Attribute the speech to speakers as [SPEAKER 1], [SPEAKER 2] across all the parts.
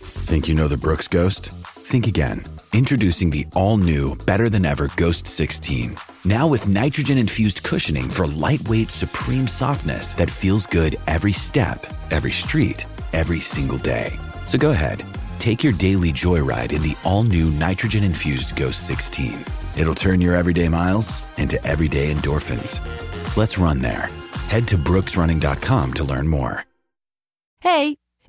[SPEAKER 1] Think you know the Brooks Ghost? Think again. Introducing the all new, better than ever Ghost 16. Now with nitrogen infused cushioning for lightweight, supreme softness that feels good every step, every street, every single day. So go ahead, take your daily joyride in the all new nitrogen infused Ghost 16. It'll turn your everyday miles into everyday endorphins. Let's run there. Head to brooksrunning.com to learn more.
[SPEAKER 2] Hey,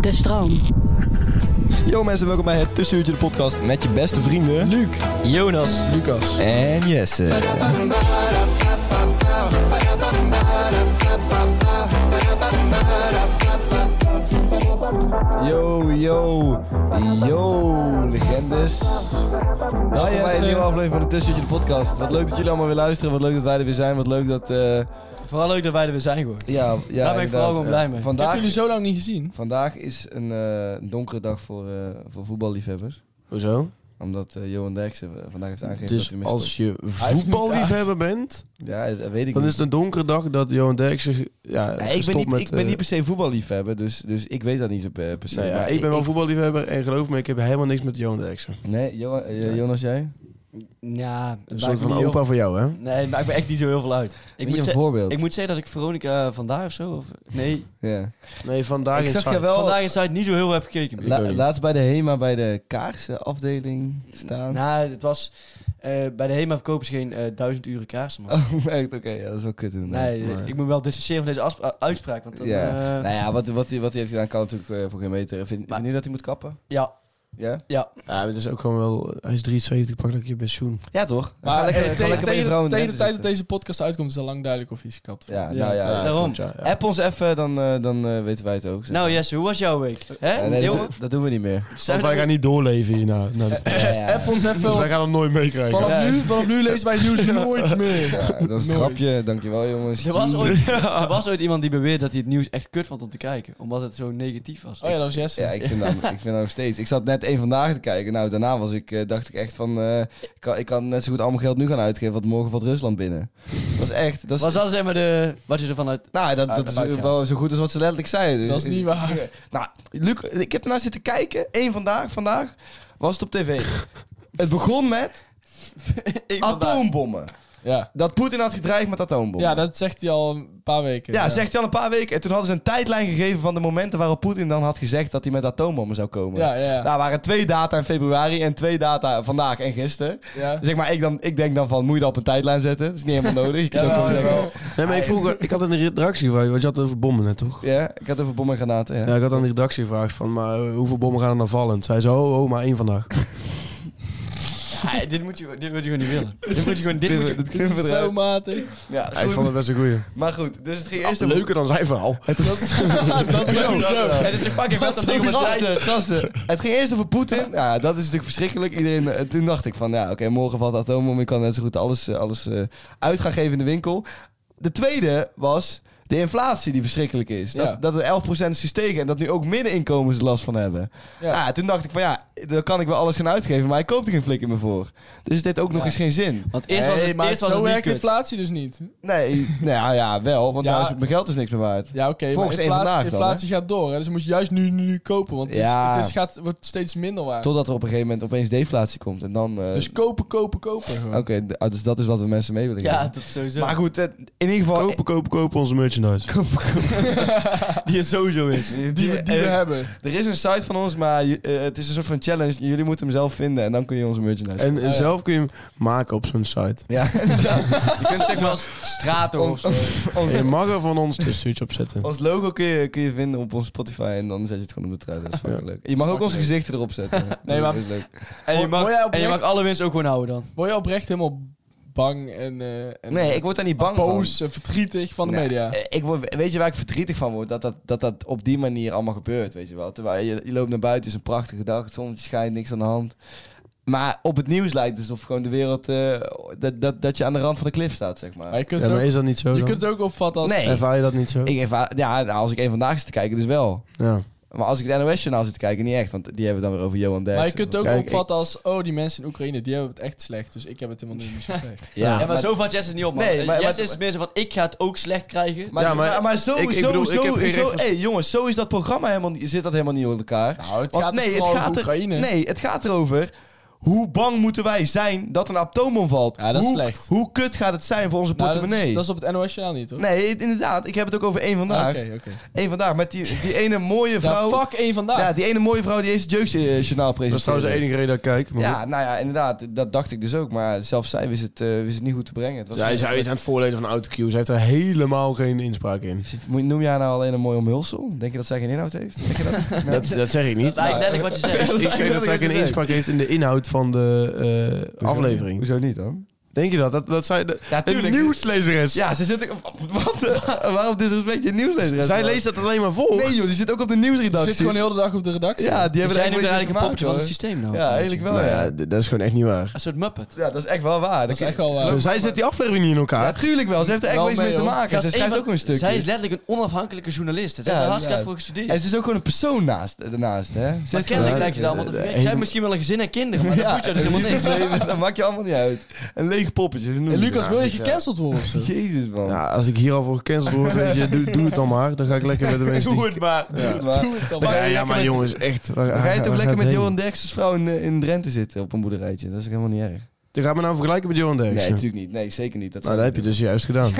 [SPEAKER 3] De stroom.
[SPEAKER 4] Yo mensen, welkom bij het Tussenuurtje de podcast met je beste vrienden... Luc, Jonas
[SPEAKER 5] Lucas.
[SPEAKER 4] en Jesse. Yo, yo, yo, legendes. Welkom bij
[SPEAKER 5] Jesse.
[SPEAKER 4] een nieuwe aflevering van het Tussenuurtje de podcast. Wat leuk dat jullie allemaal weer luisteren, wat leuk dat wij er weer zijn, wat leuk dat... eh,
[SPEAKER 5] Vooral leuk dat wij er weer zijn geworden.
[SPEAKER 4] ja, ja,
[SPEAKER 5] Daar ben ik vooral
[SPEAKER 4] inderdaad.
[SPEAKER 5] gewoon
[SPEAKER 4] Eh,
[SPEAKER 5] blij mee. Ik heb
[SPEAKER 4] Vandaag,
[SPEAKER 5] jullie zo lang niet gezien.
[SPEAKER 4] vandaag is een eh, donkere dag voor, eh, voor voetballiefhebbers.
[SPEAKER 6] Hoezo?
[SPEAKER 4] Omdat eh, Johan Derksen eh, vandaag heeft aangegeven dat
[SPEAKER 6] Dus
[SPEAKER 4] hij mist.
[SPEAKER 6] als je
[SPEAKER 5] heeft niet
[SPEAKER 6] voetballiefhebber bent,
[SPEAKER 4] Ja, dat weet ik
[SPEAKER 6] dan is
[SPEAKER 4] niet.
[SPEAKER 6] het een donkere dag dat Johan Derksen ge- ja,
[SPEAKER 4] Nee, ik ben,
[SPEAKER 6] gestopt
[SPEAKER 4] niet,
[SPEAKER 6] met...
[SPEAKER 4] ik ben
[SPEAKER 6] eh,
[SPEAKER 4] niet per se voetballiefhebber, dus, dus ik weet dat niet zo per, per se.
[SPEAKER 6] nou ja,
[SPEAKER 4] Maar
[SPEAKER 6] ik ben wel voetballiefhebber en geloof me, ik heb helemaal niks met Johan Derksen.
[SPEAKER 4] Nee, Johan, eh, Jonas, jij?
[SPEAKER 5] Ja,
[SPEAKER 6] Een soort van opa voor jou, hè?
[SPEAKER 7] Nee, het maakt me echt niet zo heel veel uit.
[SPEAKER 4] Ik
[SPEAKER 7] Ik
[SPEAKER 4] je
[SPEAKER 7] moet,
[SPEAKER 4] een
[SPEAKER 7] ze-
[SPEAKER 4] voorbeeld?
[SPEAKER 7] ik moet zeggen dat ik Veronica vandaag of zo, of nee,
[SPEAKER 4] ja.
[SPEAKER 6] Nee, vandaag
[SPEAKER 4] Ik
[SPEAKER 6] in
[SPEAKER 4] zag je
[SPEAKER 6] Zuid.
[SPEAKER 4] wel-
[SPEAKER 7] vandaag in Zuid niet zo heel veel heb gekeken.
[SPEAKER 6] Ik
[SPEAKER 4] La-
[SPEAKER 6] ook niet.
[SPEAKER 4] laatst bij de HEMA bij de kaarsenafdeling staan.
[SPEAKER 7] Nou, het was, eh, bij de HEMA verkopen ze geen eh, duizend uren kaarsen, man.
[SPEAKER 4] Oh, echt? Oké, ja, dat is wel kut inderdaad.
[SPEAKER 7] nee, eh,
[SPEAKER 4] Maar-
[SPEAKER 7] ik moet wel distancieren van deze afspra- uitspraak, want dan, eh,
[SPEAKER 4] Ja.
[SPEAKER 6] eh,
[SPEAKER 7] ja.
[SPEAKER 4] nou ja, wat, wat, hij, wat hij heeft gedaan kan natuurlijk eh, voor geen meter. Vind, vind je dat hij moet kappen?
[SPEAKER 7] ja.
[SPEAKER 4] Ja?
[SPEAKER 6] Ja, maar het is ook gewoon wel... Hij is 73, pak lekker je pensioen.
[SPEAKER 4] Ja, toch?
[SPEAKER 5] Maar
[SPEAKER 4] Ga lekker,
[SPEAKER 5] eh,
[SPEAKER 4] ga
[SPEAKER 5] tegen,
[SPEAKER 4] lekker bij je
[SPEAKER 5] tegen-
[SPEAKER 4] vrouw in
[SPEAKER 5] tegen de
[SPEAKER 4] netten
[SPEAKER 5] tijd dat
[SPEAKER 4] zitten.
[SPEAKER 5] deze podcast uitkomt is al lang duidelijk of hij is gekapt.
[SPEAKER 4] Ja, nou ja.
[SPEAKER 7] daarom.
[SPEAKER 6] klopt, ja, ja.
[SPEAKER 4] App ons even, dan, eh, dan eh, weten wij het ook. zeg.
[SPEAKER 7] Nou Jesse, hoe was jouw week? Hè?
[SPEAKER 4] Ja, Eh, nee, dat,
[SPEAKER 7] Heel-
[SPEAKER 4] doen- dat doen we niet meer.
[SPEAKER 7] zijn
[SPEAKER 6] Want wij
[SPEAKER 7] er-
[SPEAKER 6] gaan niet doorleven hierna. Nou,
[SPEAKER 4] Ja, ja.
[SPEAKER 5] App ons even,
[SPEAKER 6] dus wij
[SPEAKER 5] want
[SPEAKER 6] gaan hem nooit meekrijgen.
[SPEAKER 5] vanaf, nu, vanaf nu lezen wij het nieuws nooit meer.
[SPEAKER 4] Ja, dat is een grapje. Dankjewel, jongens.
[SPEAKER 7] er was, ooit, er was ooit iemand die beweerde dat hij het nieuws echt kut vond om te kijken, omdat het zo negatief was.
[SPEAKER 5] Oh ja, dat was Jesse.
[SPEAKER 4] Ja, ik vind, dat, ik vind dat nog steeds. Ik zat net één vandaag te kijken. Nou, daarna was ik, eh, dacht ik echt van... eh, ik, kan, ik kan net zo goed al mijn geld nu gaan uitgeven, want morgen valt Rusland binnen. Dat is echt... Dat is,
[SPEAKER 7] was dat zeg maar de, wat je ervan uit...
[SPEAKER 4] nou, dat, dat
[SPEAKER 7] Uitgaat.
[SPEAKER 4] is wel zo goed als wat ze letterlijk zeiden.
[SPEAKER 5] Dat is
[SPEAKER 4] Dus-
[SPEAKER 5] niet waar.
[SPEAKER 4] Nou, Luc, ik heb ernaar zitten kijken. Eén vandaag, vandaag was het op tv. het begon met atoombommen.
[SPEAKER 5] Ja.
[SPEAKER 4] Dat Poetin had gedreigd met atoombommen.
[SPEAKER 5] ja, dat zegt hij al een paar weken.
[SPEAKER 4] Ja, zegt hij al een paar weken. En toen hadden ze een tijdlijn gegeven van de momenten waarop Poetin dan had gezegd dat hij met atoombommen zou komen.
[SPEAKER 5] Ja, ja, ja.
[SPEAKER 4] Daar waren twee data in februari en twee data vandaag en gisteren.
[SPEAKER 5] ja.
[SPEAKER 4] Zeg maar, ik, dan, ik denk dan van, moet je dat op een tijdlijn zetten? Dat is niet helemaal nodig. Je kunt ook
[SPEAKER 5] Jawel,
[SPEAKER 4] gewoon-
[SPEAKER 5] jawel.
[SPEAKER 6] Nee, maar ik, vroeg, ik had een redactie gevraagd, want je had het over bommen net, toch?
[SPEAKER 4] Ja, ik had even bommen en granaten. Ja.
[SPEAKER 6] Ja, ik had aan de redactie gevraagd van, maar eh, hoeveel bommen gaan er dan vallen? Zij zei, oh, oh, maar één vandaag.
[SPEAKER 7] Ah, dit, moet je, dit moet je gewoon niet willen. dit moet je gewoon... Dit moet je,
[SPEAKER 4] dat knippen we
[SPEAKER 5] Zo
[SPEAKER 4] eruit.
[SPEAKER 5] matig.
[SPEAKER 4] Ja,
[SPEAKER 6] Hij
[SPEAKER 4] goed.
[SPEAKER 6] vond het best een goeie. Ah,
[SPEAKER 4] Maar goed, dus het ging eerst over-
[SPEAKER 6] Leuker dan zijn verhaal.
[SPEAKER 5] dat is
[SPEAKER 4] Zo,
[SPEAKER 5] sowieso.
[SPEAKER 4] zo.
[SPEAKER 7] En het is fucking vet dat tegen me
[SPEAKER 4] Gasten, gasten. Het ging eerst over Poetin. Ja, dat is natuurlijk verschrikkelijk. Iedereen, eh, toen dacht ik van, ja, oké, morgen valt atoombom. Ik kan net zo goed alles, eh, alles eh, uit gaan geven in de winkel. De tweede was de inflatie die verschrikkelijk is. Dat,
[SPEAKER 5] Ja.
[SPEAKER 4] dat er 11% is gestegen en dat nu ook middeninkomens er last van hebben. Ja.
[SPEAKER 5] Ja.
[SPEAKER 4] toen dacht ik van, ja, dan kan ik wel alles gaan uitgeven, maar ik koop er geen flikker meer voor. Dus dit heeft ook nog
[SPEAKER 5] Ja.
[SPEAKER 4] eens geen zin.
[SPEAKER 7] Want eerst was
[SPEAKER 5] Hey,
[SPEAKER 7] het,
[SPEAKER 5] maar
[SPEAKER 7] eerst was
[SPEAKER 5] zo
[SPEAKER 7] het niet
[SPEAKER 5] werkt
[SPEAKER 7] kut.
[SPEAKER 5] inflatie dus niet.
[SPEAKER 4] Nee, nou ja, wel, want
[SPEAKER 5] Ja.
[SPEAKER 4] nou is, mijn geld is niks meer waard.
[SPEAKER 5] Ja, oké. maar
[SPEAKER 4] Volgens één
[SPEAKER 5] inflatie,
[SPEAKER 4] vandaag dan,
[SPEAKER 5] inflatie gaat door. Hè? Dus je moet je juist nu, nu, nu kopen. Want het, is-
[SPEAKER 4] Ja.
[SPEAKER 5] het is, gaat, wordt steeds minder waard.
[SPEAKER 4] Totdat er op een gegeven moment opeens deflatie komt en dan... eh,
[SPEAKER 5] Dus kopen, kopen, kopen. gewoon.
[SPEAKER 4] Oké, d- ah, dus dat is wat we mensen mee willen geven.
[SPEAKER 7] Ja, dat sowieso.
[SPEAKER 4] Maar goed, eh, in ieder geval...
[SPEAKER 6] Kopen, kopen, kopen onze merchandise.
[SPEAKER 7] die is sowieso is.
[SPEAKER 4] eh,
[SPEAKER 5] Die, we, die we hebben.
[SPEAKER 4] Er is een site van ons, maar je- eh, het is een soort van challenge. Jullie moeten hem zelf vinden en dan kun je onze merchandise.
[SPEAKER 6] En eh, zelf kun je hem maken op zo'n site.
[SPEAKER 4] ja,
[SPEAKER 7] Je kunt zeg maar strato of
[SPEAKER 4] ons,
[SPEAKER 7] zo.
[SPEAKER 4] ons-
[SPEAKER 6] En je mag er van ons een stuurtje op zetten.
[SPEAKER 4] ons logo kun Oh, je, kun je vinden op ons Spotify en dan zet je het gewoon op de trui. Dat is fucking
[SPEAKER 6] Ja.
[SPEAKER 4] leuk. Je mag ook onze gezichten erop zetten.
[SPEAKER 5] Nee, maar-
[SPEAKER 4] Dat is leuk.
[SPEAKER 7] En je
[SPEAKER 5] Hoor- hoor jij
[SPEAKER 7] mag,
[SPEAKER 5] oprecht-
[SPEAKER 7] en je mag alle winst ook gewoon houden dan.
[SPEAKER 5] Word je oprecht helemaal bang en, eh, en
[SPEAKER 4] Nee, ik word daar niet bang van.
[SPEAKER 5] boos en verdrietig van de
[SPEAKER 4] Nee,
[SPEAKER 5] media.
[SPEAKER 4] eh, Ik word, weet je waar ik verdrietig van word? Dat dat, dat dat op die manier allemaal gebeurt, weet je wel. Terwijl je, je loopt naar buiten, is een prachtige dag, het zonnetje schijnt, niks aan de hand. Maar op het nieuws lijkt het alsof gewoon de wereld... eh, dat, dat, dat je aan de rand van de klif staat, zeg maar.
[SPEAKER 5] Maar je kunt,
[SPEAKER 6] Ja,
[SPEAKER 5] het,
[SPEAKER 6] maar
[SPEAKER 5] ook,
[SPEAKER 6] is dat niet zo
[SPEAKER 5] je
[SPEAKER 6] dan?
[SPEAKER 5] kunt het ook opvatten als...
[SPEAKER 4] Nee.
[SPEAKER 6] Ervaar je dat niet zo?
[SPEAKER 4] Ik ervaar- ja, nou, als ik een vandaag zit te kijken, dus wel.
[SPEAKER 6] Ja.
[SPEAKER 4] Maar als ik het NOS-journaal zit te kijken, niet echt. Want die hebben het dan weer over Johan Derksen.
[SPEAKER 5] Maar je kunt het ook
[SPEAKER 6] Kijk, ik-
[SPEAKER 5] opvatten als... Oh, die mensen in Oekraïne, die hebben het echt slecht. Dus ik heb het helemaal niet meer zo slecht.
[SPEAKER 4] Ja,
[SPEAKER 7] Ja, maar, zo vat Jess het niet op, man.
[SPEAKER 4] Nee,
[SPEAKER 7] Eh,
[SPEAKER 4] maar-
[SPEAKER 7] Jess
[SPEAKER 4] maar-
[SPEAKER 7] is meer zo van, ik ga het ook slecht krijgen.
[SPEAKER 4] Maar,
[SPEAKER 6] Ja,
[SPEAKER 4] zo-
[SPEAKER 6] maar-
[SPEAKER 4] maar, maar zo,
[SPEAKER 6] ik- ik
[SPEAKER 4] zo,
[SPEAKER 6] bedoel, ik
[SPEAKER 4] zo,
[SPEAKER 6] heb geen
[SPEAKER 4] zo,
[SPEAKER 6] recht-
[SPEAKER 4] hey, jongens, zo is dat programma helemaal niet, zit dat helemaal niet onder elkaar.
[SPEAKER 5] Nou, het
[SPEAKER 4] Want
[SPEAKER 5] gaat
[SPEAKER 4] nee,
[SPEAKER 5] nee,
[SPEAKER 4] het gaat
[SPEAKER 5] over
[SPEAKER 4] er-
[SPEAKER 5] Oekraïne.
[SPEAKER 4] Nee, het gaat erover. Hoe bang moeten wij zijn dat een atoombom valt?
[SPEAKER 5] Ja, dat is
[SPEAKER 4] hoe,
[SPEAKER 5] slecht.
[SPEAKER 4] Hoe kut gaat het zijn voor onze
[SPEAKER 5] Nou, dat,
[SPEAKER 4] portemonnee?
[SPEAKER 5] is, dat is op het NOS-journaal niet, hoor.
[SPEAKER 4] Nee, inderdaad. Ik heb het ook over één
[SPEAKER 5] Ah,
[SPEAKER 4] vandaag.
[SPEAKER 5] Oké, oké.
[SPEAKER 4] Eén vandaag met die, die ene mooie
[SPEAKER 5] Ja,
[SPEAKER 4] vrouw.
[SPEAKER 5] fuck één vandaag.
[SPEAKER 4] Ja, die ene mooie vrouw die eens het jeugdjournaal presenteerde.
[SPEAKER 6] Dat is trouwens de enige reden dat ik kijk. Maar
[SPEAKER 4] Ja, nou ja, inderdaad. Dat dacht ik dus ook. Maar zelfs zij wist het, eh, wist het niet goed te brengen. Het was dus
[SPEAKER 6] Zij zij is aan het voorlezen van autocue. Ze heeft er helemaal geen inspraak in.
[SPEAKER 4] Moet- Noem jij haar nou alleen een mooi omhulsel? Denk je dat zij geen inhoud heeft? Denk je dat?
[SPEAKER 6] Dat, dat zeg ik niet.
[SPEAKER 7] Dat is eigenlijk letterlijk wat je zegt.
[SPEAKER 6] Ik zeg dat zij geen inspraak heeft in de inhoud van de eh, aflevering.
[SPEAKER 4] Hoezo niet dan?
[SPEAKER 6] Denk je dat? Dat, dat zij de,
[SPEAKER 4] Ja,
[SPEAKER 6] een
[SPEAKER 4] tuurlijk.
[SPEAKER 6] nieuwslezer is.
[SPEAKER 4] Ja, ze zit... Wat? Waarom disrespect je nieuwslezer?
[SPEAKER 6] Zij leest dat alleen maar voor.
[SPEAKER 4] Nee joh, die zit ook op de
[SPEAKER 5] Die
[SPEAKER 4] nieuwsredactie.
[SPEAKER 5] zit gewoon de hele dag op de redactie.
[SPEAKER 4] Ja, die
[SPEAKER 7] Jij
[SPEAKER 4] hebben er
[SPEAKER 7] neemt er eigenlijk een poppetje van het
[SPEAKER 4] systeem.
[SPEAKER 7] systeem nou.
[SPEAKER 4] Ja, eigenlijk wel.
[SPEAKER 6] Nou
[SPEAKER 4] ja.
[SPEAKER 6] ja, d- dat is gewoon echt niet waar.
[SPEAKER 7] Een soort muppet.
[SPEAKER 4] Ja, dat is echt wel waar.
[SPEAKER 5] Dat is echt wel... eh,
[SPEAKER 6] Zij dus zet die aflevering niet in elkaar.
[SPEAKER 4] Natuurlijk wel, ze heeft er echt
[SPEAKER 5] Wel
[SPEAKER 4] wel iets
[SPEAKER 5] mee,
[SPEAKER 4] mee te
[SPEAKER 5] hoor.
[SPEAKER 4] maken. Ze
[SPEAKER 7] Gast,
[SPEAKER 4] schrijft
[SPEAKER 7] één
[SPEAKER 4] ook
[SPEAKER 7] van-
[SPEAKER 4] een stukje.
[SPEAKER 7] Zij is letterlijk een onafhankelijke journalist. Ze heeft
[SPEAKER 4] Ja,
[SPEAKER 7] er hartstikke
[SPEAKER 4] ja.
[SPEAKER 7] hard voor gestudeerd.
[SPEAKER 4] En ze is ook gewoon een persoon naast, daarnaast, hè? Ze
[SPEAKER 7] maar
[SPEAKER 4] is
[SPEAKER 7] kennelijk
[SPEAKER 6] Ja,
[SPEAKER 7] lijkt je daar allemaal te
[SPEAKER 6] de- de
[SPEAKER 7] vergeten. Zij
[SPEAKER 6] ene-
[SPEAKER 7] hebben misschien wel een gezin en kinderen, maar dat moet je dus helemaal niks.
[SPEAKER 4] niks. Dat maakt je allemaal niet uit. Een leeg poppetje. ze noemen
[SPEAKER 5] en Lucas,
[SPEAKER 4] het.
[SPEAKER 5] wil je gecanceld worden of zo?
[SPEAKER 4] Jezus, man.
[SPEAKER 6] Ja, als ik hier al voor gecanceld word, weet je, doe, doe het dan maar. Dan ga ik lekker met de mensen die...
[SPEAKER 4] maar. Doe het maar.
[SPEAKER 5] Doe het dan
[SPEAKER 4] Dan
[SPEAKER 5] maar.
[SPEAKER 4] ga
[SPEAKER 6] Ja,
[SPEAKER 4] je
[SPEAKER 6] ja,
[SPEAKER 4] lekker
[SPEAKER 6] maar
[SPEAKER 4] met-
[SPEAKER 6] jongens, echt. Waar,
[SPEAKER 4] Dan ga je
[SPEAKER 6] waar-
[SPEAKER 4] toch
[SPEAKER 6] waar
[SPEAKER 4] lekker
[SPEAKER 6] Ah, gaat
[SPEAKER 4] met
[SPEAKER 6] het
[SPEAKER 4] Johan Derksen's vrouw in, eh, in Drenthe zitten op een boerderijtje. Dat is ook helemaal niet erg.
[SPEAKER 6] heen? Je gaat me nou vergelijken met Johan
[SPEAKER 4] Nee,
[SPEAKER 6] Derksen.
[SPEAKER 4] natuurlijk niet. Nee, zeker niet. Dat
[SPEAKER 6] nou, dat
[SPEAKER 4] zou-
[SPEAKER 6] heb je dus juist gedaan.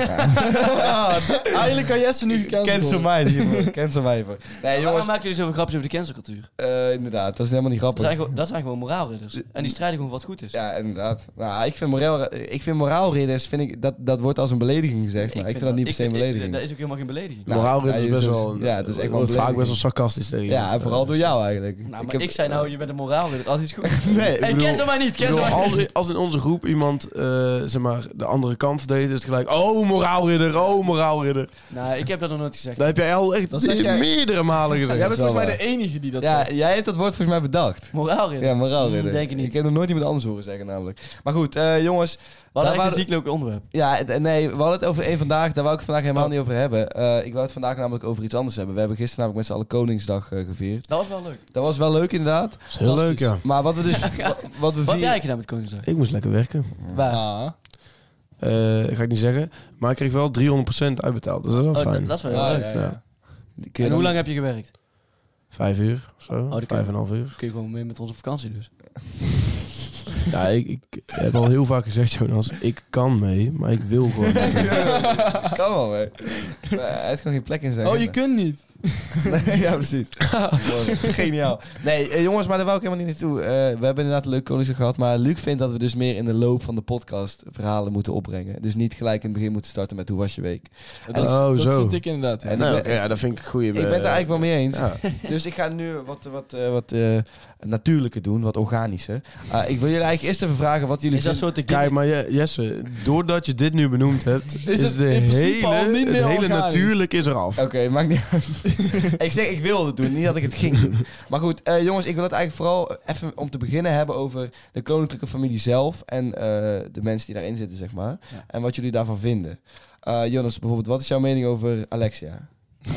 [SPEAKER 5] Eigenlijk kan Jesse nu gecanceld
[SPEAKER 4] Cancel
[SPEAKER 5] worden.
[SPEAKER 4] mij hiervoor. Cancel mij hiervoor. Nee,
[SPEAKER 7] Waarom
[SPEAKER 4] jongens.
[SPEAKER 7] maken jullie zoveel grapjes over de cancelcultuur?
[SPEAKER 4] eh, inderdaad, dat is helemaal niet
[SPEAKER 7] Dat
[SPEAKER 4] grappig.
[SPEAKER 7] zijn gewoon, dat zijn gewoon moraalridders. En die strijden gewoon voor wat goed is.
[SPEAKER 4] Ja, inderdaad. Nou, ik vind, moraal, ik vind moraalridders, vind ik, dat, dat wordt als een belediging gezegd, maar ik vind dat niet per se een
[SPEAKER 7] ik-
[SPEAKER 4] belediging.
[SPEAKER 7] Dat is ook helemaal geen belediging.
[SPEAKER 4] Nou,
[SPEAKER 6] Moraal
[SPEAKER 4] ja,
[SPEAKER 6] is
[SPEAKER 4] je
[SPEAKER 6] best
[SPEAKER 4] soms-
[SPEAKER 6] wel...
[SPEAKER 4] ja, het is echt wel
[SPEAKER 6] wordt
[SPEAKER 4] een
[SPEAKER 6] vaak best wel sarcastisch tegen
[SPEAKER 4] ja, en
[SPEAKER 6] iemand.
[SPEAKER 4] vooral door jou eigenlijk.
[SPEAKER 7] Nou, maar ik,
[SPEAKER 4] heb-
[SPEAKER 7] zei nou, je bent een moraalridder. Als iets goed.
[SPEAKER 4] Nee, ik
[SPEAKER 7] hey,
[SPEAKER 6] bedoel-
[SPEAKER 7] cancel mij niet,
[SPEAKER 6] Ik bedoel,
[SPEAKER 7] cancel mij niet.
[SPEAKER 6] als, als in onze groep iemand eh, zeg maar, de andere kant verdedigt, is het gelijk... Oh, moraalridder, oh, moraalridder.
[SPEAKER 7] Nou, ik heb dat nog nooit gezegd.
[SPEAKER 6] Dat heb jij al echt
[SPEAKER 5] Dat zeg jij-
[SPEAKER 6] meerdere malen gezegd.
[SPEAKER 5] Jij bent
[SPEAKER 4] wel
[SPEAKER 5] volgens mij
[SPEAKER 4] waar.
[SPEAKER 5] de enige die dat
[SPEAKER 4] Ja,
[SPEAKER 5] zegt.
[SPEAKER 4] jij hebt dat woord volgens mij bedacht.
[SPEAKER 7] Moraalridder.
[SPEAKER 4] Ja, moraalridder.
[SPEAKER 7] Mm, denk ik niet.
[SPEAKER 4] Ik heb nog nooit iemand anders horen zeggen namelijk. Maar goed, eh, jongens.
[SPEAKER 7] Wat
[SPEAKER 4] daar
[SPEAKER 7] echt
[SPEAKER 4] waren-
[SPEAKER 7] een ziekelijk onderwerp.
[SPEAKER 4] Ja, d- nee, we hadden het over één vandaag. Daar wou ik het vandaag
[SPEAKER 7] Oh.
[SPEAKER 4] helemaal niet over hebben. Eh, ik wou het vandaag namelijk over iets anders hebben. We hebben gisteren namelijk met z'n allen Koningsdag eh, gevierd.
[SPEAKER 7] Dat was wel leuk.
[SPEAKER 4] Dat was wel leuk inderdaad.
[SPEAKER 6] Dat is heel leuk, ja.
[SPEAKER 4] Maar wat we dus... wa- Wat we
[SPEAKER 7] Wat heb
[SPEAKER 4] vieren...
[SPEAKER 7] jij gedaan met Koningsdag?
[SPEAKER 6] Ik moest lekker werken.
[SPEAKER 7] Waar?
[SPEAKER 5] Ah.
[SPEAKER 6] Eh, ga ik niet zeggen. Maar ik kreeg wel 300% uitbetaald. Dus dat is wel
[SPEAKER 7] Oh,
[SPEAKER 6] fijn.
[SPEAKER 7] dat- dat is wel heel
[SPEAKER 5] Ja,
[SPEAKER 7] leuk.
[SPEAKER 6] Ja.
[SPEAKER 5] ja, ja.
[SPEAKER 4] Kun je
[SPEAKER 7] En hoe
[SPEAKER 4] dan-
[SPEAKER 7] lang heb je gewerkt?
[SPEAKER 6] Vijf uur of
[SPEAKER 7] dat
[SPEAKER 6] zo.
[SPEAKER 7] kan.
[SPEAKER 6] Vijf en een half uur.
[SPEAKER 7] Kun je gewoon mee met ons op vakantie dus.
[SPEAKER 6] Ja, ik, ik heb al heel vaak gezegd, Jonas, ik kan mee, maar ik wil gewoon niet.
[SPEAKER 4] Kan wel, hè. Eh, het kan geen plek in zijn.
[SPEAKER 5] Oh, je kunt niet.
[SPEAKER 4] Nee, ja, precies. Mooi. Geniaal. Nee, eh, jongens, maar daar wou ik helemaal niet naartoe. Eh, we hebben inderdaad een leuk koningsdag gehad. Maar Luc vindt dat we dus meer in de loop van de podcast verhalen moeten opbrengen. Dus niet gelijk in het begin moeten starten met hoe was je week.
[SPEAKER 5] Dat,
[SPEAKER 6] Oh,
[SPEAKER 5] dat
[SPEAKER 6] zo.
[SPEAKER 5] vind ik inderdaad. ja.
[SPEAKER 4] En
[SPEAKER 6] Nou,
[SPEAKER 4] ik
[SPEAKER 6] oké,
[SPEAKER 4] ben-
[SPEAKER 6] ja, dat vind ik een goeie. eh,
[SPEAKER 4] Ik ben het er eigenlijk wel mee eens.
[SPEAKER 6] Ja.
[SPEAKER 4] Dus ik ga nu wat, wat, eh, wat eh, natuurlijker doen, wat organischer. Eh, ik wil jullie eigenlijk eerst even vragen wat jullie
[SPEAKER 7] Is dat
[SPEAKER 4] vinden-
[SPEAKER 7] soort de
[SPEAKER 6] Kijk, maar Je- Jesse, doordat je dit nu benoemd hebt, is,
[SPEAKER 5] het
[SPEAKER 6] de
[SPEAKER 5] in
[SPEAKER 6] hele,
[SPEAKER 5] principe al niet
[SPEAKER 6] het
[SPEAKER 5] meer
[SPEAKER 6] hele
[SPEAKER 5] organisch.
[SPEAKER 6] natuurlijk is eraf.
[SPEAKER 4] Oké, maakt niet uit. ik zeg, ik wilde het doen, niet dat ik het ging doen. Maar goed, eh, jongens, ik wil het eigenlijk vooral even om te beginnen hebben over de koninklijke familie zelf en eh, de mensen die daarin zitten, zeg maar.
[SPEAKER 7] Ja.
[SPEAKER 4] En wat jullie daarvan vinden. Eh, Jonas, bijvoorbeeld, wat is jouw mening over Alexia?
[SPEAKER 7] Nou,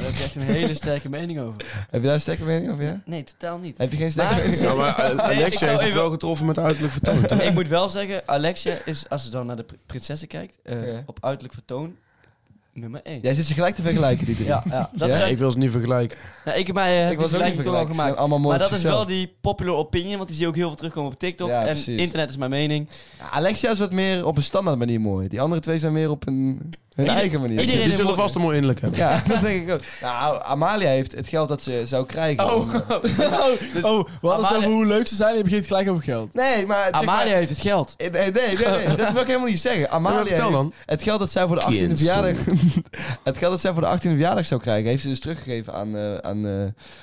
[SPEAKER 7] Daar heb ik echt een hele sterke mening over.
[SPEAKER 4] Heb je daar een sterke mening over, ja?
[SPEAKER 7] Nee, totaal niet.
[SPEAKER 4] Heb je geen sterke
[SPEAKER 7] Maar-
[SPEAKER 4] mening?
[SPEAKER 6] Ja, maar eh,
[SPEAKER 7] Nee, ik
[SPEAKER 6] Alexia
[SPEAKER 7] zou
[SPEAKER 6] heeft het
[SPEAKER 7] even-
[SPEAKER 6] wel getroffen met uiterlijk vertoon. toch?
[SPEAKER 7] ik moet wel zeggen, Alexia is, als ze dan naar de pr- prinsessen kijkt, eh,
[SPEAKER 4] Ja.
[SPEAKER 7] op uiterlijk vertoon, nummer 1.
[SPEAKER 4] Jij zit ze gelijk te vergelijken, die drie.
[SPEAKER 7] Ja, ja. Dat
[SPEAKER 4] Ja?
[SPEAKER 7] is
[SPEAKER 6] Ja,
[SPEAKER 7] echt-
[SPEAKER 6] ik wil ze niet vergelijken.
[SPEAKER 7] nou, ik heb mij eh,
[SPEAKER 4] Ik
[SPEAKER 7] die
[SPEAKER 4] was ook niet
[SPEAKER 7] vergelijking toch al
[SPEAKER 4] vergelijken. Ze zijn
[SPEAKER 7] gemaakt.
[SPEAKER 4] allemaal mooi
[SPEAKER 7] Maar
[SPEAKER 4] op
[SPEAKER 7] dat is
[SPEAKER 4] zichzelf.
[SPEAKER 7] wel die popular opinion, want die zie je ook heel veel terugkomen op TikTok.
[SPEAKER 4] Ja,
[SPEAKER 7] en
[SPEAKER 4] precies.
[SPEAKER 7] internet is mijn mening.
[SPEAKER 4] Ja, Alexia is wat meer op een standaard manier mooi. Die andere twee zijn meer op een... Hun
[SPEAKER 7] Ik-
[SPEAKER 4] eigen manier.
[SPEAKER 7] iedereen-
[SPEAKER 6] Die
[SPEAKER 7] heeft
[SPEAKER 6] zullen
[SPEAKER 7] morgen-
[SPEAKER 6] vast een mooi innerlijk hebben.
[SPEAKER 4] Ja, dat denk ik ook. Nou, Amalia heeft het geld dat ze zou krijgen. eh, dus
[SPEAKER 7] eh,
[SPEAKER 5] Oh, oh, we hadden het
[SPEAKER 7] Amalia-
[SPEAKER 5] over hoe leuk ze zijn en je begint gelijk over geld.
[SPEAKER 4] Nee, maar... zeg maar-
[SPEAKER 7] Amalia heeft het geld.
[SPEAKER 4] Nee, nee, nee, nee, dat wil ik helemaal niet zeggen. Amalia
[SPEAKER 6] vertel
[SPEAKER 4] heeft
[SPEAKER 6] dan.
[SPEAKER 4] het geld dat zij voor de 18e
[SPEAKER 6] Kind,
[SPEAKER 4] verjaardag... het geld dat zij voor de 18e verjaardag zou krijgen... heeft ze dus teruggegeven aan, eh, aan eh,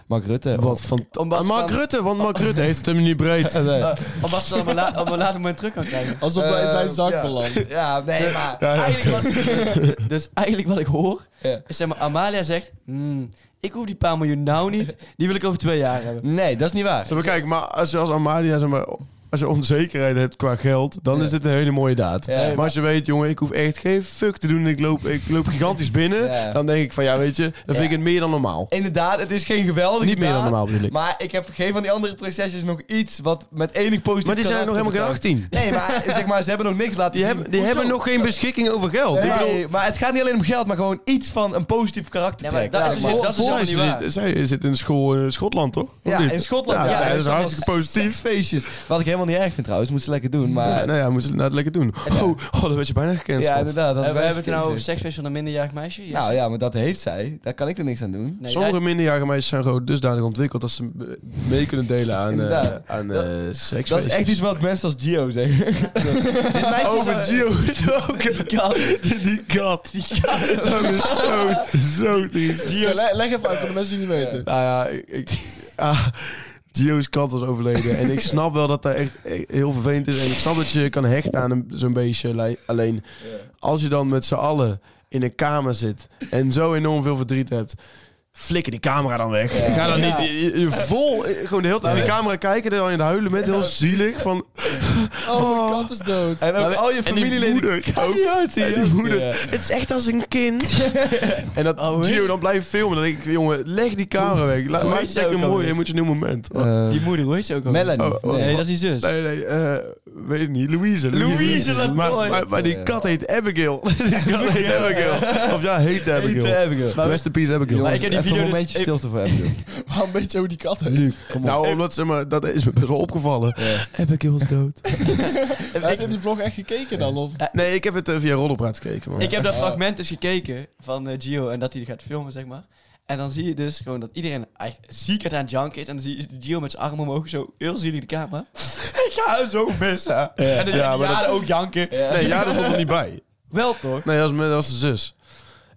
[SPEAKER 4] Mark Rutte.
[SPEAKER 6] Wat van...
[SPEAKER 7] Omdat ze
[SPEAKER 6] Mark
[SPEAKER 7] dan-
[SPEAKER 6] Rutte, want Mark Rutte heeft het hem niet breed.
[SPEAKER 4] Nee.
[SPEAKER 7] Omdat ze dan op een la- op een later moment terug kan krijgen.
[SPEAKER 5] Alsof hij in zijn
[SPEAKER 4] Eh,
[SPEAKER 5] zak
[SPEAKER 4] ja.
[SPEAKER 5] belandt.
[SPEAKER 4] Ja, nee, maar...
[SPEAKER 7] Eigenlijk wat, dus eigenlijk wat ik hoor,
[SPEAKER 4] Ja.
[SPEAKER 7] is zeg maar, Amalia zegt, "Hmm, ik hoef die paar miljoen nou niet, die wil ik over twee jaar hebben.
[SPEAKER 4] Nee, dat is niet waar.
[SPEAKER 6] Zullen we kijken, maar als, als Amalia zeg maar, als je onzekerheid hebt qua geld, dan is dit een hele mooie daad.
[SPEAKER 4] Ja,
[SPEAKER 6] maar als je weet, jongen, ik hoef echt geen fuck te doen. Ik loop, ik loop gigantisch binnen.
[SPEAKER 4] Ja.
[SPEAKER 6] Dan denk ik van, ja, weet je, dan vind ik
[SPEAKER 4] Ja.
[SPEAKER 6] het meer dan normaal.
[SPEAKER 4] Inderdaad, het is geen geweldige
[SPEAKER 6] Niet meer dan
[SPEAKER 4] daad,
[SPEAKER 6] normaal bedoel ik. Maar,
[SPEAKER 4] Maar ik heb geen van die andere prinsesjes nog iets wat met enig positief
[SPEAKER 6] die zijn nog
[SPEAKER 4] karakter
[SPEAKER 6] helemaal geen
[SPEAKER 4] betuigt. Nee,
[SPEAKER 6] 18.
[SPEAKER 4] maar zeg maar, ze hebben nog niks laten
[SPEAKER 6] Die,
[SPEAKER 4] zien.
[SPEAKER 6] hebben, die
[SPEAKER 4] Hoezo?
[SPEAKER 6] hebben nog geen beschikking over geld.
[SPEAKER 4] Nee,
[SPEAKER 6] Ik bedoel,
[SPEAKER 4] maar het gaat niet alleen om geld, maar gewoon iets van een positief karakter
[SPEAKER 7] Ja, maar
[SPEAKER 4] trekken.
[SPEAKER 7] dat
[SPEAKER 4] Ja,
[SPEAKER 7] is dus-
[SPEAKER 4] maar-
[SPEAKER 7] dat is dus
[SPEAKER 6] zij,
[SPEAKER 7] helemaal niet waar.
[SPEAKER 6] zit- zij zit in school in Schotland, toch? Of
[SPEAKER 4] Ja,
[SPEAKER 6] niet?
[SPEAKER 4] in Schotland.
[SPEAKER 6] Ja,
[SPEAKER 4] Ja,
[SPEAKER 6] dat
[SPEAKER 4] er
[SPEAKER 6] is
[SPEAKER 4] allemaal
[SPEAKER 6] hartstikke positief.
[SPEAKER 4] Feestjes. Wat ik helemaal niet erg vind trouwens, moeten ze lekker doen. Maar
[SPEAKER 6] Ja, nou ja, moeten ze nou lekker doen. Oh, oh, dan werd je bijna
[SPEAKER 4] ja,
[SPEAKER 6] gecanceld.
[SPEAKER 4] inderdaad. Dat
[SPEAKER 7] Eh, we
[SPEAKER 4] wijst
[SPEAKER 7] hebben het nou
[SPEAKER 4] geen
[SPEAKER 7] over
[SPEAKER 4] zin.
[SPEAKER 7] seksfeest van een minderjarig meisje. Yes.
[SPEAKER 4] Nou ja, maar dat heeft zij. Daar kan ik er niks aan doen.
[SPEAKER 7] Nee,
[SPEAKER 6] Sommige
[SPEAKER 7] jij-
[SPEAKER 6] minderjarige meisjes zijn gewoon dusdanig ontwikkeld dat ze eh, mee kunnen delen aan, eh,
[SPEAKER 4] Inderdaad.
[SPEAKER 6] aan eh,
[SPEAKER 4] Dat-
[SPEAKER 6] seksfeestjes.
[SPEAKER 4] Dat is echt iets wat mensen als Gio zeggen. Dit meisje
[SPEAKER 6] Over
[SPEAKER 4] zou-
[SPEAKER 6] Gio is ook een kat. Die kat. Die kat. Dat is zo, zo triest.
[SPEAKER 5] Ja, le- leg even uit voor de mensen die niet weten.
[SPEAKER 6] Nou ja, ik... ik- ah, Gio's kat was overleden. En ik snap wel dat dat echt eh, heel vervelend is. En ik snap dat je je kan hechten aan een- zo'n beestje. Lei- Alleen, als je dan met z'n allen in een kamer zit... en zo enorm veel verdriet hebt... Flikker die camera dan weg. Ga dan niet je- je- je vol, eh, gewoon de hele tijd naar die camera kijken. En dan in het huilen met heel zielig. Van, Ah.
[SPEAKER 5] Oh, mijn kat is dood.
[SPEAKER 4] En ook
[SPEAKER 6] Maar-
[SPEAKER 4] al je
[SPEAKER 6] en die
[SPEAKER 4] familieleden.
[SPEAKER 6] moeder ook. en die moeder. Het is echt als een kind. en dat Gio dan blijft filmen. Dan denk ik, jongen, leg Oh, die camera weg. La, maak
[SPEAKER 7] heet
[SPEAKER 6] je
[SPEAKER 7] ze
[SPEAKER 6] lekker
[SPEAKER 7] ook
[SPEAKER 6] mooi
[SPEAKER 7] alweer?
[SPEAKER 6] emotioneel moment.
[SPEAKER 4] Oh,
[SPEAKER 7] die moeder, hoe heet ze ook al?
[SPEAKER 4] Melanie.
[SPEAKER 6] Eh, Oh, oh,
[SPEAKER 7] Nee,
[SPEAKER 4] Nee.
[SPEAKER 7] dat is die zus.
[SPEAKER 6] Nee, nee, eh, weet ik niet. Louise.
[SPEAKER 7] Louise
[SPEAKER 6] maar,
[SPEAKER 7] Latoy.
[SPEAKER 6] maar, maar die kat heet Abigail. die kat heet Abigail. Of ja, heet Abigail.
[SPEAKER 4] Abigail.
[SPEAKER 6] Rest in peace, Abigail.
[SPEAKER 7] Maar ik heb die
[SPEAKER 4] Even
[SPEAKER 7] video
[SPEAKER 4] een
[SPEAKER 7] dus-
[SPEAKER 4] momentje
[SPEAKER 7] ik-
[SPEAKER 4] stilte voor Abigail.
[SPEAKER 5] Maar een beetje hoe die kat heet.
[SPEAKER 4] Luc, kom op.
[SPEAKER 6] nou, omdat, zeg maar, dat is me best wel opgevallen. Abigail is dood.
[SPEAKER 5] Heb je die vlog echt gekeken dan? Of?
[SPEAKER 6] Nee, ik heb het eh, via Roddelpraat gekeken. Man.
[SPEAKER 7] Ik heb dat fragment dus gekeken van eh, Gio en dat hij gaat filmen, zeg maar. En dan zie je dus gewoon dat iedereen echt ziek het aan het janken is. En dan zie je Gio met zijn armen omhoog zo heel zielig de camera. Ik ga haar zo missen. En dan
[SPEAKER 6] Ja,
[SPEAKER 7] ja,
[SPEAKER 6] maar dat-
[SPEAKER 7] ook janken.
[SPEAKER 6] Nee, ja, dat stond er niet bij.
[SPEAKER 7] Wel toch?
[SPEAKER 6] Nee, dat was, dat was de zus.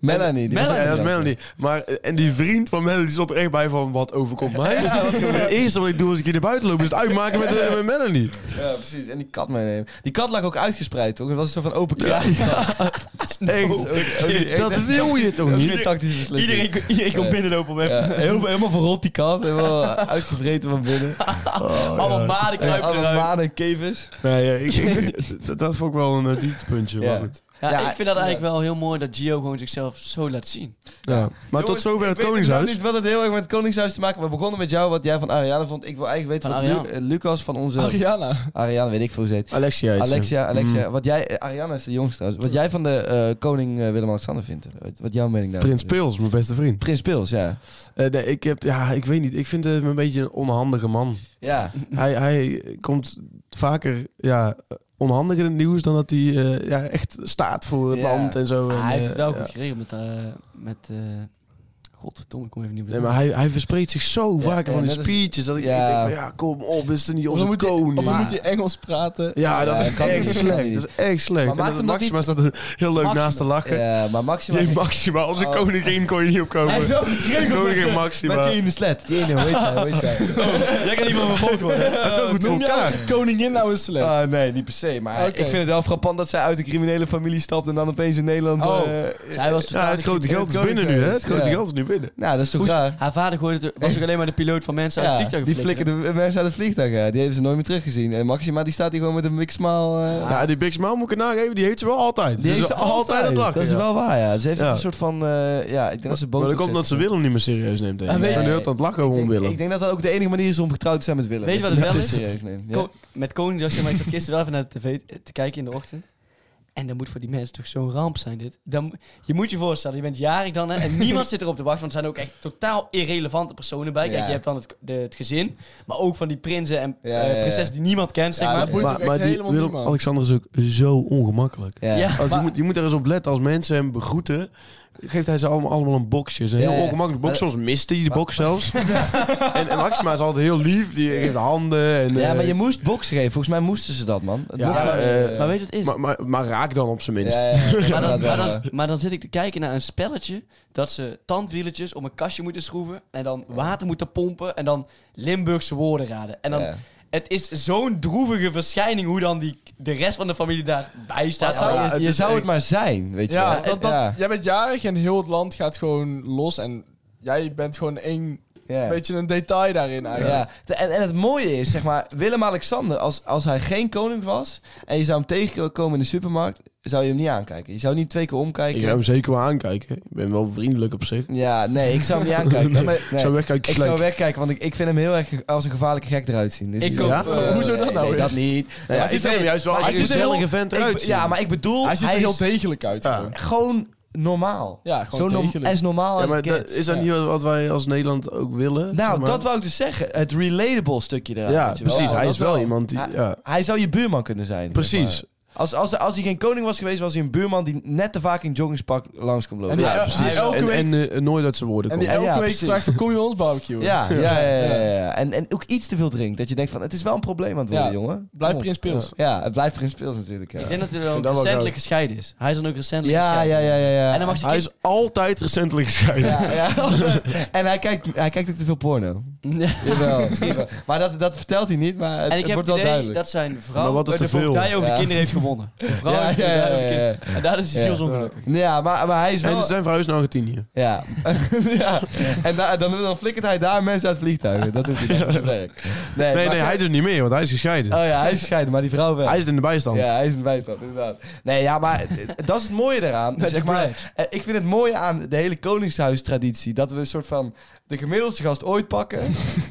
[SPEAKER 4] Melanie. die was
[SPEAKER 6] Ja,
[SPEAKER 4] ook
[SPEAKER 6] dat is
[SPEAKER 4] niet
[SPEAKER 6] Melanie. Maar, eh, en die vriend van Melanie stond er echt bij van, wat overkomt mij? Het eerste wat ik doe als ik hier naar buiten loop, is het uitmaken met, eh, met Melanie.
[SPEAKER 4] Ja, precies. En die kat meenemen. Die kat lag ook uitgespreid, toch? Het was een soort van open kist.
[SPEAKER 6] Echt. Dat wil je toch niet?
[SPEAKER 4] Geen tactische beslissing.
[SPEAKER 7] Iedereen, kon- iedereen komt
[SPEAKER 4] Ja.
[SPEAKER 7] binnenlopen om even...
[SPEAKER 4] Ja, heel- helemaal verrot die kat. Helemaal uitgevreten van binnen.
[SPEAKER 7] Alle maden
[SPEAKER 4] Ja,
[SPEAKER 7] kruipen
[SPEAKER 4] alle
[SPEAKER 7] eruit.
[SPEAKER 4] manen en kevers.
[SPEAKER 6] Nee, ja, ik, ik- dat- dat vond ik wel een eh, dieptepuntje.
[SPEAKER 4] Ja.
[SPEAKER 6] Maar, goed.
[SPEAKER 7] Ja,
[SPEAKER 4] Ja,
[SPEAKER 7] ik vind dat eigenlijk wel heel mooi dat Gio gewoon zichzelf zo laat zien.
[SPEAKER 6] Ja. maar tot
[SPEAKER 4] Jongens, ik
[SPEAKER 6] zover het
[SPEAKER 4] weet inderdaad
[SPEAKER 6] Koningshuis.
[SPEAKER 4] niet wat het heel erg met het Koningshuis te maken. We begonnen met jou, wat jij van Ariane vond. Ik wil eigenlijk weten
[SPEAKER 7] Van
[SPEAKER 4] wat Lu-
[SPEAKER 7] Ariane.
[SPEAKER 4] eh, Lucas van onze...
[SPEAKER 5] Ariana.
[SPEAKER 4] Ariane, weet ik veel hoe ze heet.
[SPEAKER 6] Alexia heet ze. Mm.
[SPEAKER 4] Alexia, Alexia.
[SPEAKER 7] Mm.
[SPEAKER 4] Wat jij, eh, Ariane is de jongste trouwens. Wat jij van de eh, koning eh, Willem-Alexander vindt. Wat, wat jouw mening
[SPEAKER 6] Mm.
[SPEAKER 4] daarover
[SPEAKER 6] Prins
[SPEAKER 4] is.
[SPEAKER 6] Pils, mijn beste vriend.
[SPEAKER 4] Prins Pils, ja.
[SPEAKER 6] Eh, nee, ik heb, ja, ik weet niet. Ik vind hem een beetje een onhandige man.
[SPEAKER 4] Ja,
[SPEAKER 6] hij, hij komt vaker, ja, onhandiger in het nieuws dan dat hij eh, ja, echt staat voor het
[SPEAKER 4] Ja.
[SPEAKER 6] land en zo. en,
[SPEAKER 7] Ah, hij heeft
[SPEAKER 6] eh,
[SPEAKER 7] het wel
[SPEAKER 6] ja.
[SPEAKER 7] goed geregeld met... eh, met eh, Godverdomme, ik kom even niet meer.
[SPEAKER 6] Nee, maar hij, hij verspreekt zich zo
[SPEAKER 4] Ja,
[SPEAKER 6] vaak
[SPEAKER 4] ja,
[SPEAKER 6] van die
[SPEAKER 4] dat is-
[SPEAKER 6] speeches. Dat ik
[SPEAKER 4] Ja.
[SPEAKER 6] denk van, ja, kom op, is er niet
[SPEAKER 5] Of
[SPEAKER 6] onze
[SPEAKER 5] dan moet hij-
[SPEAKER 6] koning?
[SPEAKER 5] of dan
[SPEAKER 6] Maar-
[SPEAKER 5] moet hij Engels praten.
[SPEAKER 6] ja, dat
[SPEAKER 4] Ja,
[SPEAKER 6] is
[SPEAKER 4] dat kan
[SPEAKER 6] echt
[SPEAKER 4] niet.
[SPEAKER 6] slecht. Dat is echt
[SPEAKER 4] Maar
[SPEAKER 6] slecht.
[SPEAKER 4] maakt
[SPEAKER 6] en dat
[SPEAKER 4] hem nog
[SPEAKER 6] Maxima staat er heel leuk
[SPEAKER 7] Maxima.
[SPEAKER 6] naast te lachen.
[SPEAKER 4] ja eh, maar Maxima...
[SPEAKER 6] Je Maxima, onze
[SPEAKER 4] Oh.
[SPEAKER 6] koningin kon je niet
[SPEAKER 4] Hij
[SPEAKER 6] opkomen.
[SPEAKER 4] heeft wel goed geregeld met
[SPEAKER 6] Koningin
[SPEAKER 4] de-
[SPEAKER 6] Maxima.
[SPEAKER 4] Met die in de slet. Die ene, hoe heet zij? Hoe heet zij?
[SPEAKER 6] Oh.
[SPEAKER 7] Jij kan niet meer vervolgd worden.
[SPEAKER 6] Dat is ook goed voor
[SPEAKER 5] Noem
[SPEAKER 6] elkaar.
[SPEAKER 5] jou als koningin nou eens slecht.
[SPEAKER 4] Ah, nee, niet per se. Maar
[SPEAKER 5] Oké.
[SPEAKER 4] ik vind het wel frappant dat zij uit de criminele familie stapt en dan opeens in Nederland...
[SPEAKER 7] Oh.
[SPEAKER 4] eh,
[SPEAKER 7] Zij was
[SPEAKER 6] Ja, het grote geld is binnen nu, hè? Het grote
[SPEAKER 4] Ja.
[SPEAKER 6] geld is nu binnen.
[SPEAKER 4] nou, dat is toch
[SPEAKER 7] Hoe-
[SPEAKER 4] raar?
[SPEAKER 7] Haar vader gooide het, was ook alleen maar de piloot van mensen uit
[SPEAKER 4] Ja,
[SPEAKER 7] het vliegtuig
[SPEAKER 4] die
[SPEAKER 7] flikkeren.
[SPEAKER 4] flikkerde mensen uit het vliegtuig. ja. Die hebben ze nooit meer teruggezien. En Maxima die staat hier gewoon met een big smile. eh,
[SPEAKER 6] Ja, die Big Smile moet ik het nageven, die heeft ze wel altijd.
[SPEAKER 4] die heeft
[SPEAKER 6] is
[SPEAKER 4] ze altijd.
[SPEAKER 6] aan het lachen.
[SPEAKER 4] dat is
[SPEAKER 6] ja.
[SPEAKER 4] wel waar, ja. Ze heeft
[SPEAKER 6] Ja.
[SPEAKER 4] een soort van... eh, ja, ik denk dat ze boos
[SPEAKER 6] Maar dat komt omdat ze Willem niet meer serieus neemt. denk ik.
[SPEAKER 4] Ah, nee.
[SPEAKER 6] Ik ben nu heel aan het lachen om
[SPEAKER 4] ik,
[SPEAKER 6] Willem.
[SPEAKER 4] ik denk dat dat ook de enige manier is om getrouwd te zijn met Willem.
[SPEAKER 7] Weet je
[SPEAKER 4] Dat
[SPEAKER 7] wat het
[SPEAKER 4] niet
[SPEAKER 7] wel
[SPEAKER 4] te
[SPEAKER 7] is?
[SPEAKER 4] serieus neemt. Ja.
[SPEAKER 7] Ko- Met Koningsdag, zeg maar, ik zat gisteren wel even naar de tv te kijken in de ochtend. En dat moet voor die mensen toch zo'n ramp zijn, dit. Dan, mo- je moet je voorstellen, je bent jarig dan hè, en niemand zit erop te wachten. Want er zijn ook echt totaal irrelevante personen bij. Kijk,
[SPEAKER 4] Ja.
[SPEAKER 7] je hebt dan het, de- het gezin, maar ook van die prinsen en
[SPEAKER 4] Ja,
[SPEAKER 7] eh,
[SPEAKER 4] ja, ja.
[SPEAKER 7] prinses die niemand kent, zeg
[SPEAKER 4] Ja,
[SPEAKER 7] maar.
[SPEAKER 4] dat boeit
[SPEAKER 5] ook echt helemaal niemand.
[SPEAKER 6] Willem-Alexander is ook zo ongemakkelijk.
[SPEAKER 4] Ja.
[SPEAKER 7] Ja.
[SPEAKER 6] Als je,
[SPEAKER 7] Maar-
[SPEAKER 6] moet, je moet er eens op letten. Als mensen hem begroeten, geeft hij ze allemaal, allemaal een boxje. Een
[SPEAKER 4] Ja,
[SPEAKER 6] heel
[SPEAKER 4] ja.
[SPEAKER 6] ongemakkelijk box. Soms mist hij de box zelfs. en, en Maxima is altijd heel lief. Die geeft handen. En,
[SPEAKER 4] Ja,
[SPEAKER 6] eh,
[SPEAKER 4] maar je moest boksen geven. Volgens mij moesten ze dat, man. Het
[SPEAKER 6] Ja,
[SPEAKER 4] mocht-
[SPEAKER 6] maar, eh,
[SPEAKER 7] maar weet je wat het is?
[SPEAKER 6] maar, maar, maar raak dan op zijn minst.
[SPEAKER 4] Ja, ja, ja.
[SPEAKER 7] Maar dan,
[SPEAKER 4] Dat wel,
[SPEAKER 7] maar,
[SPEAKER 4] ja.
[SPEAKER 7] dan, maar dan zit ik te kijken naar een spelletje dat ze tandwieletjes om een kastje moeten schroeven en dan water moeten pompen en dan Limburgse woorden raden. En dan,
[SPEAKER 4] Ja.
[SPEAKER 7] het is zo'n droevige verschijning hoe dan die, de rest van de familie daarbij staat.
[SPEAKER 5] Maar zou
[SPEAKER 4] Ja,
[SPEAKER 5] het
[SPEAKER 4] je zou het maar zijn, weet je
[SPEAKER 5] Ja,
[SPEAKER 4] wel.
[SPEAKER 5] dat, dat,
[SPEAKER 4] ja.
[SPEAKER 5] jij bent jarig en heel het land gaat gewoon los. En jij bent gewoon één
[SPEAKER 4] Ja.
[SPEAKER 5] beetje een detail daarin eigenlijk.
[SPEAKER 4] Ja, de- en, en het mooie is, zeg maar, Willem-Alexander, als, als hij geen koning was en je zou hem tegenkomen in de supermarkt, zou je hem niet aankijken. Je zou niet twee keer
[SPEAKER 6] Ik
[SPEAKER 4] omkijken.
[SPEAKER 6] zou hem zeker wel aankijken. Ik ben wel vriendelijk op zich.
[SPEAKER 4] Ja, nee, ik zou hem niet aankijken. Nee, maar-
[SPEAKER 6] Ik
[SPEAKER 4] nee.
[SPEAKER 6] zou wegkijken.
[SPEAKER 4] Ik zou
[SPEAKER 6] slecht.
[SPEAKER 4] wegkijken, want ik, ik vind hem heel erg ge- als een gevaarlijke gek eruit zien. Dus
[SPEAKER 7] Ik
[SPEAKER 4] dus-
[SPEAKER 7] ook.
[SPEAKER 6] Ja?
[SPEAKER 4] Eh,
[SPEAKER 5] Hoezo dat nou
[SPEAKER 4] Nee,
[SPEAKER 5] weer?
[SPEAKER 4] dat niet.
[SPEAKER 6] ja,
[SPEAKER 4] Maar
[SPEAKER 6] ik vind hem juist wel
[SPEAKER 4] maar
[SPEAKER 6] als
[SPEAKER 4] hij
[SPEAKER 6] een
[SPEAKER 4] ziet er heel-
[SPEAKER 6] gezellige vent
[SPEAKER 4] ik-
[SPEAKER 6] eruit zien.
[SPEAKER 4] Ja, maar ik bedoel,
[SPEAKER 5] Hij ziet er heel
[SPEAKER 4] is
[SPEAKER 5] degelijk uit. gewoon.
[SPEAKER 4] gewoon normaal.
[SPEAKER 5] Ja, gewoon
[SPEAKER 4] Zo norm-
[SPEAKER 5] degelijk.
[SPEAKER 4] hij is normaal
[SPEAKER 6] Ja,
[SPEAKER 4] als
[SPEAKER 6] maar
[SPEAKER 4] een
[SPEAKER 6] dat,
[SPEAKER 4] kind.
[SPEAKER 6] is dat
[SPEAKER 4] Ja.
[SPEAKER 6] niet wat- wat wij als Nederland ook willen? zeg
[SPEAKER 4] Nou,
[SPEAKER 6] maar?
[SPEAKER 4] dat wou ik dus zeggen. Het relatable stukje eruit.
[SPEAKER 6] Ja,
[SPEAKER 4] weet je wel.
[SPEAKER 6] precies. hij
[SPEAKER 4] dat
[SPEAKER 6] is wel iemand die...
[SPEAKER 4] Hij-
[SPEAKER 6] ja.
[SPEAKER 4] Hij zou je buurman kunnen zijn. zeg maar.
[SPEAKER 6] Precies.
[SPEAKER 4] Als, als, als hij geen koning was geweest, was hij een buurman die net te vaak in joggingspak langs kon lopen.
[SPEAKER 5] En die
[SPEAKER 4] ja,
[SPEAKER 5] el-
[SPEAKER 6] precies.
[SPEAKER 5] Elke
[SPEAKER 6] En,
[SPEAKER 5] week-
[SPEAKER 6] en eh, nooit uit zijn woorden
[SPEAKER 5] En
[SPEAKER 6] komt.
[SPEAKER 5] die elke
[SPEAKER 4] Ja,
[SPEAKER 5] week
[SPEAKER 4] precies.
[SPEAKER 5] vraagt, van, kom je bij ons barbecue?
[SPEAKER 4] ja, ja, ja, ja, ja. En, en ook iets te veel drinkt. Dat je denkt van, het is wel een probleem aan het worden,
[SPEAKER 5] Ja.
[SPEAKER 4] jongen.
[SPEAKER 5] Blijf
[SPEAKER 4] Kom op.
[SPEAKER 5] Prins Pils.
[SPEAKER 4] Ja, het blijft Prins Pils natuurlijk. Ja,
[SPEAKER 7] Ik denk dat hij
[SPEAKER 6] vind
[SPEAKER 7] wel
[SPEAKER 6] dat wel
[SPEAKER 7] recentelijk
[SPEAKER 6] groot.
[SPEAKER 7] gescheiden is. Hij is dan ook recentelijk
[SPEAKER 4] ja,
[SPEAKER 7] gescheiden.
[SPEAKER 4] ja, ja, ja, ja.
[SPEAKER 7] En dan mag ze
[SPEAKER 6] Hij
[SPEAKER 7] kind-
[SPEAKER 6] is altijd recentelijk gescheiden.
[SPEAKER 4] Ja, ja. en hij kijkt, hij kijkt ook te veel porno. Jawel. maar dat, dat vertelt hij niet, maar het,
[SPEAKER 7] En ik
[SPEAKER 4] het
[SPEAKER 7] heb
[SPEAKER 4] wordt
[SPEAKER 7] het
[SPEAKER 4] wel
[SPEAKER 7] idee
[SPEAKER 4] duidelijk.
[SPEAKER 7] dat zijn vrouw
[SPEAKER 6] Maar wat is
[SPEAKER 7] eh,
[SPEAKER 6] te
[SPEAKER 7] de
[SPEAKER 6] veel?
[SPEAKER 7] voogdij over
[SPEAKER 4] Ja.
[SPEAKER 7] de kinderen heeft gewonnen. De vrouw
[SPEAKER 4] Ja,
[SPEAKER 7] heeft de
[SPEAKER 4] ja,
[SPEAKER 7] voogdij
[SPEAKER 4] ja,
[SPEAKER 7] over de
[SPEAKER 4] ja,
[SPEAKER 7] kinderen. En daar is hij
[SPEAKER 4] Ja.
[SPEAKER 7] zielsongelukkig.
[SPEAKER 4] Ja, maar, maar hij is
[SPEAKER 5] dus
[SPEAKER 4] wel...
[SPEAKER 6] En ze zijn verhuisd naar Argentinië.
[SPEAKER 4] Ja. ja. En da- dan, dan flikkert hij daar mensen uit vliegtuigen. Dat doet hij dan. Dat werkt. Nee, Eh,
[SPEAKER 6] Nee,
[SPEAKER 4] maar-
[SPEAKER 6] nee, hij dus niet meer, want hij is gescheiden.
[SPEAKER 4] Oh ja, hij is gescheiden, maar die vrouw wel.
[SPEAKER 6] hij is in de bijstand.
[SPEAKER 4] Ja, hij is een bijstand, inderdaad. Nee, ja, maar eh, dat is het mooie daaraan. zeg maar, eh, ik vind het mooie aan de hele Koningshuis-traditie... dat we een soort van de gemiddeldste gast ooit pakken...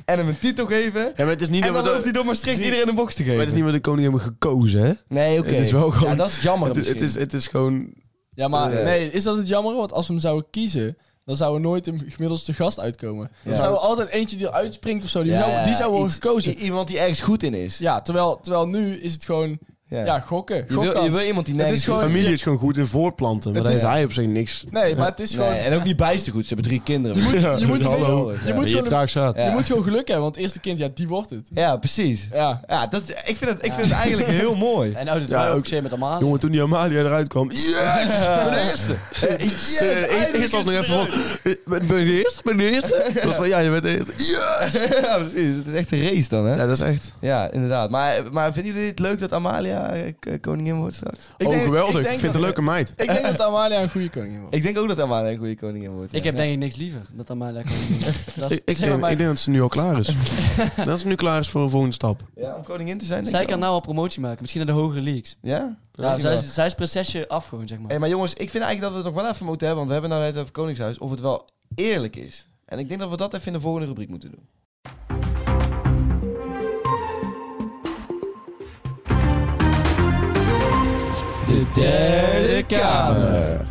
[SPEAKER 4] en hem een titel geven...
[SPEAKER 6] Ja, maar het is niet
[SPEAKER 4] en
[SPEAKER 6] dat
[SPEAKER 4] dan
[SPEAKER 6] we
[SPEAKER 4] hoeft hij
[SPEAKER 6] de,
[SPEAKER 4] door maar strikt iedereen een box te
[SPEAKER 6] maar
[SPEAKER 4] geven.
[SPEAKER 6] het is niet wat de koning hebben gekozen, hè?
[SPEAKER 4] Nee, oké.
[SPEAKER 6] Het is wel gewoon-
[SPEAKER 4] Ja, dat is jammer
[SPEAKER 6] Het, het, is, het is gewoon...
[SPEAKER 5] Ja, maar
[SPEAKER 4] Ja.
[SPEAKER 5] nee, is dat het jammer? Want als we hem zouden kiezen, dan zou er nooit een gemiddelste gast uitkomen. Dan
[SPEAKER 4] Ja.
[SPEAKER 5] zou er altijd eentje die eruit springt of zo. Die,
[SPEAKER 4] Ja,
[SPEAKER 5] zou, die
[SPEAKER 4] ja,
[SPEAKER 5] zou worden
[SPEAKER 4] iets-
[SPEAKER 5] gekozen.
[SPEAKER 4] i- Iemand die ergens goed in is.
[SPEAKER 5] Ja, terwijl, terwijl nu is het gewoon ja. gokken.
[SPEAKER 4] je, wil, je
[SPEAKER 5] gokkans.
[SPEAKER 4] wil iemand die
[SPEAKER 5] Het
[SPEAKER 4] nergens
[SPEAKER 5] is
[SPEAKER 4] goed
[SPEAKER 5] gewoon-
[SPEAKER 6] familie is gewoon goed in voorplanten, maar
[SPEAKER 5] Het
[SPEAKER 6] daar
[SPEAKER 5] is-
[SPEAKER 6] is hij op zich niks.
[SPEAKER 5] Nee, maar het is gewoon...
[SPEAKER 4] Nee, en ook niet bijster goed. Ze hebben drie kinderen.
[SPEAKER 5] je moet-
[SPEAKER 6] hallo.
[SPEAKER 5] je
[SPEAKER 6] Ja,
[SPEAKER 5] moet
[SPEAKER 6] wie
[SPEAKER 5] gewoon-
[SPEAKER 6] traag staat.
[SPEAKER 5] Je
[SPEAKER 4] Ja.
[SPEAKER 5] moet gewoon geluk hebben, want het eerste kind, ja, die wordt het.
[SPEAKER 4] Ja, precies.
[SPEAKER 5] Ja.
[SPEAKER 4] Ja, dat is, ik, vind het, ik vind het eigenlijk heel mooi.
[SPEAKER 7] En nou doet
[SPEAKER 6] Ja,
[SPEAKER 7] hij ook
[SPEAKER 6] ook-
[SPEAKER 7] zeer met Amalia.
[SPEAKER 6] Jongen, toen die Amalia eruit kwam... Yes!
[SPEAKER 4] Ja. De eerste. yes,
[SPEAKER 6] Eh, eerst-
[SPEAKER 4] eindelijk
[SPEAKER 6] eerst was
[SPEAKER 4] is
[SPEAKER 6] nog
[SPEAKER 4] ze
[SPEAKER 6] even
[SPEAKER 4] eruit.
[SPEAKER 6] van... eh, Ben ben je de eerste? Ben je de eerste? Het was van, ja, je bent de eerste. Yes!
[SPEAKER 4] ja, precies. Het is echt een race dan, hè?
[SPEAKER 6] Ja,
[SPEAKER 4] Ja,
[SPEAKER 6] dat is echt...
[SPEAKER 4] inderdaad. Maar, maar vinden jullie het leuk dat Amalia eh, k- koningin wordt straks?
[SPEAKER 5] Ik
[SPEAKER 6] oh,
[SPEAKER 5] denk-
[SPEAKER 6] geweldig. Ik,
[SPEAKER 5] denk
[SPEAKER 6] vind
[SPEAKER 5] dat-
[SPEAKER 6] het een leuke meid.
[SPEAKER 5] Ik denk dat Amalia een goede koningin wordt.
[SPEAKER 4] Ik denk ook dat Amalia een goede koningin wordt.
[SPEAKER 7] Ik
[SPEAKER 4] ja.
[SPEAKER 7] heb denk ik niks liever dat Amalia koningin wordt. Dat is-
[SPEAKER 6] Ik, ik,
[SPEAKER 7] zeg maar,
[SPEAKER 6] denk, ik denk dat ze nu al klaar is. dat ze nu klaar is voor een volgende stap.
[SPEAKER 4] Ja, om koningin te zijn, denk
[SPEAKER 7] Zij
[SPEAKER 4] ik
[SPEAKER 7] kan
[SPEAKER 4] wel.
[SPEAKER 7] nou al promotie maken. Misschien naar de hogere leagues.
[SPEAKER 4] Ja?
[SPEAKER 7] Nou, zij,
[SPEAKER 4] wel.
[SPEAKER 7] is, zij is prinsesje af gewoon, zeg maar.
[SPEAKER 4] Hey, maar jongens, ik vind eigenlijk dat we het nog wel even moeten hebben, want we hebben nou net over Koningshuis, of het wel eerlijk is. En ik denk dat we dat even in de volgende rubriek moeten doen. De
[SPEAKER 7] Derde Kamer.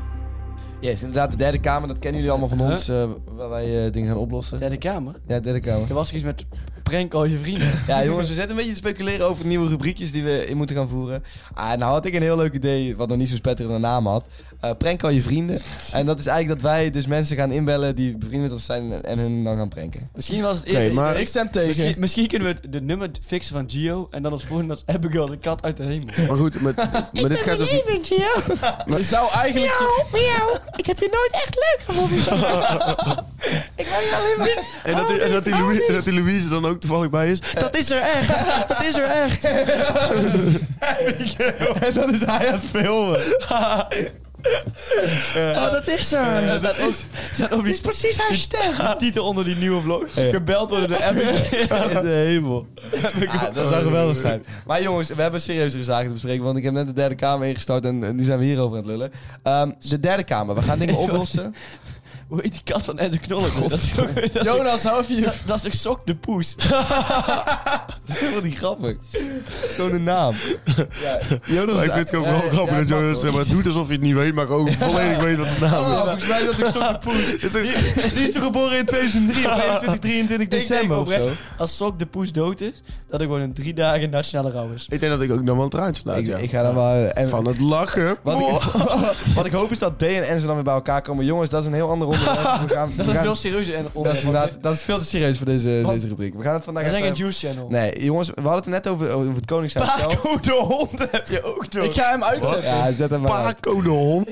[SPEAKER 4] Yes, inderdaad, de derde kamer, dat kennen jullie allemaal van
[SPEAKER 7] Huh?
[SPEAKER 4] ons, eh, waar wij eh, dingen gaan oplossen.
[SPEAKER 7] Derde Kamer?
[SPEAKER 4] Ja, derde kamer.
[SPEAKER 7] Er was iets met prank al je vrienden.
[SPEAKER 4] Ja, jongens, we zitten een beetje te speculeren over nieuwe rubriekjes die we in moeten gaan voeren. Ah, nou had ik een heel leuk idee, wat nog niet zo spetterende naam had. Eh prank al je vrienden. En dat is eigenlijk dat wij dus mensen gaan inbellen die bevriend met ons zijn en hun dan gaan pranken.
[SPEAKER 7] Misschien was het
[SPEAKER 6] Oké,
[SPEAKER 7] eerst...
[SPEAKER 6] maar-
[SPEAKER 5] Ik stem tegen.
[SPEAKER 7] Misschien, misschien kunnen we de nummer fixen van Gio en dan als volgende als Abigail de kat uit de hemel.
[SPEAKER 6] Maar goed, maar, maar dit gaat dus...
[SPEAKER 5] Je zou eigenlijk...
[SPEAKER 6] En
[SPEAKER 4] Oh,
[SPEAKER 6] dat, die, en, dat die Louis, en dat die Louise dan ook toevallig bij is. Dat is er echt! Dat is er echt!
[SPEAKER 4] en dan is hij aan het filmen.
[SPEAKER 6] Oh, dat is er!
[SPEAKER 7] Er staat ook- er staat ook iets
[SPEAKER 6] Precies haar stem!
[SPEAKER 7] de titel onder die nieuwe vlog. Gebeld worden door Abigail.
[SPEAKER 4] In de hemel. Ah, dat zou geweldig zijn. Maar jongens, we hebben serieuzere zaken te bespreken, want ik heb net de derde kamer ingestart en, en nu zijn we hierover aan het lullen. Ehm, de derde kamer, we gaan dingen oplossen.
[SPEAKER 7] Hoe heet die kat van Ed de Knollen? Dat is ook- dat is ook-
[SPEAKER 5] Jonas, hou even je...
[SPEAKER 7] Dat is toch Sok de Poes?
[SPEAKER 4] is helemaal niet grappig. Het is gewoon een naam. Ja, Jonas
[SPEAKER 6] Maar
[SPEAKER 4] is-
[SPEAKER 6] ik vind het gewoon
[SPEAKER 4] ja,
[SPEAKER 6] vooral
[SPEAKER 4] ja,
[SPEAKER 6] grappig
[SPEAKER 4] ja,
[SPEAKER 6] dat
[SPEAKER 4] mag
[SPEAKER 6] Jonas
[SPEAKER 4] wel.
[SPEAKER 6] zeg maar, doet alsof je het niet weet, maar ook volledig weet wat de naam
[SPEAKER 4] Oh,
[SPEAKER 6] is.
[SPEAKER 4] volgens mij dat ik zo gepoest.
[SPEAKER 6] Is het-
[SPEAKER 4] Die is toch geboren in 2003 of 21, 23 december of
[SPEAKER 7] denk
[SPEAKER 4] zo?
[SPEAKER 7] oprecht, Als Sok de Poes dood is, dat er gewoon een drie dagen nationale rouw is.
[SPEAKER 6] Ik denk dat ik ook nog wel een traantje laat.
[SPEAKER 4] Ik,
[SPEAKER 6] ja.
[SPEAKER 4] ik ga dan wel... En,
[SPEAKER 6] Van het lachen.
[SPEAKER 4] wat, ik, wat ik hoop is dat D en N ze dan weer bij elkaar komen. Jongens, dat is een heel ander onderwerp. We gaan, we
[SPEAKER 7] Dat is een
[SPEAKER 4] gaan-
[SPEAKER 7] veel serieuzer en
[SPEAKER 4] dat, is
[SPEAKER 7] onderwerp. want
[SPEAKER 4] inderdaad- dat is veel te serieus voor deze,
[SPEAKER 7] Wat?
[SPEAKER 4] deze rubriek. We gaan het vandaag
[SPEAKER 7] We zijn geen
[SPEAKER 4] even-
[SPEAKER 7] Juice Channel.
[SPEAKER 4] Nee, jongens, we hadden het net over, over het Koningshuis zelf.
[SPEAKER 7] Paco de hond heb je ook door.
[SPEAKER 5] Ik ga hem uitzetten.
[SPEAKER 4] Ja, zet hem maar uit.
[SPEAKER 6] Paco de hond.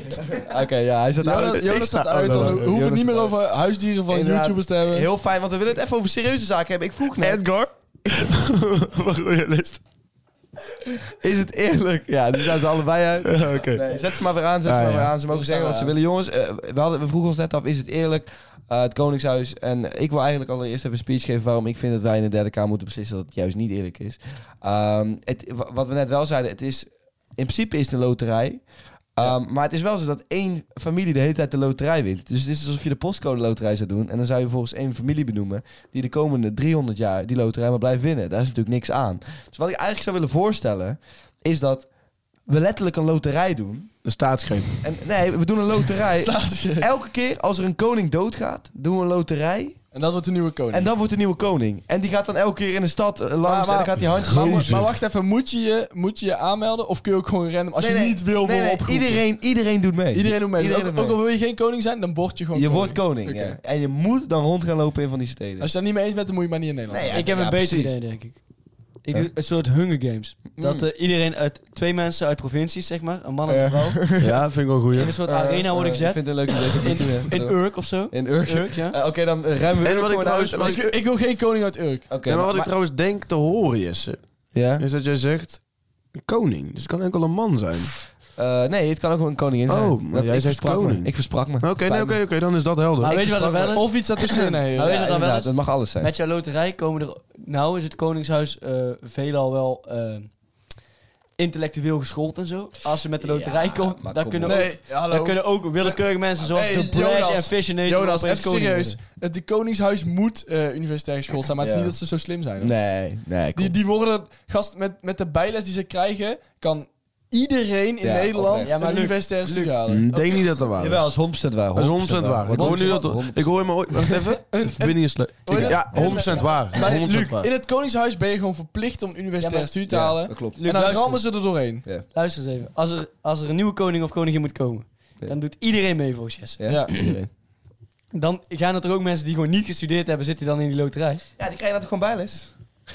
[SPEAKER 4] Oké, ja, hij zet
[SPEAKER 5] Jonas,
[SPEAKER 4] uit.
[SPEAKER 6] ik
[SPEAKER 5] Jonas
[SPEAKER 6] sta-
[SPEAKER 5] staat uit. Dan
[SPEAKER 4] oh, oh,
[SPEAKER 5] ho- hoeven we het
[SPEAKER 4] Jonas
[SPEAKER 5] niet meer
[SPEAKER 4] staat
[SPEAKER 5] over huisdieren van
[SPEAKER 4] Inderdaad.
[SPEAKER 5] YouTubers te hebben.
[SPEAKER 4] Heel fijn, want we willen het even over serieuze zaken hebben. Ik vroeg net,
[SPEAKER 6] Edgar. Wat wil je list?
[SPEAKER 4] is het eerlijk? Ja, die zijn ze allebei uit.
[SPEAKER 6] Oké.
[SPEAKER 4] Nee, zet ze maar weer aan, zet
[SPEAKER 6] Ah,
[SPEAKER 4] ze maar
[SPEAKER 6] ja.
[SPEAKER 4] weer aan. Ze mogen zeggen wat ze willen. Jongens, eh, we, hadden, we vroegen ons net af, is het eerlijk? Eh, het Koningshuis. En ik wil eigenlijk allereerst even een speech geven waarom ik vind dat wij in de derde kamer moeten beslissen dat het juist niet eerlijk is. Ehm, het, wa- wat we net wel zeiden, het is, in principe is het een loterij. Ehm, Maar het is wel zo dat één familie de hele tijd de loterij wint. Dus het is alsof je de postcode loterij zou doen. En dan zou je volgens één familie benoemen die de komende 300 jaar die loterij maar blijft winnen. Daar is natuurlijk niks aan. Dus wat ik eigenlijk zou willen voorstellen, is dat we letterlijk een loterij doen.
[SPEAKER 6] Een staatsgreep.
[SPEAKER 4] En, nee, we doen een loterij.
[SPEAKER 5] Staatsgreep.
[SPEAKER 4] Elke keer als er een koning doodgaat, doen we een loterij.
[SPEAKER 5] En dat wordt de nieuwe koning.
[SPEAKER 4] En dan wordt een nieuwe koning. En die gaat dan elke keer in de stad eh, langs
[SPEAKER 5] Maar- maar-
[SPEAKER 4] en dan gaat die handjes...
[SPEAKER 5] maar,
[SPEAKER 4] Nee,
[SPEAKER 5] maar wacht even, moet je, je, moet je je aanmelden? Of kun je ook gewoon random, als je
[SPEAKER 4] nee,
[SPEAKER 5] niet wil,
[SPEAKER 4] nee,
[SPEAKER 5] worden
[SPEAKER 4] nee,
[SPEAKER 5] opgeroepen?
[SPEAKER 4] iedereen, iedereen doet mee.
[SPEAKER 5] Iedereen doet mee. Dus
[SPEAKER 4] Iedereen
[SPEAKER 5] ook,
[SPEAKER 4] doet
[SPEAKER 5] ook al wil je geen koning zijn, dan word je gewoon
[SPEAKER 4] Je
[SPEAKER 5] koning.
[SPEAKER 4] wordt koning,
[SPEAKER 5] Oké.
[SPEAKER 4] ja. En je moet dan rond gaan lopen in van die steden.
[SPEAKER 5] Als je daar niet mee eens bent, dan moet je maar niet in Nederland
[SPEAKER 4] Nee,
[SPEAKER 5] zijn.
[SPEAKER 7] ik heb
[SPEAKER 4] ja,
[SPEAKER 7] een beter
[SPEAKER 4] precies.
[SPEAKER 7] idee, denk ik. Ik
[SPEAKER 4] Ja.
[SPEAKER 7] doe een soort Hunger Games. Dat
[SPEAKER 5] Mm.
[SPEAKER 7] eh, iedereen uit twee mensen uit provincies, zeg maar, een man en een vrouw,
[SPEAKER 6] Ja, vind ik wel goed.
[SPEAKER 7] in een soort arena worden
[SPEAKER 4] Eh,
[SPEAKER 7] gezet.
[SPEAKER 4] Ik vind het een leuk idee. dat we
[SPEAKER 7] in,
[SPEAKER 4] het doen, hè.
[SPEAKER 7] in Urk of zo.
[SPEAKER 4] In Urk.
[SPEAKER 7] Urk, ja.
[SPEAKER 4] Eh, Oké, dan eh, ruimen we
[SPEAKER 6] En
[SPEAKER 4] Urk
[SPEAKER 6] wat ik
[SPEAKER 4] gewoon
[SPEAKER 6] trouwens-
[SPEAKER 4] uit.
[SPEAKER 6] wat
[SPEAKER 5] Ik, ik wil geen koning uit Urk.
[SPEAKER 4] Oké,
[SPEAKER 6] maar
[SPEAKER 4] maar-
[SPEAKER 6] wat ik trouwens denk te horen, Jesse,
[SPEAKER 4] Ja?
[SPEAKER 6] is dat jij zegt een koning. Dus het kan enkel een man zijn.
[SPEAKER 4] Eh, nee, het kan ook wel een koningin zijn.
[SPEAKER 6] Oh, maar
[SPEAKER 4] Dat-
[SPEAKER 6] jij
[SPEAKER 4] ik
[SPEAKER 6] zegt
[SPEAKER 4] versprak me.
[SPEAKER 6] koning.
[SPEAKER 4] Ik versprak me.
[SPEAKER 6] Oké, nee, oké, oké, dan is dat
[SPEAKER 4] Nou,
[SPEAKER 6] helder.
[SPEAKER 7] Maar
[SPEAKER 6] Ik-
[SPEAKER 7] weet je wat er wel is?
[SPEAKER 5] Of iets daartussenin. hè, joh.
[SPEAKER 7] Maar weet
[SPEAKER 4] Ja,
[SPEAKER 7] je wat dan wel
[SPEAKER 4] inderdaad,
[SPEAKER 7] is?
[SPEAKER 4] dat mag alles zijn.
[SPEAKER 7] Met jouw loterij komen er... Nou is het Koningshuis eh, veelal wel eh, intellectueel geschoold en zo. Als ze met de loterij komt,
[SPEAKER 4] maar
[SPEAKER 7] dan
[SPEAKER 4] kom
[SPEAKER 7] kunnen,
[SPEAKER 4] op.
[SPEAKER 7] ook,
[SPEAKER 5] Nee, hallo.
[SPEAKER 7] dan kunnen ook willekeurige mensen zoals
[SPEAKER 5] Hey,
[SPEAKER 7] de Blash
[SPEAKER 5] Jonas.
[SPEAKER 7] en Visionator...
[SPEAKER 5] Jonas,
[SPEAKER 7] opeens
[SPEAKER 5] even
[SPEAKER 7] koning
[SPEAKER 5] serieus. Het de Koningshuis moet eh, universitair geschoold zijn, maar het is
[SPEAKER 4] Ja.
[SPEAKER 5] niet dat ze zo slim zijn. hoor.
[SPEAKER 4] Nee, nee, kom.
[SPEAKER 5] Die, die worden, gast, met, met de bijles die ze krijgen, kan iedereen in
[SPEAKER 4] Ja,
[SPEAKER 5] Nederland
[SPEAKER 4] oprecht.
[SPEAKER 7] Ja, maar
[SPEAKER 5] een
[SPEAKER 7] Luc, Mm.
[SPEAKER 5] universitair studie halen.
[SPEAKER 6] Ik denk niet dat dat waar is.
[SPEAKER 4] Jawel, dat is 100% waar.
[SPEAKER 6] Dat is 100% waar. Ik hoor nu dat... Ik hoor je maar ooit... Wacht even. De verbinding is slecht.
[SPEAKER 5] Hoor je
[SPEAKER 6] Ja, 100% waar. Dat
[SPEAKER 5] Maar
[SPEAKER 6] is 100%
[SPEAKER 5] Luc,
[SPEAKER 6] waar.
[SPEAKER 5] in het Koningshuis ben je gewoon verplicht om universitaire
[SPEAKER 7] Ja, maar-
[SPEAKER 5] studie te halen.
[SPEAKER 4] dat klopt.
[SPEAKER 7] Luc,
[SPEAKER 5] en dan
[SPEAKER 7] luister.
[SPEAKER 5] rammen ze er doorheen.
[SPEAKER 7] Luister eens even. Als er, als er een nieuwe koning of koningin moet komen,
[SPEAKER 4] Ja.
[SPEAKER 7] dan doet iedereen mee volgens Jesse.
[SPEAKER 4] Ja.
[SPEAKER 5] Ja.
[SPEAKER 4] iedereen.
[SPEAKER 7] Dan gaan er ook mensen die gewoon niet gestudeerd hebben, zitten dan in die loterij.
[SPEAKER 4] Ja, die krijgen dat gewoon bijles.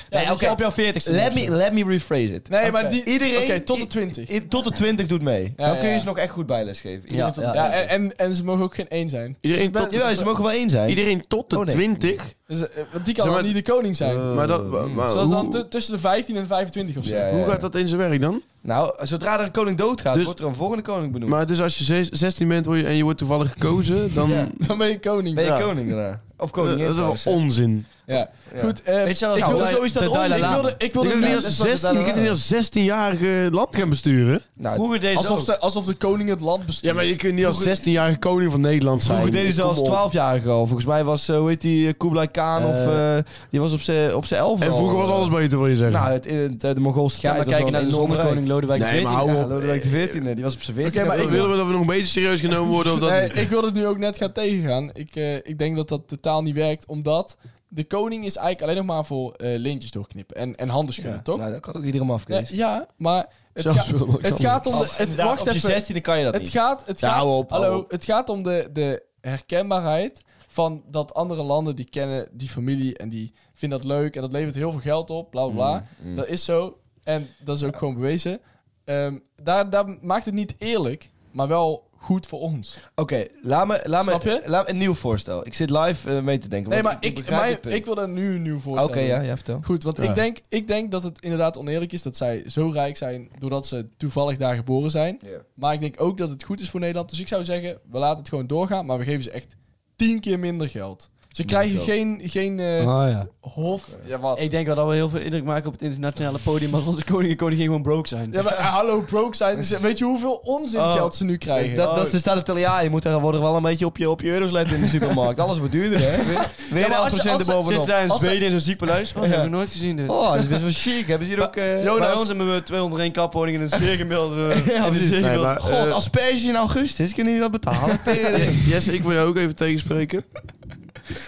[SPEAKER 7] Nee,
[SPEAKER 4] oké.
[SPEAKER 7] op jouw 40ste.
[SPEAKER 4] Let me, let me rephrase it.
[SPEAKER 5] Nee, maar die,
[SPEAKER 4] Iedereen-
[SPEAKER 5] Oké, tot de 20.
[SPEAKER 4] I- tot de 20 doet mee.
[SPEAKER 5] Ja,
[SPEAKER 4] Dan
[SPEAKER 5] ja,
[SPEAKER 4] kun je
[SPEAKER 5] ja.
[SPEAKER 4] ze nog echt goed bijles geven. Iedereen
[SPEAKER 7] Ja,
[SPEAKER 4] tot
[SPEAKER 7] ja.
[SPEAKER 4] de
[SPEAKER 5] Ja,
[SPEAKER 4] 20.
[SPEAKER 5] en, en, en ze mogen ook geen één zijn.
[SPEAKER 6] Iedereen
[SPEAKER 4] Ben-
[SPEAKER 6] tot,
[SPEAKER 4] Jawel, ze mogen wel één zijn.
[SPEAKER 6] iedereen tot de
[SPEAKER 4] Oh, nee.
[SPEAKER 6] 20.
[SPEAKER 5] Dus, eh, want die kan
[SPEAKER 6] Zeg maar-
[SPEAKER 5] dan niet de koning zijn.
[SPEAKER 6] Maar dat... maar- maar
[SPEAKER 5] Zo dat is dan
[SPEAKER 6] hoe-
[SPEAKER 5] tu- tussen de 15 en 25 of zo.
[SPEAKER 4] Ja, ja,
[SPEAKER 6] Hoe
[SPEAKER 4] ja.
[SPEAKER 6] gaat dat in zijn werk dan?
[SPEAKER 4] Nou, zodra er een koning doodgaat,
[SPEAKER 6] Dus-
[SPEAKER 4] wordt er een volgende koning benoemd.
[SPEAKER 6] Maar dus als je zes- 16 bent word je- en je wordt toevallig gekozen, dan...
[SPEAKER 4] Ja.
[SPEAKER 5] Dan ben je koning.
[SPEAKER 4] ben je
[SPEAKER 5] Ja.
[SPEAKER 4] koning daarna? Of
[SPEAKER 6] Dat
[SPEAKER 4] koningin.
[SPEAKER 6] is wel
[SPEAKER 4] trouwens, hè.
[SPEAKER 6] onzin.
[SPEAKER 5] Ja.
[SPEAKER 4] Ja.
[SPEAKER 5] Goed, eh,
[SPEAKER 7] Weet je wel,
[SPEAKER 5] ik
[SPEAKER 7] nou,
[SPEAKER 5] wilde
[SPEAKER 7] Dalai-
[SPEAKER 5] zo is dat
[SPEAKER 7] de Dalai
[SPEAKER 5] onzin. Ik
[SPEAKER 7] Lama.
[SPEAKER 5] wilde, ik
[SPEAKER 6] Je
[SPEAKER 5] wilde
[SPEAKER 6] kunt niet
[SPEAKER 5] net-
[SPEAKER 6] als
[SPEAKER 4] wat de
[SPEAKER 6] 16, je kunt niet als 16-jarige land gaan besturen.
[SPEAKER 4] Nou,
[SPEAKER 7] Vroeger deed ze
[SPEAKER 5] alsof,
[SPEAKER 7] ook.
[SPEAKER 5] de, alsof de koning het land bestuurt.
[SPEAKER 6] Ja, maar je kunt niet als 16-jarige koning van Nederland zijn.
[SPEAKER 4] Vroeger deden ze als 12-jarige al. Volgens mij was, eh, hoe heet die, eh, Kublai Khan of...
[SPEAKER 6] Eh.
[SPEAKER 4] eh, die was op zijn op 11
[SPEAKER 6] En vroeger was alles beter, wil je zeggen.
[SPEAKER 4] Nou, het, het, eh, de Mongoolse
[SPEAKER 7] Ga maar
[SPEAKER 4] tijd was
[SPEAKER 7] kijken
[SPEAKER 4] wel
[SPEAKER 7] naar
[SPEAKER 4] een
[SPEAKER 7] de
[SPEAKER 4] enorm rijk.
[SPEAKER 7] zonnekoning Lodewijk
[SPEAKER 6] Nee, maar
[SPEAKER 7] XIV.
[SPEAKER 6] hou
[SPEAKER 4] Ja,
[SPEAKER 6] op.
[SPEAKER 4] Lodewijk XIV, die was op zijn 14e.
[SPEAKER 5] Oké, maar ik wil-
[SPEAKER 6] Willen we dat we nog een beetje serieus genomen worden of dat
[SPEAKER 5] Nee,
[SPEAKER 6] niet?
[SPEAKER 5] ik wil het nu ook net gaan tegengaan. Ik, eh, ik denk dat dat totaal niet werkt, omdat de koning is eigenlijk alleen nog maar voor eh, lintjes doorknippen en, en handen schudden, toch?
[SPEAKER 4] Nou, dat kan ook iedereen af,
[SPEAKER 5] Nee, ja, maar het,
[SPEAKER 6] Zelfs
[SPEAKER 5] ga-
[SPEAKER 6] Willem-Alexander.
[SPEAKER 5] het gaat om de... Het, wacht even.
[SPEAKER 4] kan je dat
[SPEAKER 5] Het gaat, het
[SPEAKER 4] Ja,
[SPEAKER 5] gaat,
[SPEAKER 4] hou op, hou
[SPEAKER 5] hallo,
[SPEAKER 4] op.
[SPEAKER 5] het gaat om de, de herkenbaarheid van dat andere landen die kennen die familie en die vinden dat leuk en dat levert heel veel geld op, bla bla bla.
[SPEAKER 4] Mm,
[SPEAKER 5] Dat is zo en dat is ook gewoon bewezen. Ehm, daar, daar maakt het niet eerlijk, maar wel goed voor ons.
[SPEAKER 4] Oké, laat me, laat,
[SPEAKER 5] Snap
[SPEAKER 4] me,
[SPEAKER 5] je?
[SPEAKER 4] laat me een nieuw voorstel. Ik zit live eh, mee te denken.
[SPEAKER 5] Nee,
[SPEAKER 4] want
[SPEAKER 5] maar ik,
[SPEAKER 4] begrijp
[SPEAKER 5] mij-
[SPEAKER 4] dit punt.
[SPEAKER 5] ik wil daar nu een nieuw voorstel
[SPEAKER 4] Oké, ja, ja, vertel.
[SPEAKER 5] Goed, want
[SPEAKER 6] Ja.
[SPEAKER 5] ik, denk, ik denk dat het inderdaad oneerlijk is dat zij zo rijk zijn doordat ze toevallig daar geboren zijn. Maar ik denk ook dat het goed is voor Nederland. Dus ik zou zeggen, we laten het gewoon doorgaan, maar we geven ze echt tien keer minder geld. Ze krijgen geen, geen eh,
[SPEAKER 4] Ah,
[SPEAKER 8] ja.
[SPEAKER 5] hof. Ja, wat?
[SPEAKER 7] Ik denk wel dat we heel veel indruk maken op het internationale podium als onze koning en koningin gewoon broke zijn.
[SPEAKER 5] Ja, maar, eh, hallo, broke zijn. Dus, eh, weet je hoeveel onzin
[SPEAKER 7] Oh.
[SPEAKER 5] geld ze nu krijgen?
[SPEAKER 4] Dat, dat ze staan te vertellen, ja, je moet daar worden wel een beetje op je, op je euro's letten in de supermarkt. Alles wordt duurder, hè? Weer, weer
[SPEAKER 7] maar als je-
[SPEAKER 4] 11%
[SPEAKER 7] als ze-
[SPEAKER 4] erbovenop.
[SPEAKER 7] Zit daar in
[SPEAKER 5] Als ze-
[SPEAKER 7] Zweden in zo'n ziekenhuis? Oh, dat heb ik nooit gezien dit.
[SPEAKER 4] Oh, dat is best wel chic. Hebben ze hier ook... eh,
[SPEAKER 7] Jonas. Bij ons hebben we 201 kapwoningen en een zeer gemiddelde...
[SPEAKER 4] Ja,
[SPEAKER 7] en een zeer
[SPEAKER 4] precies.
[SPEAKER 6] Nee,
[SPEAKER 7] gemiddelde-
[SPEAKER 6] maar,
[SPEAKER 4] God,
[SPEAKER 6] eh,
[SPEAKER 4] asperges in augustus, kunnen jullie dat betalen? Tering.
[SPEAKER 6] Jesse, ik wil jou ook even tegenspreken.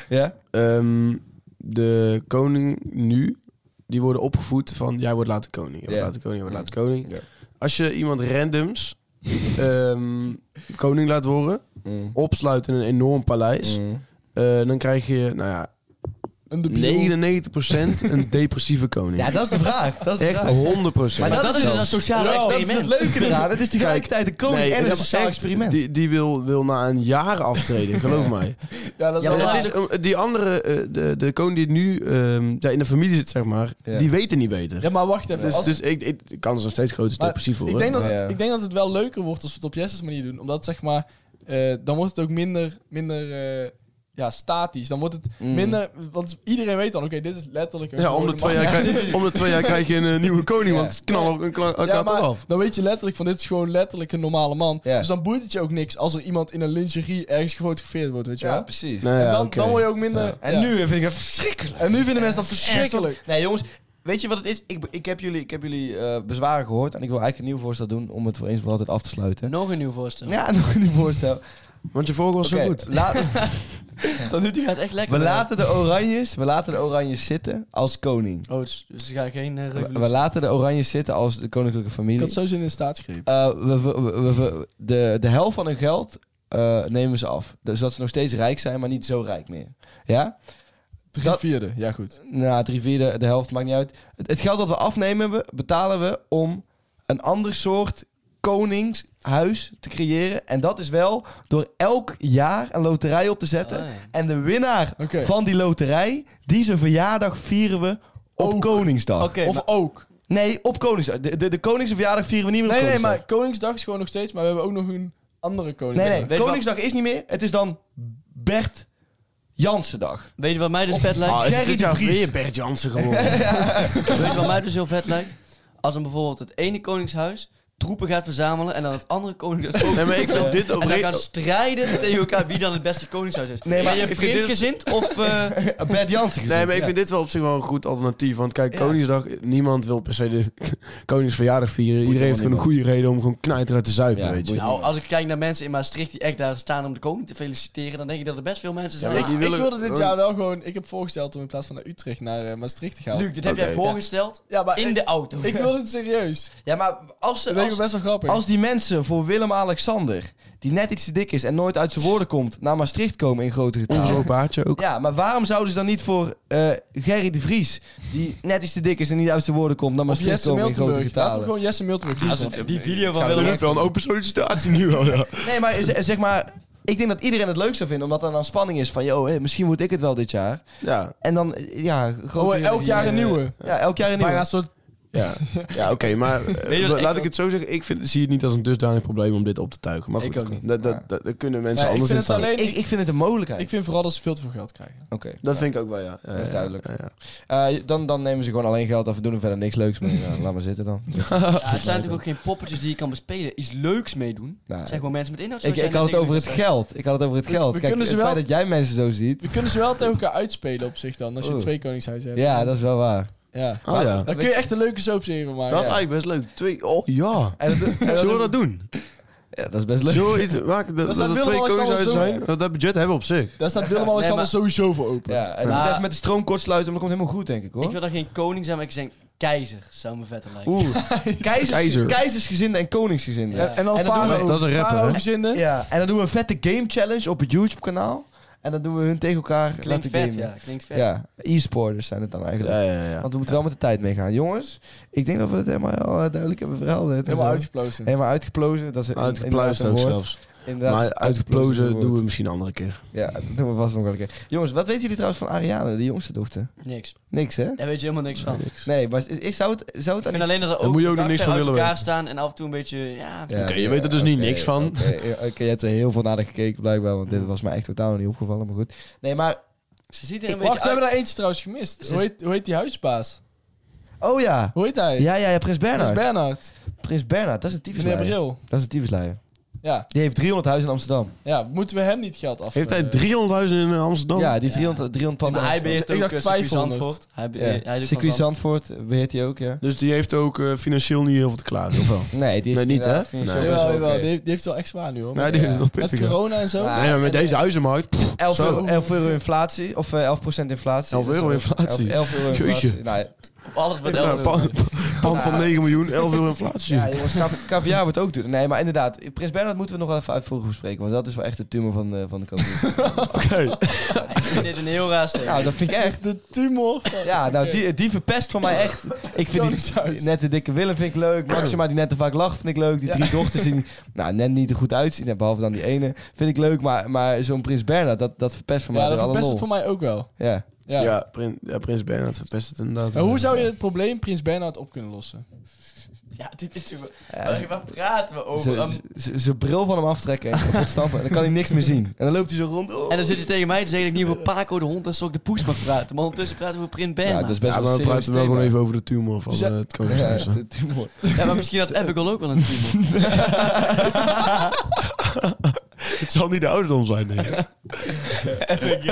[SPEAKER 4] ja?
[SPEAKER 6] Ehm, de koning nu, die worden opgevoed van... Jij wordt later koning, jij wordt
[SPEAKER 4] Ja.
[SPEAKER 6] later koning, jij wordt later koning.
[SPEAKER 4] Ja.
[SPEAKER 6] Als je iemand randoms ehm, koning laat worden, opsluit in een enorm paleis...
[SPEAKER 4] Mm.
[SPEAKER 6] eh, dan krijg je, nou ja,
[SPEAKER 5] Een debiel.
[SPEAKER 6] 99% een depressieve koning.
[SPEAKER 4] Ja, dat is de vraag. Dat is de
[SPEAKER 6] Echt
[SPEAKER 4] vraag.
[SPEAKER 6] 100
[SPEAKER 4] Maar dat
[SPEAKER 7] dat, is
[SPEAKER 4] is
[SPEAKER 7] dus een sociaal
[SPEAKER 4] Ja, dat is
[SPEAKER 7] experiment.
[SPEAKER 4] het leuke eraan. Het is tegelijkertijd een koning en een
[SPEAKER 6] dat
[SPEAKER 4] sociaal
[SPEAKER 6] echt-
[SPEAKER 4] experiment.
[SPEAKER 6] Die, die wil, wil na een jaar aftreden, geloof mij.
[SPEAKER 5] Ja, dat is
[SPEAKER 7] Ja,
[SPEAKER 5] wel
[SPEAKER 7] maar
[SPEAKER 5] waar.
[SPEAKER 6] Het is, eh, die andere, eh, de, de koning die nu ehm, ja, in de familie zit, zeg maar,
[SPEAKER 4] Ja.
[SPEAKER 6] die weten niet beter.
[SPEAKER 5] Ja, maar wacht even.
[SPEAKER 6] Dus,
[SPEAKER 5] als-
[SPEAKER 6] dus ik, ik, de kans is nog steeds groot, is
[SPEAKER 5] Maar
[SPEAKER 6] depressief
[SPEAKER 5] ik,
[SPEAKER 6] worden.
[SPEAKER 5] denk dat
[SPEAKER 4] Ja,
[SPEAKER 5] het,
[SPEAKER 4] ja.
[SPEAKER 5] ik denk dat het wel leuker wordt als we het op Jesse's manier doen. Omdat zeg maar, eh, dan wordt het ook minder, minder eh, ja, statisch. Dan wordt het minder, want iedereen weet dan, oké, dit is letterlijk een
[SPEAKER 6] Mm. Ja, om de,
[SPEAKER 5] gewone
[SPEAKER 6] twee jaar
[SPEAKER 5] man.
[SPEAKER 6] krijg, om de twee jaar krijg je een eh, nieuwe koning, want ze knallen ook een kla- elkaar
[SPEAKER 5] Ja,
[SPEAKER 6] toch
[SPEAKER 5] maar
[SPEAKER 6] af.
[SPEAKER 5] dan weet je letterlijk van dit is gewoon letterlijk een normale man.
[SPEAKER 4] Ja.
[SPEAKER 5] Dus dan boeit het je ook niks als er iemand in een lingerie ergens gefotografeerd wordt, weet je wel.
[SPEAKER 4] precies.
[SPEAKER 6] Nou ja,
[SPEAKER 5] En dan,
[SPEAKER 6] oké.
[SPEAKER 5] dan word je ook minder...
[SPEAKER 4] En
[SPEAKER 5] Eh, ja.
[SPEAKER 4] nu vind ik het verschrikkelijk.
[SPEAKER 5] en nu vinden mensen dat verschrikkelijk.
[SPEAKER 4] Echt, wat- Nee, jongens, weet je wat het is? Ik, ik heb jullie, ik heb jullie eh, bezwaren gehoord en ik wil eigenlijk een nieuw voorstel doen om het voor eens voor altijd af te sluiten.
[SPEAKER 7] Nog een nieuw voorstel.
[SPEAKER 4] Ja, nog een nieuw voorstel.
[SPEAKER 6] Want je vogel was
[SPEAKER 4] Oké,
[SPEAKER 6] zo goed.
[SPEAKER 4] la-
[SPEAKER 7] Tot nu toe gaat het echt lekker.
[SPEAKER 4] we, laten de oranjes, we laten de oranjes zitten als koning.
[SPEAKER 7] Oh, dus dus ze gaan geen eh,
[SPEAKER 4] We,
[SPEAKER 7] revolutie.
[SPEAKER 4] we laten de oranjes zitten als de koninklijke
[SPEAKER 5] Ik
[SPEAKER 4] familie.
[SPEAKER 5] had zo zin in een staatsgreep.
[SPEAKER 4] Eh, we, we- we- we- de, de helft van hun geld eh, nemen ze af. Dus dat ze nog steeds rijk zijn, maar niet zo rijk meer. Ja?
[SPEAKER 5] Drie
[SPEAKER 4] dat-
[SPEAKER 5] vierde, ja goed.
[SPEAKER 4] Nou, drie vierde, de helft, maakt niet uit. Het, het geld dat we afnemen, we- betalen we om een ander soort koningshuis te creëren. En dat is wel door elk jaar een loterij op te zetten.
[SPEAKER 7] Ah, ja.
[SPEAKER 4] En de winnaar
[SPEAKER 5] Oké.
[SPEAKER 4] van die loterij, die zijn verjaardag vieren we op
[SPEAKER 5] Ook.
[SPEAKER 4] Koningsdag.
[SPEAKER 7] Oké,
[SPEAKER 5] of
[SPEAKER 7] maar-
[SPEAKER 5] ook.
[SPEAKER 4] Nee, op Koningsdag. De, de, de koningsverjaardag vieren we niet meer op
[SPEAKER 5] Nee, nee,
[SPEAKER 4] Koningsdag.
[SPEAKER 5] maar Koningsdag is gewoon nog steeds, maar we hebben ook nog een andere Koningsdag.
[SPEAKER 4] Nee, nee,
[SPEAKER 7] Weet je
[SPEAKER 4] Koningsdag is niet meer. Het is dan Bert Jansendag.
[SPEAKER 7] weet je wat mij dus vet lijkt?
[SPEAKER 6] Ah, is
[SPEAKER 4] Gerry
[SPEAKER 6] dit
[SPEAKER 4] de
[SPEAKER 6] jaar
[SPEAKER 4] Vries.
[SPEAKER 6] weer Bert Jansen geworden?
[SPEAKER 7] Weet je wat mij dus heel vet lijkt? Als dan bijvoorbeeld het ene koningshuis troepen gaat verzamelen en dan het andere koningshuis ook
[SPEAKER 6] Nee, maar ik
[SPEAKER 7] troepen.
[SPEAKER 6] vind dit
[SPEAKER 7] En dan
[SPEAKER 6] oprecht-
[SPEAKER 7] gaan strijden tegen elkaar wie dan het beste koningshuis is.
[SPEAKER 4] Nee, maar
[SPEAKER 7] ben je
[SPEAKER 6] ik vind dit-
[SPEAKER 7] prinsgezind of... eh,
[SPEAKER 4] Bert Jansen
[SPEAKER 6] Nee, maar ik
[SPEAKER 4] ja.
[SPEAKER 6] vind dit wel op zich wel een goed alternatief. Want kijk, Koningsdag, niemand wil per se de Koningsverjaardag vieren. Iedereen heeft gewoon een goede reden om gewoon knijteruit te zuipen,
[SPEAKER 4] Ja,
[SPEAKER 6] weet je.
[SPEAKER 4] boeit
[SPEAKER 7] Nou, als ik kijk naar mensen in Maastricht die echt daar staan om de koning te feliciteren, dan denk ik dat er best veel mensen zijn.
[SPEAKER 6] maar
[SPEAKER 7] Ah,
[SPEAKER 6] die
[SPEAKER 5] Ik
[SPEAKER 6] willen-
[SPEAKER 5] wilde dit
[SPEAKER 6] Oh.
[SPEAKER 5] jaar wel gewoon... Ik heb voorgesteld om in plaats van naar Utrecht naar eh, Maastricht te gaan.
[SPEAKER 7] Luc, dit heb jij
[SPEAKER 6] Oké.
[SPEAKER 7] voorgesteld
[SPEAKER 5] ja, maar
[SPEAKER 7] in
[SPEAKER 5] ik,
[SPEAKER 7] de auto.
[SPEAKER 5] ik wil het serieus.
[SPEAKER 4] Ja, maar als,
[SPEAKER 5] Dat
[SPEAKER 4] ze,
[SPEAKER 5] lijkt me
[SPEAKER 4] als,
[SPEAKER 5] best wel grappig.
[SPEAKER 4] als die mensen voor Willem-Alexander, die net iets te dik is en nooit uit zijn woorden komt, naar Maastricht komen in grote getalen.
[SPEAKER 6] Onverzopen baardje ook.
[SPEAKER 4] Ja, maar waarom zouden ze dan niet voor eh Gerry de Vries, die net iets te dik is en niet uit zijn woorden komt, naar
[SPEAKER 5] of
[SPEAKER 4] Maastricht
[SPEAKER 5] Jesse
[SPEAKER 4] komen in grote
[SPEAKER 5] Miltenburg. Laten we
[SPEAKER 4] getalen?
[SPEAKER 5] gewoon Jesse Miltenburg doen.
[SPEAKER 7] Als het- die video van
[SPEAKER 6] zou
[SPEAKER 7] Willem...
[SPEAKER 6] ook wel een open sollicitatie nu al, ja.
[SPEAKER 4] Nee, maar is- zeg maar, ik denk dat iedereen het leuk zou vinden, omdat er dan spanning is van, joh, hé, misschien moet ik het wel dit jaar.
[SPEAKER 6] Ja,
[SPEAKER 4] En dan, eh, ja,
[SPEAKER 5] Oh,
[SPEAKER 4] grote
[SPEAKER 5] eh, elk jaar een nieuwe.
[SPEAKER 4] Ja, elk jaar een
[SPEAKER 5] Bijna
[SPEAKER 4] nieuwe.
[SPEAKER 5] een soort...
[SPEAKER 6] ja. ja oké, maar eh,
[SPEAKER 7] je wat
[SPEAKER 6] la-
[SPEAKER 7] ik
[SPEAKER 6] laat
[SPEAKER 7] ook-
[SPEAKER 6] ik het zo zeggen. Ik vind, zie het niet als een dusdanig probleem om dit op te tuigen. Maar
[SPEAKER 7] Ik
[SPEAKER 6] goed,
[SPEAKER 7] ook niet.
[SPEAKER 6] dat, dat, dat, dat kunnen mensen
[SPEAKER 5] Nee, ik
[SPEAKER 6] anders
[SPEAKER 5] vind
[SPEAKER 6] in
[SPEAKER 5] het
[SPEAKER 6] staan.
[SPEAKER 5] alleen...
[SPEAKER 4] Ik,
[SPEAKER 5] Ik,
[SPEAKER 4] ik vind het een mogelijkheid.
[SPEAKER 5] ik vind vooral dat ze veel te veel geld krijgen.
[SPEAKER 4] Oké.
[SPEAKER 6] Dat vind ik ook wel, ja. Ja,
[SPEAKER 4] is
[SPEAKER 6] ja,
[SPEAKER 4] duidelijk.
[SPEAKER 6] ja, ja.
[SPEAKER 4] Eh, dan, dan nemen ze gewoon alleen geld af en doen er verder niks leuks mee. Ja, laat maar zitten dan.
[SPEAKER 7] Ja, het zijn natuurlijk ook geen poppetjes die je kan bespelen. Iets leuks meedoen.
[SPEAKER 4] Nou,
[SPEAKER 7] Het zijn gewoon mensen met inhoud.
[SPEAKER 4] ik, ik had het over het geld. Ik had het over het
[SPEAKER 5] We-
[SPEAKER 4] geld.
[SPEAKER 5] we
[SPEAKER 4] Kijk,
[SPEAKER 5] kunnen
[SPEAKER 4] het
[SPEAKER 5] ze
[SPEAKER 4] feit
[SPEAKER 5] wel-
[SPEAKER 4] dat jij mensen zo ziet.
[SPEAKER 5] We kunnen ze wel tegen elkaar uitspelen op zich dan, als je
[SPEAKER 4] Oeh.
[SPEAKER 5] twee koningshuizen hebt.
[SPEAKER 4] Oh. Ja, dat is wel waar.
[SPEAKER 5] Ja.
[SPEAKER 6] Oh ja.
[SPEAKER 5] Dan kun je echt een leuke soapserie van maken.
[SPEAKER 6] Dat is eigenlijk best leuk. Twee, oh ja.
[SPEAKER 4] En dat, en
[SPEAKER 6] Zullen we dat doen?
[SPEAKER 4] Ja, dat is best leuk.
[SPEAKER 6] Zullen we iets maken dat,
[SPEAKER 5] staat
[SPEAKER 6] dat er twee
[SPEAKER 5] Willem-Alexander
[SPEAKER 6] koningshuizen
[SPEAKER 5] zo, hè?
[SPEAKER 6] zijn? Want Dat budget hebben we op zich.
[SPEAKER 5] Daar staat Willem-Alexander
[SPEAKER 7] Nee, maar-
[SPEAKER 5] sowieso voor open.
[SPEAKER 4] Ja, en
[SPEAKER 7] Maar-
[SPEAKER 4] het even met de stroom kort sluiten, maar dat komt helemaal goed, denk ik hoor.
[SPEAKER 7] Ik wil dan geen koning zijn, maar ik zeg keizer. Zou me vetter lijken.
[SPEAKER 4] Oeh, keizers,
[SPEAKER 6] Keizer.
[SPEAKER 4] keizersgezinden en koningsgezinden.
[SPEAKER 5] En, en dan
[SPEAKER 4] En dat doen we-
[SPEAKER 5] Farao-
[SPEAKER 6] dat is een rapper, hè?
[SPEAKER 5] Farao-gezinden.
[SPEAKER 4] Ja, en dan doen we een vette game challenge op het YouTube kanaal. En dan doen we hun tegen elkaar
[SPEAKER 7] Klinkt
[SPEAKER 4] laten
[SPEAKER 7] vet,
[SPEAKER 4] gamen.
[SPEAKER 7] ja. Klinkt vet.
[SPEAKER 4] Ja, e-sporters zijn het dan eigenlijk.
[SPEAKER 6] Ja, ja, ja.
[SPEAKER 4] Want we moeten wel met de tijd meegaan. Jongens, ik denk dat we het helemaal eh, duidelijk hebben verhelderd. en
[SPEAKER 5] Helemaal
[SPEAKER 4] zo.
[SPEAKER 5] uitgeplozen.
[SPEAKER 4] Helemaal uitgeplozen. Dat is een-
[SPEAKER 6] Uitgepluist ook
[SPEAKER 4] inderdaad een woord.
[SPEAKER 6] zelfs.
[SPEAKER 4] Inderdaad,
[SPEAKER 6] Maar uitgeplozen
[SPEAKER 4] woord.
[SPEAKER 6] doen we misschien een andere keer.
[SPEAKER 4] Ja, dat doen we vast nog wel een keer. Jongens, wat weten jullie trouwens van Ariane, de jongste dochter?
[SPEAKER 7] Niks.
[SPEAKER 4] Niks, hè?
[SPEAKER 7] Daar weet je helemaal niks van. Ik
[SPEAKER 4] Nee, maar is, is- zou het, zou het
[SPEAKER 7] vind alleen dat er
[SPEAKER 6] Daar
[SPEAKER 7] ook,
[SPEAKER 6] moet je ook nog
[SPEAKER 7] dag
[SPEAKER 6] niks
[SPEAKER 7] ver
[SPEAKER 6] van
[SPEAKER 7] uit
[SPEAKER 6] willen
[SPEAKER 7] elkaar staan en af en toe een beetje... Ja,
[SPEAKER 4] Ja,
[SPEAKER 6] Oké, je
[SPEAKER 4] ja,
[SPEAKER 6] weet er dus niet
[SPEAKER 4] oké,
[SPEAKER 6] niks van.
[SPEAKER 4] Oké, oké, je hebt er heel veel naar gekeken blijkbaar, want dit was mij echt totaal niet opgevallen, maar goed. Nee, maar
[SPEAKER 7] Ze ziet er een
[SPEAKER 5] Wacht, we
[SPEAKER 7] beetje uit.
[SPEAKER 5] hebben daar eentje trouwens gemist. Hoe heet, hoe heet die huisbaas?
[SPEAKER 4] Oh ja.
[SPEAKER 5] Hoe heet hij?
[SPEAKER 4] Ja, ja, ja, Prins
[SPEAKER 5] Dat is
[SPEAKER 4] Bernhard.
[SPEAKER 5] Bernhard.
[SPEAKER 4] Prins Bernhard, dat is een
[SPEAKER 5] Meneer
[SPEAKER 4] tyfusleier.
[SPEAKER 5] Bril.
[SPEAKER 4] Dat is een tyfusleier.
[SPEAKER 5] Ja.
[SPEAKER 4] Die heeft 300 huizen in Amsterdam.
[SPEAKER 5] ja, moeten we hem niet geld af?
[SPEAKER 6] Heeft hij
[SPEAKER 5] eh,
[SPEAKER 6] 300.000 in Amsterdam?
[SPEAKER 4] Ja, die heeft 300, 300
[SPEAKER 7] Nee,
[SPEAKER 4] panden.
[SPEAKER 7] maar hij beheert
[SPEAKER 5] Ik
[SPEAKER 7] ook
[SPEAKER 5] dacht
[SPEAKER 7] eh, circuit
[SPEAKER 5] 500.
[SPEAKER 7] Zandvoort. Hij, be-
[SPEAKER 4] Ja.
[SPEAKER 7] hij doet van
[SPEAKER 4] Circuit
[SPEAKER 7] Zandvoort.
[SPEAKER 4] Zandvoort beheert hij ook, ja.
[SPEAKER 6] Dus die heeft ook eh, financieel niet heel veel te klagen, of wel?
[SPEAKER 4] Nee, die is
[SPEAKER 6] Nee, niet, hè?
[SPEAKER 4] inderdaad financieel
[SPEAKER 6] Nee.
[SPEAKER 4] best
[SPEAKER 5] Jawel,
[SPEAKER 4] wel
[SPEAKER 5] jawel.
[SPEAKER 4] oké.
[SPEAKER 5] Die, heeft, die heeft wel echt zwaar nu hoor.
[SPEAKER 6] Nee, die heeft het nog
[SPEAKER 5] Met
[SPEAKER 6] pittiger.
[SPEAKER 5] corona en zo.
[SPEAKER 4] Ja.
[SPEAKER 6] Nee, maar met deze huizenmarkt... pff,
[SPEAKER 4] 11,
[SPEAKER 6] zo.
[SPEAKER 4] euro, 11 euro inflatie, of eh, 11% inflatie.
[SPEAKER 6] 11 euro inflatie.
[SPEAKER 4] 11, euro inflatie.
[SPEAKER 6] Jeetje.
[SPEAKER 4] Nou,
[SPEAKER 7] Op alles wat
[SPEAKER 6] Nou,
[SPEAKER 7] elke-
[SPEAKER 6] een pand, pand van 9 miljoen, 11 euro inflatie.
[SPEAKER 4] ja, jongens, kav- kaviaar wordt ook duur. Nee, maar inderdaad, Prins Bernhard moeten we nog wel even uitvoerig bespreken, want dat is wel echt de tumor van, eh, van de kampioen.
[SPEAKER 7] Ik vind dit een heel raar steek.
[SPEAKER 4] nou, dat vind ik echt...
[SPEAKER 5] De tumor.
[SPEAKER 4] Ja, nou, die, die verpest van mij echt. Ik vind die
[SPEAKER 5] Koningshuis.
[SPEAKER 4] nette dikke Willem vind ik leuk. Maxima, die net te vaak lacht, vind ik leuk. Die drie dochters die nou, net niet er goed uitzien, hè, behalve dan die ene, vind ik leuk. Maar, maar zo'n Prins Bernhard, dat, dat verpest voor mij
[SPEAKER 5] Ja,
[SPEAKER 4] weer
[SPEAKER 5] dat
[SPEAKER 4] alle
[SPEAKER 5] verpest
[SPEAKER 4] lol.
[SPEAKER 5] het voor mij ook wel.
[SPEAKER 4] Ja.
[SPEAKER 5] Ja.
[SPEAKER 6] Ja, Prins, ja, Prins Bernhard verpest het inderdaad.
[SPEAKER 5] Maar hoe zou je het probleem Prins Bernhard op kunnen lossen?
[SPEAKER 7] Ja, dit is natuurlijk...
[SPEAKER 4] Ja,
[SPEAKER 7] Waar praten we over?
[SPEAKER 4] Ze-
[SPEAKER 7] Um,
[SPEAKER 4] ze- ze- Zijn bril van hem aftrekken en kapot stampen. En dan kan hij niks meer zien. En dan loopt hij zo rond. Oh.
[SPEAKER 7] en dan zit hij tegen mij te zeggen dat ik niet over Paco de hond en Sok de Poes mag praten. Maar ondertussen praten we over Print Ben.
[SPEAKER 4] Ja,
[SPEAKER 7] Ja,
[SPEAKER 4] dat is best
[SPEAKER 6] Ja,
[SPEAKER 4] wel
[SPEAKER 6] maar we
[SPEAKER 4] een serieus
[SPEAKER 6] praten wel gewoon
[SPEAKER 4] thema.
[SPEAKER 6] even over de tumor van
[SPEAKER 5] Dus ja-
[SPEAKER 6] eh, het
[SPEAKER 4] Ja,
[SPEAKER 6] koningshuis. hè.
[SPEAKER 4] het- het- mooi.
[SPEAKER 7] maar misschien had Abigail ook wel een team.
[SPEAKER 6] Het zal niet de ouderdom zijn, nee.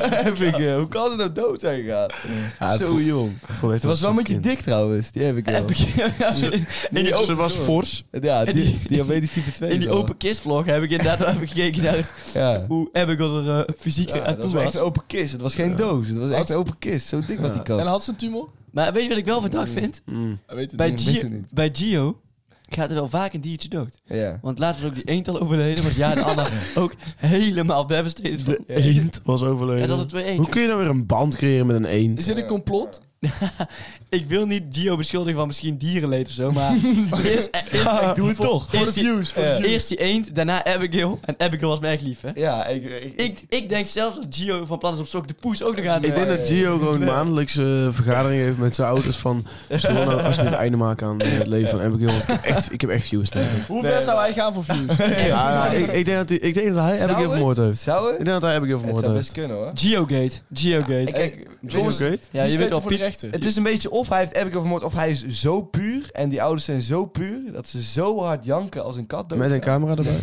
[SPEAKER 4] Heb ik, eh, Hoe kan ze nou dood zijn gegaan? Zo jong. Het was wel een beetje dik trouwens. Die heb ik wel.
[SPEAKER 7] in, die
[SPEAKER 6] Ze
[SPEAKER 7] open,
[SPEAKER 6] was fors.
[SPEAKER 4] Ja, die, diabetes type 2.
[SPEAKER 7] in die
[SPEAKER 4] wel.
[SPEAKER 7] open kist vlog heb ik inderdaad wel even gekeken naar
[SPEAKER 4] Ja.
[SPEAKER 7] hoe Abigail er eh, fysiek
[SPEAKER 4] Ja,
[SPEAKER 7] aan
[SPEAKER 4] dat
[SPEAKER 7] toe
[SPEAKER 4] was
[SPEAKER 7] was.
[SPEAKER 4] echt een open kist. Het was geen doos. Het was echt een open kist. Zo dik was die
[SPEAKER 5] En
[SPEAKER 4] kant.
[SPEAKER 5] had ze een tumor?
[SPEAKER 7] Maar weet je wat ik wel verdacht vind?
[SPEAKER 5] Hij weet het
[SPEAKER 7] Bij,
[SPEAKER 5] niet.
[SPEAKER 4] weet het
[SPEAKER 7] Gio,
[SPEAKER 4] niet.
[SPEAKER 7] bij Gio gaat er wel vaak een diertje dood.
[SPEAKER 4] Ja.
[SPEAKER 7] Want laatst was ook die eend al overleden. Want ja, de ander ook helemaal devastated. van.
[SPEAKER 6] De eend was
[SPEAKER 7] Hij had
[SPEAKER 6] overleden.
[SPEAKER 7] er twee eend.
[SPEAKER 6] Hoe kun je nou weer een band creëren met een eend?
[SPEAKER 5] Is dit een complot?
[SPEAKER 7] Ik wil niet Gio beschuldigen van misschien dierenleed of zo, maar... eerst, eh, eerst, ik doe het toch. Voor de views. Eerst die eend, daarna Abigail. En Abigail was me echt lief, hè?
[SPEAKER 4] Ja, ik, ik,
[SPEAKER 7] Ik, ik denk zelfs dat Gio van plan is om Sok de Poes ook nog aan te
[SPEAKER 6] Ik denk dat Gio gewoon maandelijks eh, vergaderingen heeft met zijn ouders van... Zullen we nou alsjeblieft een einde maken aan eh, het leven van Abigail? Want ik heb echt, ik heb echt views nodig.
[SPEAKER 5] Hoe ver zou hij gaan voor views?
[SPEAKER 6] Ja, ja, ik, ik, denk dat hij, ik denk dat hij Abigail
[SPEAKER 4] het?
[SPEAKER 6] vermoord heeft.
[SPEAKER 4] Zou
[SPEAKER 6] Ik
[SPEAKER 4] het?
[SPEAKER 6] denk dat hij Abigail
[SPEAKER 4] Het
[SPEAKER 6] vermoord
[SPEAKER 4] zou
[SPEAKER 6] heeft.
[SPEAKER 4] best kunnen hoor.
[SPEAKER 7] Gio-gate. Gio-gate.
[SPEAKER 4] Kijk, eh, jongens,
[SPEAKER 6] Oké.
[SPEAKER 7] ja,
[SPEAKER 5] Die
[SPEAKER 7] je weet
[SPEAKER 5] steekt
[SPEAKER 7] wel,
[SPEAKER 5] voor de
[SPEAKER 7] Piet,
[SPEAKER 5] rechter.
[SPEAKER 4] het is een beetje of hij heeft Abigail vermoord of hij is zo puur en die ouders zijn zo puur dat ze zo hard janken als een kat dood.
[SPEAKER 6] Met een camera erbij.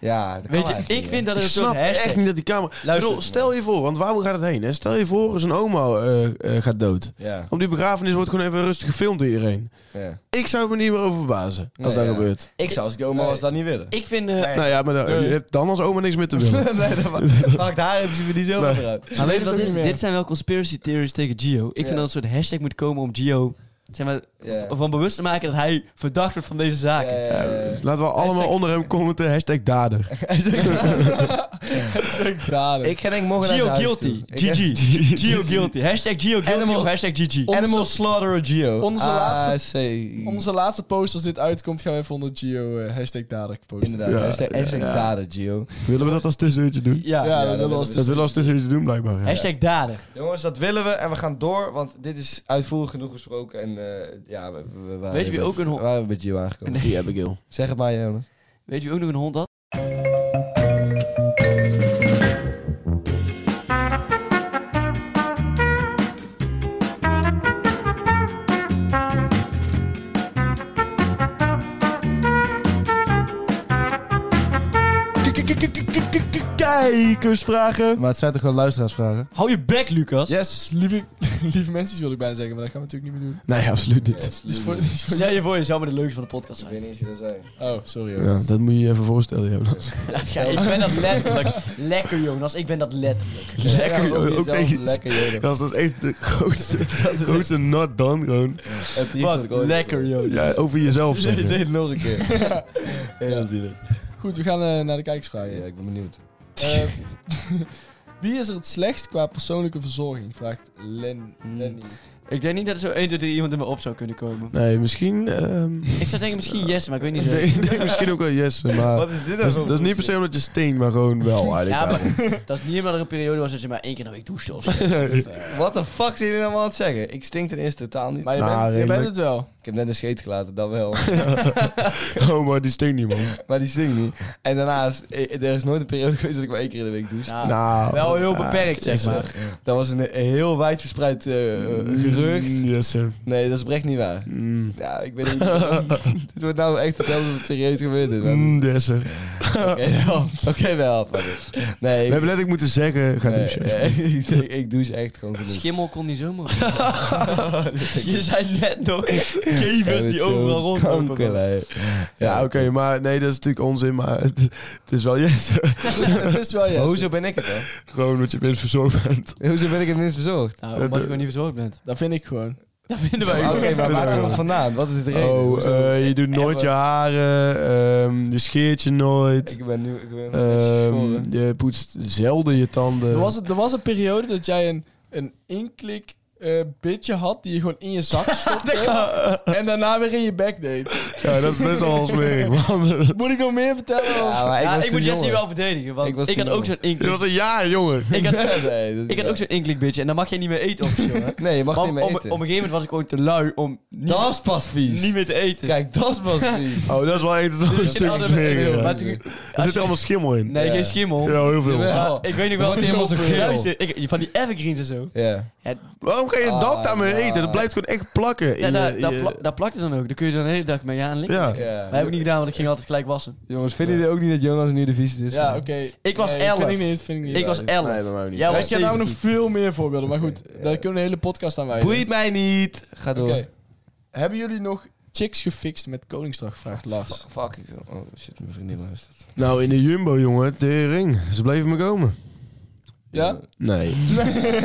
[SPEAKER 4] Ja, dat
[SPEAKER 7] Weet
[SPEAKER 4] kan
[SPEAKER 7] je,
[SPEAKER 4] eigenlijk
[SPEAKER 7] ik
[SPEAKER 4] niet,
[SPEAKER 7] vind dat
[SPEAKER 6] Ik
[SPEAKER 7] het een soort
[SPEAKER 6] snap echt
[SPEAKER 7] hashtag...
[SPEAKER 6] niet dat die camera... Ik
[SPEAKER 7] Luister.
[SPEAKER 6] bedoel, stel je voor, want waar gaat het heen? Hè? Stel je voor, zijn oma eh, eh, gaat dood.
[SPEAKER 4] hè? Ja,
[SPEAKER 6] Op die begrafenis wordt gewoon even rustig gefilmd door iedereen.
[SPEAKER 4] ja.
[SPEAKER 6] Ik zou me niet meer over verbazen als
[SPEAKER 4] Nee,
[SPEAKER 6] dat
[SPEAKER 4] ja.
[SPEAKER 6] gebeurt.
[SPEAKER 4] Ik zou als ik oma was dat niet willen.
[SPEAKER 7] Ik vind... eh,
[SPEAKER 6] Nou ja, maar dan, je hebt dan als oma niks meer te willen.
[SPEAKER 4] nee, dat ma- maakt haar in principe niet zo
[SPEAKER 6] Nee.
[SPEAKER 4] meer uit.
[SPEAKER 7] Maar weet
[SPEAKER 5] weten
[SPEAKER 7] je
[SPEAKER 5] het
[SPEAKER 7] wat
[SPEAKER 5] ook
[SPEAKER 7] is?
[SPEAKER 5] niet meer.
[SPEAKER 7] Dit zijn wel conspiracy theories tegen Gio. Ik
[SPEAKER 4] Ja.
[SPEAKER 7] vind dat een soort hashtag moet komen om Gio zeg maar,
[SPEAKER 4] Ja.
[SPEAKER 7] v- van bewust te maken dat hij verdacht wordt van deze zaken.
[SPEAKER 4] Eh,
[SPEAKER 6] Laten we allemaal
[SPEAKER 7] Hashtag-
[SPEAKER 6] onder hem commenten, hashtag dader.
[SPEAKER 5] Daden.
[SPEAKER 4] ik ga denk ik morgen naar
[SPEAKER 7] Gio
[SPEAKER 4] zijn huis
[SPEAKER 7] guilty.
[SPEAKER 4] toe. Ik ga-
[SPEAKER 7] GG. Gio guilty. Hashtag Gio guilty
[SPEAKER 4] Animal-
[SPEAKER 7] of hashtag GG.
[SPEAKER 5] Onze-
[SPEAKER 4] Animal Slaughterer Gio.
[SPEAKER 5] Onze laatste-
[SPEAKER 4] AC.
[SPEAKER 5] Onze laatste post, als dit uitkomt, gaan we even onder Gio eh, hashtag dader posten.
[SPEAKER 4] Inderdaad,
[SPEAKER 6] Ja,
[SPEAKER 4] hashtag, hashtag
[SPEAKER 6] ja.
[SPEAKER 4] dader, Gio.
[SPEAKER 6] Willen we dat als tussenuurtje doen?
[SPEAKER 7] Ja.
[SPEAKER 5] Ja,
[SPEAKER 4] dat
[SPEAKER 5] dat
[SPEAKER 4] willen
[SPEAKER 5] was
[SPEAKER 6] Dat
[SPEAKER 5] dus.
[SPEAKER 6] willen we als tussenuurtje doen, blijkbaar. ja.
[SPEAKER 7] Hashtag dader.
[SPEAKER 4] Jongens, dat willen we en we gaan door, want dit is uitvoerig genoeg besproken. En eh, ja, we, we- we waren
[SPEAKER 7] Weet je wie
[SPEAKER 4] met-
[SPEAKER 7] ook een hond-
[SPEAKER 4] we waren met Gio aangekomen.
[SPEAKER 6] Free Abigail.
[SPEAKER 4] Zeg het maar, Jonas.
[SPEAKER 7] Weet je wie ook nog een hond had?
[SPEAKER 4] Kijkersvragen.
[SPEAKER 5] Maar het zijn toch gewoon luisteraarsvragen?
[SPEAKER 7] Hou je bek, Lucas.
[SPEAKER 5] Yes, lieve, lieve mensen, wil ik bijna zeggen, maar dat gaan we natuurlijk niet meer doen.
[SPEAKER 6] Nee, absoluut niet.
[SPEAKER 5] Die is voor, die is voor-
[SPEAKER 7] Stel je voor, je zou maar de leukste van de podcast
[SPEAKER 4] Ik weet
[SPEAKER 7] zijn.
[SPEAKER 4] niet eens wie dat zijn.
[SPEAKER 5] Oh, sorry. hoor.
[SPEAKER 6] Ja, dat moet je je even voorstellen, Jonas.
[SPEAKER 7] Ja, ik ben dat letterlijk. Lekker, Jonas. Ik ben dat letterlijk.
[SPEAKER 6] Lekker,
[SPEAKER 4] Ja, ook
[SPEAKER 6] joh. Ook
[SPEAKER 4] jezelf,
[SPEAKER 6] tegen-
[SPEAKER 4] lekker, joh.
[SPEAKER 6] Dat is echt de grootste, grootste not done gewoon.
[SPEAKER 4] Het triest dat
[SPEAKER 7] Wat
[SPEAKER 4] ik ooit-
[SPEAKER 7] lekker, Jonas.
[SPEAKER 6] Ja, over
[SPEAKER 4] Nee,
[SPEAKER 6] jezelf
[SPEAKER 4] dit
[SPEAKER 6] zeggen.
[SPEAKER 4] deed het nog een keer. Heel zielig.
[SPEAKER 5] Goed, we gaan eh, naar de kijkersvragen.
[SPEAKER 4] Ja, ik ben benieuwd.
[SPEAKER 5] Eh, wie is er het slechtst qua persoonlijke verzorging? Vraagt Len, Lenny.
[SPEAKER 7] Ik denk niet dat er zo 1, 2, 3 iemand in me op zou kunnen komen.
[SPEAKER 6] Nee, misschien... ehm,
[SPEAKER 7] Ik zou denken misschien yes, maar ik weet niet zo.
[SPEAKER 6] Nee, ik denk misschien ook wel yes, maar...
[SPEAKER 4] Wat is dit
[SPEAKER 6] Dat is, dat is niet per se omdat je steen, maar gewoon wel
[SPEAKER 7] Ja,
[SPEAKER 6] eigenlijk.
[SPEAKER 7] maar dat is niet omdat er een periode was dat je maar één keer naar week douchte of zo.
[SPEAKER 4] Wat de fuck zijn jullie allemaal aan het zeggen? Ik stink ten eerste totaal niet.
[SPEAKER 5] Maar je,
[SPEAKER 6] Nou,
[SPEAKER 5] bent, je
[SPEAKER 6] redelijk.
[SPEAKER 5] bent het wel.
[SPEAKER 4] Ik heb net een scheet gelaten, dat wel.
[SPEAKER 6] Oh, maar die stinkt niet, man.
[SPEAKER 4] maar die stinkt niet. En daarnaast, eh, er is nooit een periode geweest dat ik maar één keer in de week douche.
[SPEAKER 7] Nou,
[SPEAKER 6] Nou,
[SPEAKER 4] Oh,
[SPEAKER 7] wel heel
[SPEAKER 6] ah,
[SPEAKER 7] beperkt, zeg maar.
[SPEAKER 4] Dat was een heel wijdverspreid
[SPEAKER 6] Mm,
[SPEAKER 4] verspreid gerucht.
[SPEAKER 6] Yes, sir.
[SPEAKER 4] Nee, dat is oprecht niet waar.
[SPEAKER 6] Mm.
[SPEAKER 4] Ja, ik weet niet. dit wordt nou echt verteld alsof het serieus gebeurd is. maar-
[SPEAKER 6] Mm, yes, sir.
[SPEAKER 4] Oké, wel. Oké, wel. fuck it. Nee,
[SPEAKER 6] We
[SPEAKER 4] ik-
[SPEAKER 6] hebben letterlijk moeten zeggen, ga
[SPEAKER 4] nee,
[SPEAKER 6] douchen.
[SPEAKER 4] eh, ik, ik, douche echt gewoon genoeg.
[SPEAKER 7] Schimmel kon niet zomaar. Je zei net nog gevers die
[SPEAKER 4] Ja, met
[SPEAKER 7] overal
[SPEAKER 4] zo'n
[SPEAKER 7] rondlopen. man.
[SPEAKER 4] kankerlijn.
[SPEAKER 6] Ja, oké, maar nee, dat is natuurlijk onzin, maar het, het is wel yes. sir.
[SPEAKER 5] Het is wel
[SPEAKER 4] Maar
[SPEAKER 5] yes.
[SPEAKER 4] hoezo ben ik het dan?
[SPEAKER 6] Gewoon dat je bent verzorgd bent.
[SPEAKER 4] Hoezo ben ik het minst verzorgd?
[SPEAKER 7] Nou, omdat je gewoon niet verzorgd bent.
[SPEAKER 5] Dat vind ik gewoon.
[SPEAKER 7] Dat vinden wij.
[SPEAKER 4] Oké, maar waar
[SPEAKER 6] Ja.
[SPEAKER 4] komt het vandaan? Wat is de reden?
[SPEAKER 6] Oh,
[SPEAKER 4] Hoezo?
[SPEAKER 6] eh, je doet nooit je
[SPEAKER 4] Hebben-
[SPEAKER 6] haren, ehm, je scheert je nooit,
[SPEAKER 4] Ik ben nu... Ik ben
[SPEAKER 6] ehm,
[SPEAKER 4] geschoren.
[SPEAKER 6] je poetst zelden je tanden.
[SPEAKER 5] Er was, er was een periode dat jij een, een inklik eh bitje had die je gewoon in je zak stopte en daarna weer in je bek deed.
[SPEAKER 6] Ja, dat is best al smerig, man.
[SPEAKER 5] Moet ik nog meer vertellen? of-
[SPEAKER 4] Ah, maar
[SPEAKER 7] Ja,
[SPEAKER 4] was
[SPEAKER 7] ik
[SPEAKER 4] toen
[SPEAKER 7] moet Jesse
[SPEAKER 4] jonger.
[SPEAKER 7] wel verdedigen, want
[SPEAKER 4] Ik
[SPEAKER 7] ik,
[SPEAKER 4] was
[SPEAKER 7] had
[SPEAKER 4] toen
[SPEAKER 7] ook zo'n
[SPEAKER 6] Dit
[SPEAKER 7] inklik.
[SPEAKER 6] was een jaar, jongen.
[SPEAKER 7] Ik had,
[SPEAKER 4] Nee, dat is
[SPEAKER 7] ik had
[SPEAKER 4] wel-
[SPEAKER 7] ook zo'n inklik bitch en dan mag jij niet meer eten of zo. hè?
[SPEAKER 4] Nee, je mag
[SPEAKER 7] Maar
[SPEAKER 4] niet
[SPEAKER 7] om,
[SPEAKER 4] meer
[SPEAKER 7] om,
[SPEAKER 4] eten.
[SPEAKER 7] op een gegeven moment was ik gewoon te lui om niet,
[SPEAKER 4] dat is pas vies.
[SPEAKER 7] niet meer te eten.
[SPEAKER 4] Kijk, dat is pas vies.
[SPEAKER 6] Oh, dat is wel echt een
[SPEAKER 7] En
[SPEAKER 6] stuk
[SPEAKER 7] hadden we-
[SPEAKER 6] smeriger.
[SPEAKER 7] maar
[SPEAKER 6] ja.
[SPEAKER 7] toen-
[SPEAKER 6] Er zit er allemaal schimmel in.
[SPEAKER 7] nee,
[SPEAKER 4] Ja.
[SPEAKER 7] geen schimmel.
[SPEAKER 6] Ja, heel veel.
[SPEAKER 4] Jawel.
[SPEAKER 7] Maar ik weet nog wel
[SPEAKER 4] Dat
[SPEAKER 7] dat
[SPEAKER 4] wordt
[SPEAKER 7] helemaal zo
[SPEAKER 4] helemaal zo geel.
[SPEAKER 7] luister, ik, Van die evergreens en zo.
[SPEAKER 4] Ja.
[SPEAKER 7] Ja,
[SPEAKER 6] Waarom kan je dat
[SPEAKER 4] Ah,
[SPEAKER 6] daarmee
[SPEAKER 4] ja.
[SPEAKER 6] eten? Dat blijft gewoon echt plakken. in
[SPEAKER 7] ja, daar,
[SPEAKER 6] je-
[SPEAKER 7] daar,
[SPEAKER 6] je-
[SPEAKER 7] pla- daar plakt het dan ook. Daar kun je dan de hele dag mee aan likken.
[SPEAKER 6] Ja.
[SPEAKER 4] ja.
[SPEAKER 7] Maar heb ik niet gedaan, want ik ging altijd gelijk wassen.
[SPEAKER 4] Jongens, vinden jullie ook niet dat Jonas nu de vies is?
[SPEAKER 5] Ja, oké.
[SPEAKER 7] Ik was
[SPEAKER 5] Nee,
[SPEAKER 7] elf.
[SPEAKER 5] Vind ik niet, vind ik niet.
[SPEAKER 7] ik was
[SPEAKER 4] nee,
[SPEAKER 7] 11.
[SPEAKER 6] Nee, bij mij ook niet.
[SPEAKER 7] Jij
[SPEAKER 5] Ja,
[SPEAKER 7] was
[SPEAKER 5] ik heb nou nog
[SPEAKER 7] 17.
[SPEAKER 5] veel meer voorbeelden, maar goed, daar kunnen we een hele podcast aan wijden.
[SPEAKER 4] Boeit mij niet. Ga door.
[SPEAKER 5] Oké. Hebben jullie nog chicks gefixt met Koningsdag? Vraagt Lars.
[SPEAKER 4] Fuck, ik wil... Oh shit, mijn vriendin luistert.
[SPEAKER 6] Nou, in de Jumbo, jongen, tering. Ze bleven me komen.
[SPEAKER 5] Ja?
[SPEAKER 6] Nee.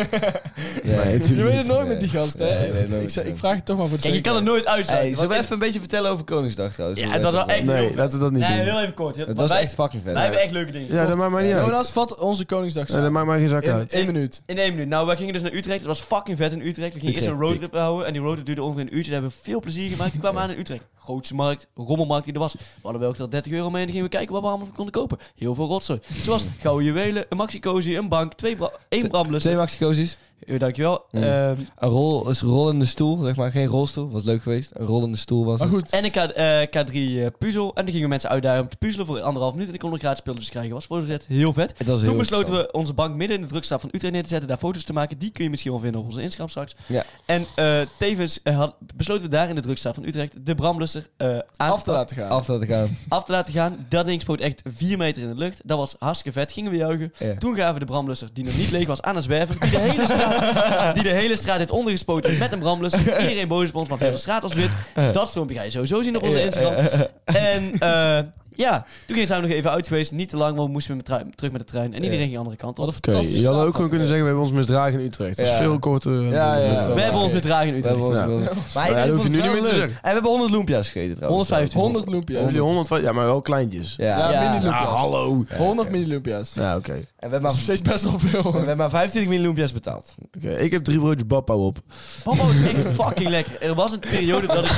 [SPEAKER 4] Ja.
[SPEAKER 6] Nee,
[SPEAKER 5] Je
[SPEAKER 6] natuurlijk
[SPEAKER 5] weet
[SPEAKER 6] niet.
[SPEAKER 5] het nooit
[SPEAKER 4] Nee.
[SPEAKER 5] met die gast, hè?
[SPEAKER 4] Nee, ik weet het nooit,
[SPEAKER 5] ik, zeg-
[SPEAKER 4] nee.
[SPEAKER 5] ik vraag het toch maar voor het
[SPEAKER 7] Kijk, je kan het nooit uitsluiten.
[SPEAKER 4] Hey, zullen
[SPEAKER 7] want
[SPEAKER 4] we
[SPEAKER 7] ik-
[SPEAKER 4] even een beetje vertellen over Koningsdag trouwens?
[SPEAKER 7] Ja, dat was echt heel
[SPEAKER 6] Nee,
[SPEAKER 7] vet.
[SPEAKER 6] laten we dat niet
[SPEAKER 7] Nee,
[SPEAKER 6] doen.
[SPEAKER 7] heel even kort. Heel,
[SPEAKER 4] Het
[SPEAKER 7] maar
[SPEAKER 4] was
[SPEAKER 7] wij,
[SPEAKER 4] echt fucking vet.
[SPEAKER 7] wij hebben echt leuke dingen.
[SPEAKER 6] Ja, dat maakt mij niet uit.
[SPEAKER 5] Jonas, vat onze Koningsdag
[SPEAKER 6] Ja, dat
[SPEAKER 5] samen.
[SPEAKER 6] maakt mij geen zak
[SPEAKER 5] In
[SPEAKER 6] uit.
[SPEAKER 5] één minuut.
[SPEAKER 7] In één minuut. Nou, wij gingen dus naar Utrecht. Het was fucking vet in Utrecht. We gingen eerst een
[SPEAKER 4] Utrecht,
[SPEAKER 7] roadtrip houden. En die roadtrip duurde ongeveer een uurtje. Daar hebben we veel plezier gemaakt. Toen kwamen we aan in Utrecht. Grootste markt, rommelmarkt die er was. We hadden wel ook al 30 euro mee. En dan gingen we kijken wat we allemaal voor konden kopen. Heel veel rotzooi. Zoals gouden juwelen, een maxi-cozy, een bank, twee bra één
[SPEAKER 4] Twee
[SPEAKER 7] brandblusser.
[SPEAKER 4] maxicozies.
[SPEAKER 7] Eh, Dankjewel.
[SPEAKER 4] Mm.
[SPEAKER 7] Ehm,
[SPEAKER 4] Een, rol, is een rollende stoel, zeg maar. Geen rolstoel, was leuk geweest. Een rollende stoel was
[SPEAKER 5] Maar
[SPEAKER 4] het.
[SPEAKER 5] goed,
[SPEAKER 7] en een K, eh, K3 eh, puzzel. En dan gingen we mensen uitdagen om te puzzelen voor anderhalf minuut. En ik kon een gratis spulletjes krijgen. Was voor de zet heel vet.
[SPEAKER 4] Het was heel
[SPEAKER 7] Toen besloten
[SPEAKER 4] interessant.
[SPEAKER 7] we onze bank midden in de drukstraat van Utrecht neer te zetten, daar foto's te maken. Die kun je misschien wel vinden op onze Instagram straks.
[SPEAKER 4] Ja.
[SPEAKER 7] En eh, tevens eh, had- besloten we daar in de drukstraat van Utrecht de brandblusser eh, aan
[SPEAKER 5] af te laten gaan.
[SPEAKER 4] Af dat ik aan.
[SPEAKER 7] af te laten gaan. Dat ding spoot echt 4 meter in de lucht. Dat was hartstikke vet. Gingen we juichen.
[SPEAKER 4] Ja.
[SPEAKER 7] Toen gaven we de brandblusser, die nog niet leeg was, aan een zwerver. Die de hele straat, die de hele straat heeft ondergespoten met een brandblusser. Iedereen boos op ons, want de hele straat was wit. Dat filmpje ga je sowieso zien op onze Instagram. En eh, ja, toen zijn we nog even uit geweest. Niet te lang, want we moesten met de trein- terug met de trein. En iedereen ging de andere kant
[SPEAKER 5] Wat
[SPEAKER 7] op.
[SPEAKER 5] een
[SPEAKER 6] Oké,
[SPEAKER 5] fantastische
[SPEAKER 6] je had ook
[SPEAKER 5] avond.
[SPEAKER 6] gewoon kunnen zeggen, we hebben ons misdragen in Utrecht. Dat is
[SPEAKER 4] Ja.
[SPEAKER 6] veel korter.
[SPEAKER 5] Ja, ja, ja.
[SPEAKER 7] We hebben ons
[SPEAKER 5] Oké.
[SPEAKER 7] bedragen in
[SPEAKER 4] We
[SPEAKER 7] Utrecht.
[SPEAKER 4] hebben ons
[SPEAKER 6] Ja.
[SPEAKER 4] wel- Maar ik
[SPEAKER 6] dat hoef je
[SPEAKER 4] vond het
[SPEAKER 6] nu
[SPEAKER 4] wel
[SPEAKER 6] niet meer te
[SPEAKER 4] leuk.
[SPEAKER 6] zeggen.
[SPEAKER 4] En we hebben 100 loempia's gegeten trouwens.
[SPEAKER 7] 115.
[SPEAKER 5] 100 loempia's.
[SPEAKER 6] Hebben die 100 ja, maar wel kleintjes.
[SPEAKER 4] Ja.
[SPEAKER 5] Ja,
[SPEAKER 7] Ja.
[SPEAKER 5] mini
[SPEAKER 6] Ja,
[SPEAKER 5] loempia's.
[SPEAKER 6] hallo.
[SPEAKER 5] 100 mini loempia's. Dat
[SPEAKER 6] Ja, oké.
[SPEAKER 4] En we hebben
[SPEAKER 5] is nog
[SPEAKER 4] maar,
[SPEAKER 5] steeds best wel veel.
[SPEAKER 4] we hebben maar 25 miljoen loempia's betaald.
[SPEAKER 6] Oké, Ik heb drie broodjes Bappa op.
[SPEAKER 7] Bappa was echt fucking lekker. Er was een periode dat ik,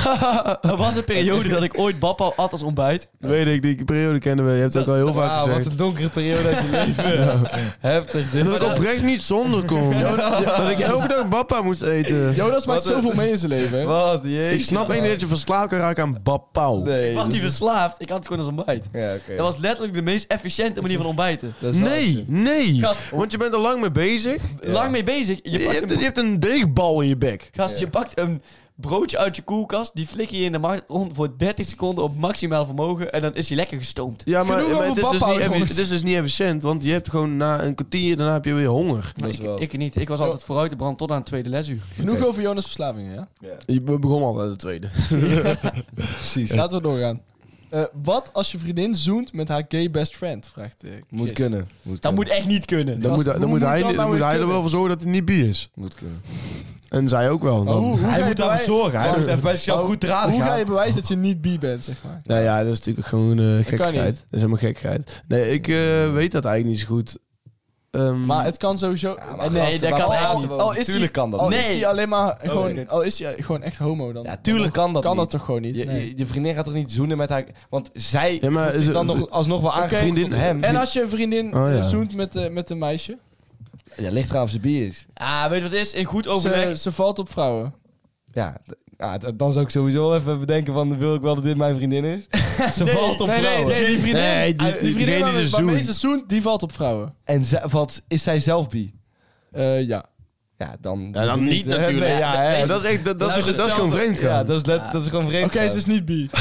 [SPEAKER 7] er was een periode dat ik ooit Bappa had als ontbijt.
[SPEAKER 6] Weet ik, die periode kennen we. Je hebt het ook al heel vaak
[SPEAKER 4] Wauw, Ah, wat
[SPEAKER 6] gezegd.
[SPEAKER 4] een donkere periode uit je leven. Heftig dit.
[SPEAKER 6] Dat ik oprecht niet zonder kon. Dat ik elke dag Bappa moest eten.
[SPEAKER 5] Jonas maakt
[SPEAKER 4] Wat een-
[SPEAKER 5] zoveel mee in zijn leven.
[SPEAKER 4] Wat,
[SPEAKER 6] Ik
[SPEAKER 4] jeetje.
[SPEAKER 6] snap één dat je verslaafd kan raken aan Bapau.
[SPEAKER 4] Nee.
[SPEAKER 7] Ik was niet verslaafd, ik had het gewoon als ontbijt.
[SPEAKER 4] Ja, oké.
[SPEAKER 7] Dat was letterlijk de meest efficiënte manier van ontbijten.
[SPEAKER 4] Dat is wel
[SPEAKER 6] Nee,
[SPEAKER 4] echt-
[SPEAKER 6] nee.
[SPEAKER 7] Gast.
[SPEAKER 6] Want je bent er lang mee bezig.
[SPEAKER 7] Lang mee bezig. Je
[SPEAKER 6] Je
[SPEAKER 7] pakt
[SPEAKER 6] hebt,
[SPEAKER 7] een,
[SPEAKER 6] je hebt een deegbal in je bek.
[SPEAKER 7] gast, je pakt een broodje uit je koelkast, die flikker je in de markt rond voor 30 seconden op maximaal vermogen en dan is hij lekker gestoomd.
[SPEAKER 6] Ja, maar, maar
[SPEAKER 5] Genoeg
[SPEAKER 6] het,
[SPEAKER 5] over
[SPEAKER 6] is dus
[SPEAKER 5] Bapau,
[SPEAKER 6] niet, effi-
[SPEAKER 5] jongens.
[SPEAKER 6] het is dus niet efficiënt, want je hebt gewoon na een kwartier, daarna heb je weer honger.
[SPEAKER 7] Maar
[SPEAKER 4] Dat is
[SPEAKER 7] ik,
[SPEAKER 4] wel-
[SPEAKER 7] ik niet. Ik was altijd vooruit de brand tot aan het tweede lesuur.
[SPEAKER 5] Genoeg over Jonas' verslavingen, ja?
[SPEAKER 6] Je be- begon al aan de tweede.
[SPEAKER 4] precies.
[SPEAKER 5] Laten we doorgaan. Eh, wat als je vriendin zoent met haar gay best friend? Vraagt eh,
[SPEAKER 4] Moet
[SPEAKER 5] Chris.
[SPEAKER 4] kunnen. Moet
[SPEAKER 7] Dat
[SPEAKER 4] kunnen.
[SPEAKER 7] moet echt niet kunnen.
[SPEAKER 6] Dan moet,
[SPEAKER 5] hoe
[SPEAKER 6] dan moet
[SPEAKER 5] moet
[SPEAKER 6] hij,
[SPEAKER 5] dat nou
[SPEAKER 6] dan moet
[SPEAKER 5] weer
[SPEAKER 6] hij er
[SPEAKER 5] kunnen?
[SPEAKER 6] wel voor zorgen dat hij niet bi is.
[SPEAKER 4] Moet kunnen.
[SPEAKER 6] En zij ook wel.
[SPEAKER 5] Maar
[SPEAKER 6] Dan.
[SPEAKER 5] hoe, hoe ga je bewijzen-
[SPEAKER 6] zorgen. Hij-
[SPEAKER 4] bij zichzelf goed te raden
[SPEAKER 5] Hoe ga je bewijzen dat je niet bi bent, zeg maar?
[SPEAKER 6] Nou ja, dat is natuurlijk gewoon eh,
[SPEAKER 5] kan
[SPEAKER 6] gekheid.
[SPEAKER 5] niet.
[SPEAKER 6] Dat is helemaal gekheid. Nee, ik eh, weet dat eigenlijk niet zo goed. Ehm,
[SPEAKER 5] Maar het kan sowieso...
[SPEAKER 4] maar
[SPEAKER 5] nee,
[SPEAKER 4] gasten,
[SPEAKER 5] dat kan
[SPEAKER 4] waarom
[SPEAKER 5] echt
[SPEAKER 4] niet? Oh,
[SPEAKER 5] niet. Al is
[SPEAKER 4] Tuurlijk
[SPEAKER 5] hij,
[SPEAKER 4] kan dat
[SPEAKER 5] al
[SPEAKER 4] niet.
[SPEAKER 5] is
[SPEAKER 7] Nee.
[SPEAKER 5] hij alleen
[SPEAKER 6] Oh,
[SPEAKER 5] maar gewoon,
[SPEAKER 4] nee.
[SPEAKER 5] al is hij gewoon echt homo dan.
[SPEAKER 4] Ja, tuurlijk kan dat
[SPEAKER 5] kan dat
[SPEAKER 4] niet.
[SPEAKER 5] toch gewoon niet?
[SPEAKER 4] Je, je- je vriendin gaat toch niet zoenen met haar... Want zij
[SPEAKER 6] Ja, maar
[SPEAKER 4] voelt zich
[SPEAKER 6] ze-
[SPEAKER 4] dan nog, alsnog wel aangevriend
[SPEAKER 6] vriendin-
[SPEAKER 4] tot hem.
[SPEAKER 5] En als je een vriendin
[SPEAKER 6] Oh, ja.
[SPEAKER 5] eh, zoent met, eh, met een meisje,
[SPEAKER 4] Ja, ligt eraan of ze bier is.
[SPEAKER 7] Ah, weet je wat het is? In goed overleg.
[SPEAKER 5] ze, ze valt op vrouwen.
[SPEAKER 4] Ja, d- Ja, d- dan zou ik sowieso even bedenken van, wil ik wel dat dit mijn vriendin is? Ze valt op
[SPEAKER 5] nee, nee,
[SPEAKER 4] vrouwen.
[SPEAKER 5] nee, die vriendin,
[SPEAKER 6] Nee, die-
[SPEAKER 5] eh,
[SPEAKER 6] die
[SPEAKER 5] vriendin
[SPEAKER 6] vriendin
[SPEAKER 5] waarmee-
[SPEAKER 6] is een
[SPEAKER 5] waarmee
[SPEAKER 6] zoen.
[SPEAKER 5] ze zoent, die valt op vrouwen.
[SPEAKER 4] En ze- wat, is zij zelf bi?
[SPEAKER 5] Eh, ja.
[SPEAKER 4] Ja, dan...
[SPEAKER 6] Ja, dan niet
[SPEAKER 4] Nee,
[SPEAKER 6] natuurlijk.
[SPEAKER 4] nee, ja, hè.
[SPEAKER 6] Maar dat is echt, dat, dat, is, dat is gewoon vreemd
[SPEAKER 4] Ja,
[SPEAKER 6] gaan.
[SPEAKER 4] dat is, let- dat is gewoon vreemd.
[SPEAKER 5] Oké, ze is niet bi.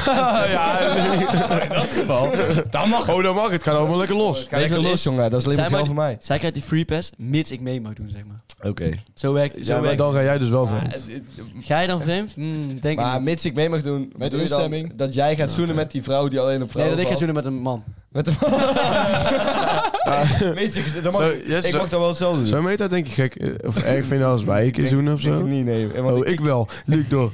[SPEAKER 6] dan mag Oh, dan mag het. Het gaat allemaal lekker los.
[SPEAKER 4] Ga lekker
[SPEAKER 7] Weet je wat het
[SPEAKER 4] los,
[SPEAKER 7] is?
[SPEAKER 4] jongen. Dat is alleen
[SPEAKER 7] Zij
[SPEAKER 4] maar geil
[SPEAKER 7] maar-
[SPEAKER 4] voor mij.
[SPEAKER 7] Zij krijgt die free pass, mits ik mee mag doen, zeg maar.
[SPEAKER 4] Oké.
[SPEAKER 7] Zo werkt zo
[SPEAKER 6] Ja, maar
[SPEAKER 7] werkt-
[SPEAKER 6] dan ga jij dus wel vreemd.
[SPEAKER 7] Ga je dan vreemd? Hmm, denk ik
[SPEAKER 4] Maar
[SPEAKER 7] niet.
[SPEAKER 4] mits ik mee mag doen, bedoel je dan
[SPEAKER 5] instemming.
[SPEAKER 4] Dat jij gaat zoenen met die vrouw die alleen op
[SPEAKER 7] Nee,
[SPEAKER 4] vrouwen
[SPEAKER 7] dat ik ga
[SPEAKER 4] valt?
[SPEAKER 7] zoenen met een man.
[SPEAKER 4] Met de Mits ik, dan mag,
[SPEAKER 6] Zo, yes,
[SPEAKER 4] ik
[SPEAKER 6] zo-
[SPEAKER 4] mag dan wel hetzelfde doen.
[SPEAKER 6] Zou je me dat denk je gek eh, of erg vinden als wij een keer zoenen of
[SPEAKER 4] Denk
[SPEAKER 6] zo?
[SPEAKER 4] ik niet, nee. Want
[SPEAKER 6] Oh, ik wel. Luc door.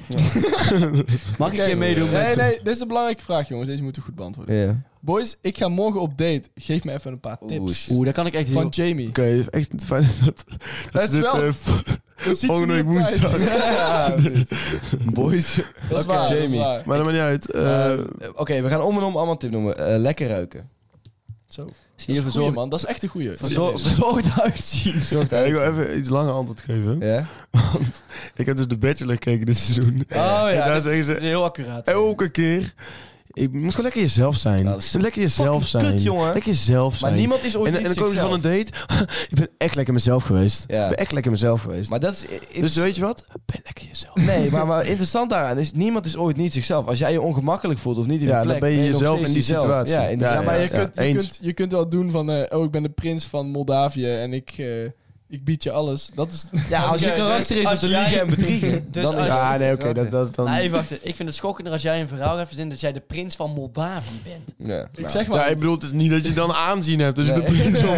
[SPEAKER 7] Mag ik een keer meedoen
[SPEAKER 5] Nee,
[SPEAKER 7] met...
[SPEAKER 5] nee, dit is een belangrijke vraag, jongens. Deze moeten goed beantwoorden.
[SPEAKER 4] Ja.
[SPEAKER 5] Boys, ik ga morgen op date. Geef me even een paar
[SPEAKER 6] Oh,
[SPEAKER 5] tips.
[SPEAKER 7] Oeh, daar kan ik echt heel...
[SPEAKER 5] Van Jamie.
[SPEAKER 6] Oké, het is echt fijn dat, dat
[SPEAKER 5] is
[SPEAKER 6] ze dit
[SPEAKER 5] wel-
[SPEAKER 6] eh, v-
[SPEAKER 5] Dat ziet ze
[SPEAKER 6] volgende
[SPEAKER 5] niet
[SPEAKER 6] week
[SPEAKER 5] op tijd.
[SPEAKER 6] woensdag. Boys.
[SPEAKER 5] Dat is
[SPEAKER 4] Oké,
[SPEAKER 5] waar, dat is
[SPEAKER 4] Jamie.
[SPEAKER 5] waar.
[SPEAKER 6] Maar dat maakt niet uit. eh,
[SPEAKER 4] Eh, Oké, we gaan om en om allemaal een tip noemen. Eh, lekker ruiken.
[SPEAKER 5] Zo. Dat
[SPEAKER 7] Zie
[SPEAKER 5] is
[SPEAKER 7] je
[SPEAKER 5] een goeie,
[SPEAKER 7] verzorgd
[SPEAKER 5] man. Dat is echt een goeie.
[SPEAKER 7] verzorgd- verzorgd uitzien.
[SPEAKER 4] Zorg
[SPEAKER 6] ja, ik wil even iets langer antwoord geven.
[SPEAKER 4] Ja?
[SPEAKER 6] Want ik heb dus The Bachelor gekeken dit seizoen. Oh
[SPEAKER 7] ja,
[SPEAKER 6] En daar
[SPEAKER 7] dat-
[SPEAKER 6] zeggen ze
[SPEAKER 7] Heel accuraat.
[SPEAKER 6] elke keer... Ik moet gewoon lekker jezelf zijn.
[SPEAKER 4] Ja, Nou, dat is
[SPEAKER 6] lekker jezelf
[SPEAKER 4] fucking
[SPEAKER 6] zijn.
[SPEAKER 4] kut, jongen.
[SPEAKER 6] Lekker jezelf
[SPEAKER 4] Maar
[SPEAKER 6] zijn.
[SPEAKER 4] niemand is ooit
[SPEAKER 6] en, en
[SPEAKER 4] niet
[SPEAKER 6] dan komen ze van
[SPEAKER 4] zichzelf.
[SPEAKER 6] een date. ik ben echt lekker mezelf geweest.
[SPEAKER 4] Ja.
[SPEAKER 6] Ik ben echt lekker mezelf geweest.
[SPEAKER 4] Maar dat is...
[SPEAKER 6] dus weet je wat? Ben lekker jezelf.
[SPEAKER 4] Nee, maar, maar interessant daaraan is, niemand is ooit niet zichzelf. Als jij je ongemakkelijk voelt of niet in je
[SPEAKER 6] Ja, dan
[SPEAKER 4] plek,
[SPEAKER 6] ben je
[SPEAKER 4] nog
[SPEAKER 6] jezelf
[SPEAKER 4] steeds
[SPEAKER 6] in die
[SPEAKER 4] jezelf.
[SPEAKER 6] situatie.
[SPEAKER 4] Ja, in die-
[SPEAKER 6] Ja,
[SPEAKER 5] Ja, maar je,
[SPEAKER 6] ja,
[SPEAKER 5] kunt, je,
[SPEAKER 6] eens.
[SPEAKER 5] kunt, je kunt wel doen van... eh, oh, ik ben de prins van Moldavië en ik, eh, ik bied je alles. Dat is...
[SPEAKER 4] Ja, als je
[SPEAKER 7] Oké,
[SPEAKER 4] karakter
[SPEAKER 7] dus
[SPEAKER 4] is om
[SPEAKER 7] als
[SPEAKER 4] te
[SPEAKER 7] jij-
[SPEAKER 4] liegen en bedriegen,
[SPEAKER 7] Dus
[SPEAKER 4] dan is
[SPEAKER 7] als-
[SPEAKER 4] het-
[SPEAKER 6] Ja, Ah, nee, oké. dat, dat, dan...
[SPEAKER 7] Nee, wacht. Ik vind het schokkender als jij een verhaal gaat verzinnen dat jij de prins van Moldavië bent.
[SPEAKER 4] Ja,
[SPEAKER 5] Ik
[SPEAKER 4] nou.
[SPEAKER 5] zeg maar...
[SPEAKER 6] Ja, ik
[SPEAKER 5] iets.
[SPEAKER 6] bedoel, het is niet dat je dan aanzien hebt. Dus
[SPEAKER 4] Nee.
[SPEAKER 6] de prins van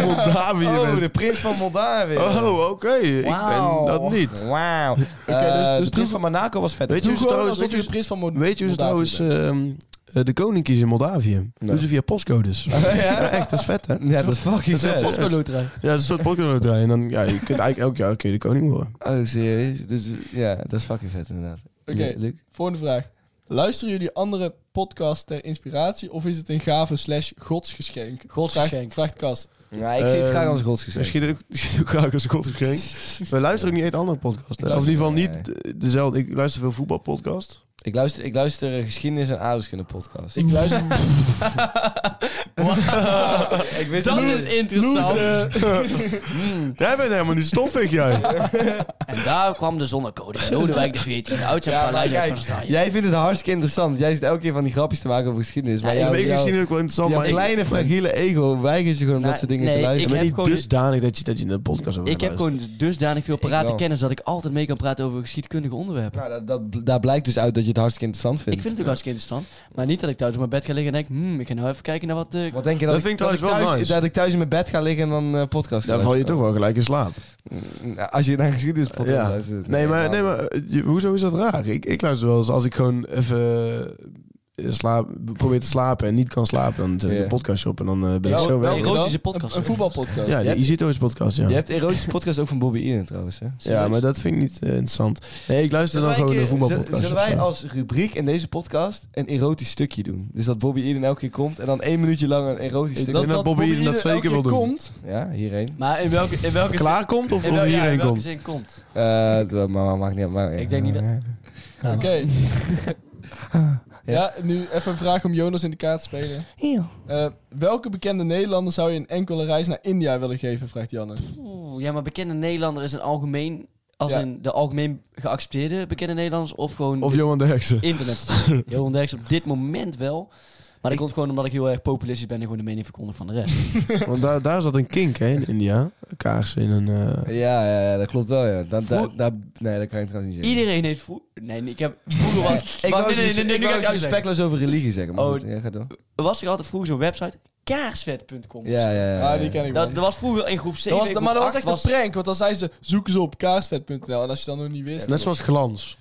[SPEAKER 6] Moldavië
[SPEAKER 4] Oh,
[SPEAKER 6] bent.
[SPEAKER 4] de prins van Moldavië.
[SPEAKER 6] Oh, oké. Ik
[SPEAKER 4] Wauw.
[SPEAKER 6] ben dat niet.
[SPEAKER 4] Wauw.
[SPEAKER 5] Oké, dus-
[SPEAKER 4] Eh,
[SPEAKER 5] dus
[SPEAKER 4] de prins
[SPEAKER 5] doe-
[SPEAKER 4] van Monaco was vet.
[SPEAKER 6] Weet je
[SPEAKER 5] Doe
[SPEAKER 6] hoe ze
[SPEAKER 5] gewoon
[SPEAKER 6] trouwens...
[SPEAKER 5] alsof
[SPEAKER 6] Weet
[SPEAKER 5] je
[SPEAKER 6] je,
[SPEAKER 5] de prins van Mo-
[SPEAKER 6] weet je hoe ze
[SPEAKER 5] Moldavië
[SPEAKER 6] trouwens
[SPEAKER 5] bent.
[SPEAKER 6] ehm, eh, de koning kiezen in Moldavië? Doen ze via postcodes. Ja, echt. Dat is vet, hè?
[SPEAKER 4] Ja, dat is fucking vet.
[SPEAKER 7] Postcode-loterij.
[SPEAKER 6] Ja, dat is een soort postcode En dan, ja, je kunt eigenlijk elk jaar kun je de koning worden.
[SPEAKER 4] Oh, serieus? Dus ja, dat is fucking vet inderdaad.
[SPEAKER 5] Oké.
[SPEAKER 4] Ja, Luc?
[SPEAKER 5] Volgende vraag. Luisteren jullie andere podcasts ter inspiratie of is het een gave slash godsgeschenk?
[SPEAKER 7] Godsgeschenk.
[SPEAKER 5] Vraagt, vraagt Kas.
[SPEAKER 4] Ja, ik zie het
[SPEAKER 6] Ehm,
[SPEAKER 4] graag als godsgeschenk.
[SPEAKER 6] Misschien ook, misschien ook graag als godgeschenk. We luisteren ook niet echt andere podcasts. hè? Of in ieder geval niet eh, dezelfde. Ik luister veel voetbalpodcasts.
[SPEAKER 4] Ik luister, ik luister eh, geschiedenis en aardrijkskunde podcast.
[SPEAKER 5] Ik luister...
[SPEAKER 4] ik wist
[SPEAKER 7] Dat
[SPEAKER 4] het niet.
[SPEAKER 7] is interessant.
[SPEAKER 6] Dus, eh, Jij bent helemaal niet stoffig, jij.
[SPEAKER 7] En daar kwam de zonnekoning. Lodewijk de 14, oud zijn
[SPEAKER 4] Ja, maar
[SPEAKER 7] paleis uit
[SPEAKER 4] kijk,
[SPEAKER 7] Van Staaien.
[SPEAKER 4] jij vindt het hartstikke interessant. Jij zit elke keer van die grapjes te maken over geschiedenis. Maar
[SPEAKER 7] Ja,
[SPEAKER 6] Ik
[SPEAKER 4] jouw,
[SPEAKER 6] weet
[SPEAKER 4] jouw,
[SPEAKER 6] misschien ook wel interessant,
[SPEAKER 4] jouw
[SPEAKER 6] maar ik-
[SPEAKER 4] kleine, fragiele ego weigert je gewoon om
[SPEAKER 7] Nou,
[SPEAKER 4] dat soort dingen
[SPEAKER 7] nee,
[SPEAKER 4] te
[SPEAKER 7] ik
[SPEAKER 6] Ik
[SPEAKER 4] luisteren.
[SPEAKER 6] ben
[SPEAKER 7] heb
[SPEAKER 6] niet
[SPEAKER 7] gewoon-
[SPEAKER 6] dusdanig dat je, dat je een podcast over
[SPEAKER 7] Ik heb gewoon dusdanig veel
[SPEAKER 4] wel.
[SPEAKER 7] parate kennis dat ik altijd mee kan praten over geschiedkundige onderwerpen.
[SPEAKER 4] Nou, dat, dat, daar blijkt dus uit dat je het hartstikke interessant vindt.
[SPEAKER 7] Ik vind het ook hartstikke interessant. Maar niet dat ik thuis op mijn bed ga liggen en denk... Hmm, ik ga nou even kijken naar wat... eh
[SPEAKER 4] Wat denk je
[SPEAKER 6] Dat
[SPEAKER 4] dat,
[SPEAKER 6] vind ik
[SPEAKER 4] dat
[SPEAKER 6] trouwens wel
[SPEAKER 4] thuis,
[SPEAKER 6] nice.
[SPEAKER 4] Dat ik thuis in mijn bed ga liggen en dan eh, podcast ga
[SPEAKER 6] Daar val je toch
[SPEAKER 4] luisteren?
[SPEAKER 6] wel gelijk in slaap.
[SPEAKER 4] Nou, Als je naar geschiedenis podcast
[SPEAKER 6] Ja.
[SPEAKER 4] luistert.
[SPEAKER 6] Nee, maar, nee, maar eh, je- hoezo is dat raar? Ik, ik luister wel eens als ik gewoon even eh, slaap, probeer te slapen en niet kan slapen. Dan zet ik
[SPEAKER 4] Ja.
[SPEAKER 6] een podcast op en dan eh, ben ik
[SPEAKER 5] Wel-
[SPEAKER 6] zo
[SPEAKER 5] wel-
[SPEAKER 6] weg.
[SPEAKER 7] Erotische
[SPEAKER 5] wel-
[SPEAKER 7] podcast.
[SPEAKER 5] Een, een voetbalpodcast.
[SPEAKER 6] Ja, die Isito's podcast, ja.
[SPEAKER 4] Je hebt erotische podcast ook van Bobby Ian trouwens, hè?
[SPEAKER 6] Ja, maar dat vind ik niet eh, interessant. Nee, ik luister
[SPEAKER 4] Zullen
[SPEAKER 6] dan
[SPEAKER 4] wij
[SPEAKER 6] gewoon
[SPEAKER 4] een keer-
[SPEAKER 6] een voetbalpodcast.
[SPEAKER 4] Zullen
[SPEAKER 6] of
[SPEAKER 4] wij
[SPEAKER 6] zo.
[SPEAKER 4] als rubriek in deze podcast een erotisch stukje doen? Dus dat Bobby Eden elke keer komt en dan één minuutje lang een erotisch
[SPEAKER 6] Ik
[SPEAKER 4] stukje.
[SPEAKER 6] denk dat Bobby dat
[SPEAKER 5] elke
[SPEAKER 6] zeker wil
[SPEAKER 5] keer
[SPEAKER 6] doen.
[SPEAKER 5] Komt,
[SPEAKER 4] Ja, hierheen.
[SPEAKER 7] Maar in welke, in welke
[SPEAKER 6] Klaar komt of,
[SPEAKER 7] in
[SPEAKER 6] of
[SPEAKER 7] wel- ja, in
[SPEAKER 6] hierheen
[SPEAKER 7] welke
[SPEAKER 6] komt?
[SPEAKER 7] zin komt?
[SPEAKER 4] Eh, dat maar, maakt niet uit. Maar,
[SPEAKER 7] Ik denk niet dat-
[SPEAKER 5] Oké. ja, nu even een vraag om Jonas in de kaart te spelen. Eh, welke bekende Nederlander zou je een enkele reis naar India willen geven, vraagt Janne.
[SPEAKER 7] Oeh, ja, maar bekende Nederlander is een algemeen... Als
[SPEAKER 5] Ja.
[SPEAKER 7] in de algemeen geaccepteerde bekende Nederlanders of gewoon
[SPEAKER 6] Of Johan de Heksen?
[SPEAKER 7] internetstem. Johan Derks op dit moment wel. Maar dat komt gewoon omdat ik heel erg populistisch ben en gewoon de mening verkondig van de rest.
[SPEAKER 6] Want daar, daar zat een kink hè, in India. Een kaars in een... eh,
[SPEAKER 4] Ja, ja, ja, dat klopt wel, ja. Dat,
[SPEAKER 7] Voor-
[SPEAKER 4] dat, dat- nee, dat kan je trouwens niet zeggen.
[SPEAKER 7] Iedereen heeft vroeger... Nee, nee, ik heb vroeger... Was,
[SPEAKER 4] Ik
[SPEAKER 7] Maar-
[SPEAKER 4] wou
[SPEAKER 7] nee, nee, nee,
[SPEAKER 4] nee,
[SPEAKER 7] nee, nu ga ik uitleggen.
[SPEAKER 4] respectloos over religie zeggen, maar
[SPEAKER 7] Oh,
[SPEAKER 4] goed, ja, ga door.
[SPEAKER 7] was er altijd vroeger zo'n website, kaarsvet.com.
[SPEAKER 4] Ja, ja, ja.
[SPEAKER 5] ah, die ken ik wel.
[SPEAKER 7] Dat, dat was vroeger in groep 7.
[SPEAKER 5] Dat was,
[SPEAKER 7] in groep
[SPEAKER 5] maar dat was
[SPEAKER 7] acht
[SPEAKER 5] echt een prank, want dan zei ze, zoek ze op kaarsvet.nl. En als je dan nog niet wist...
[SPEAKER 6] Net zoals glans.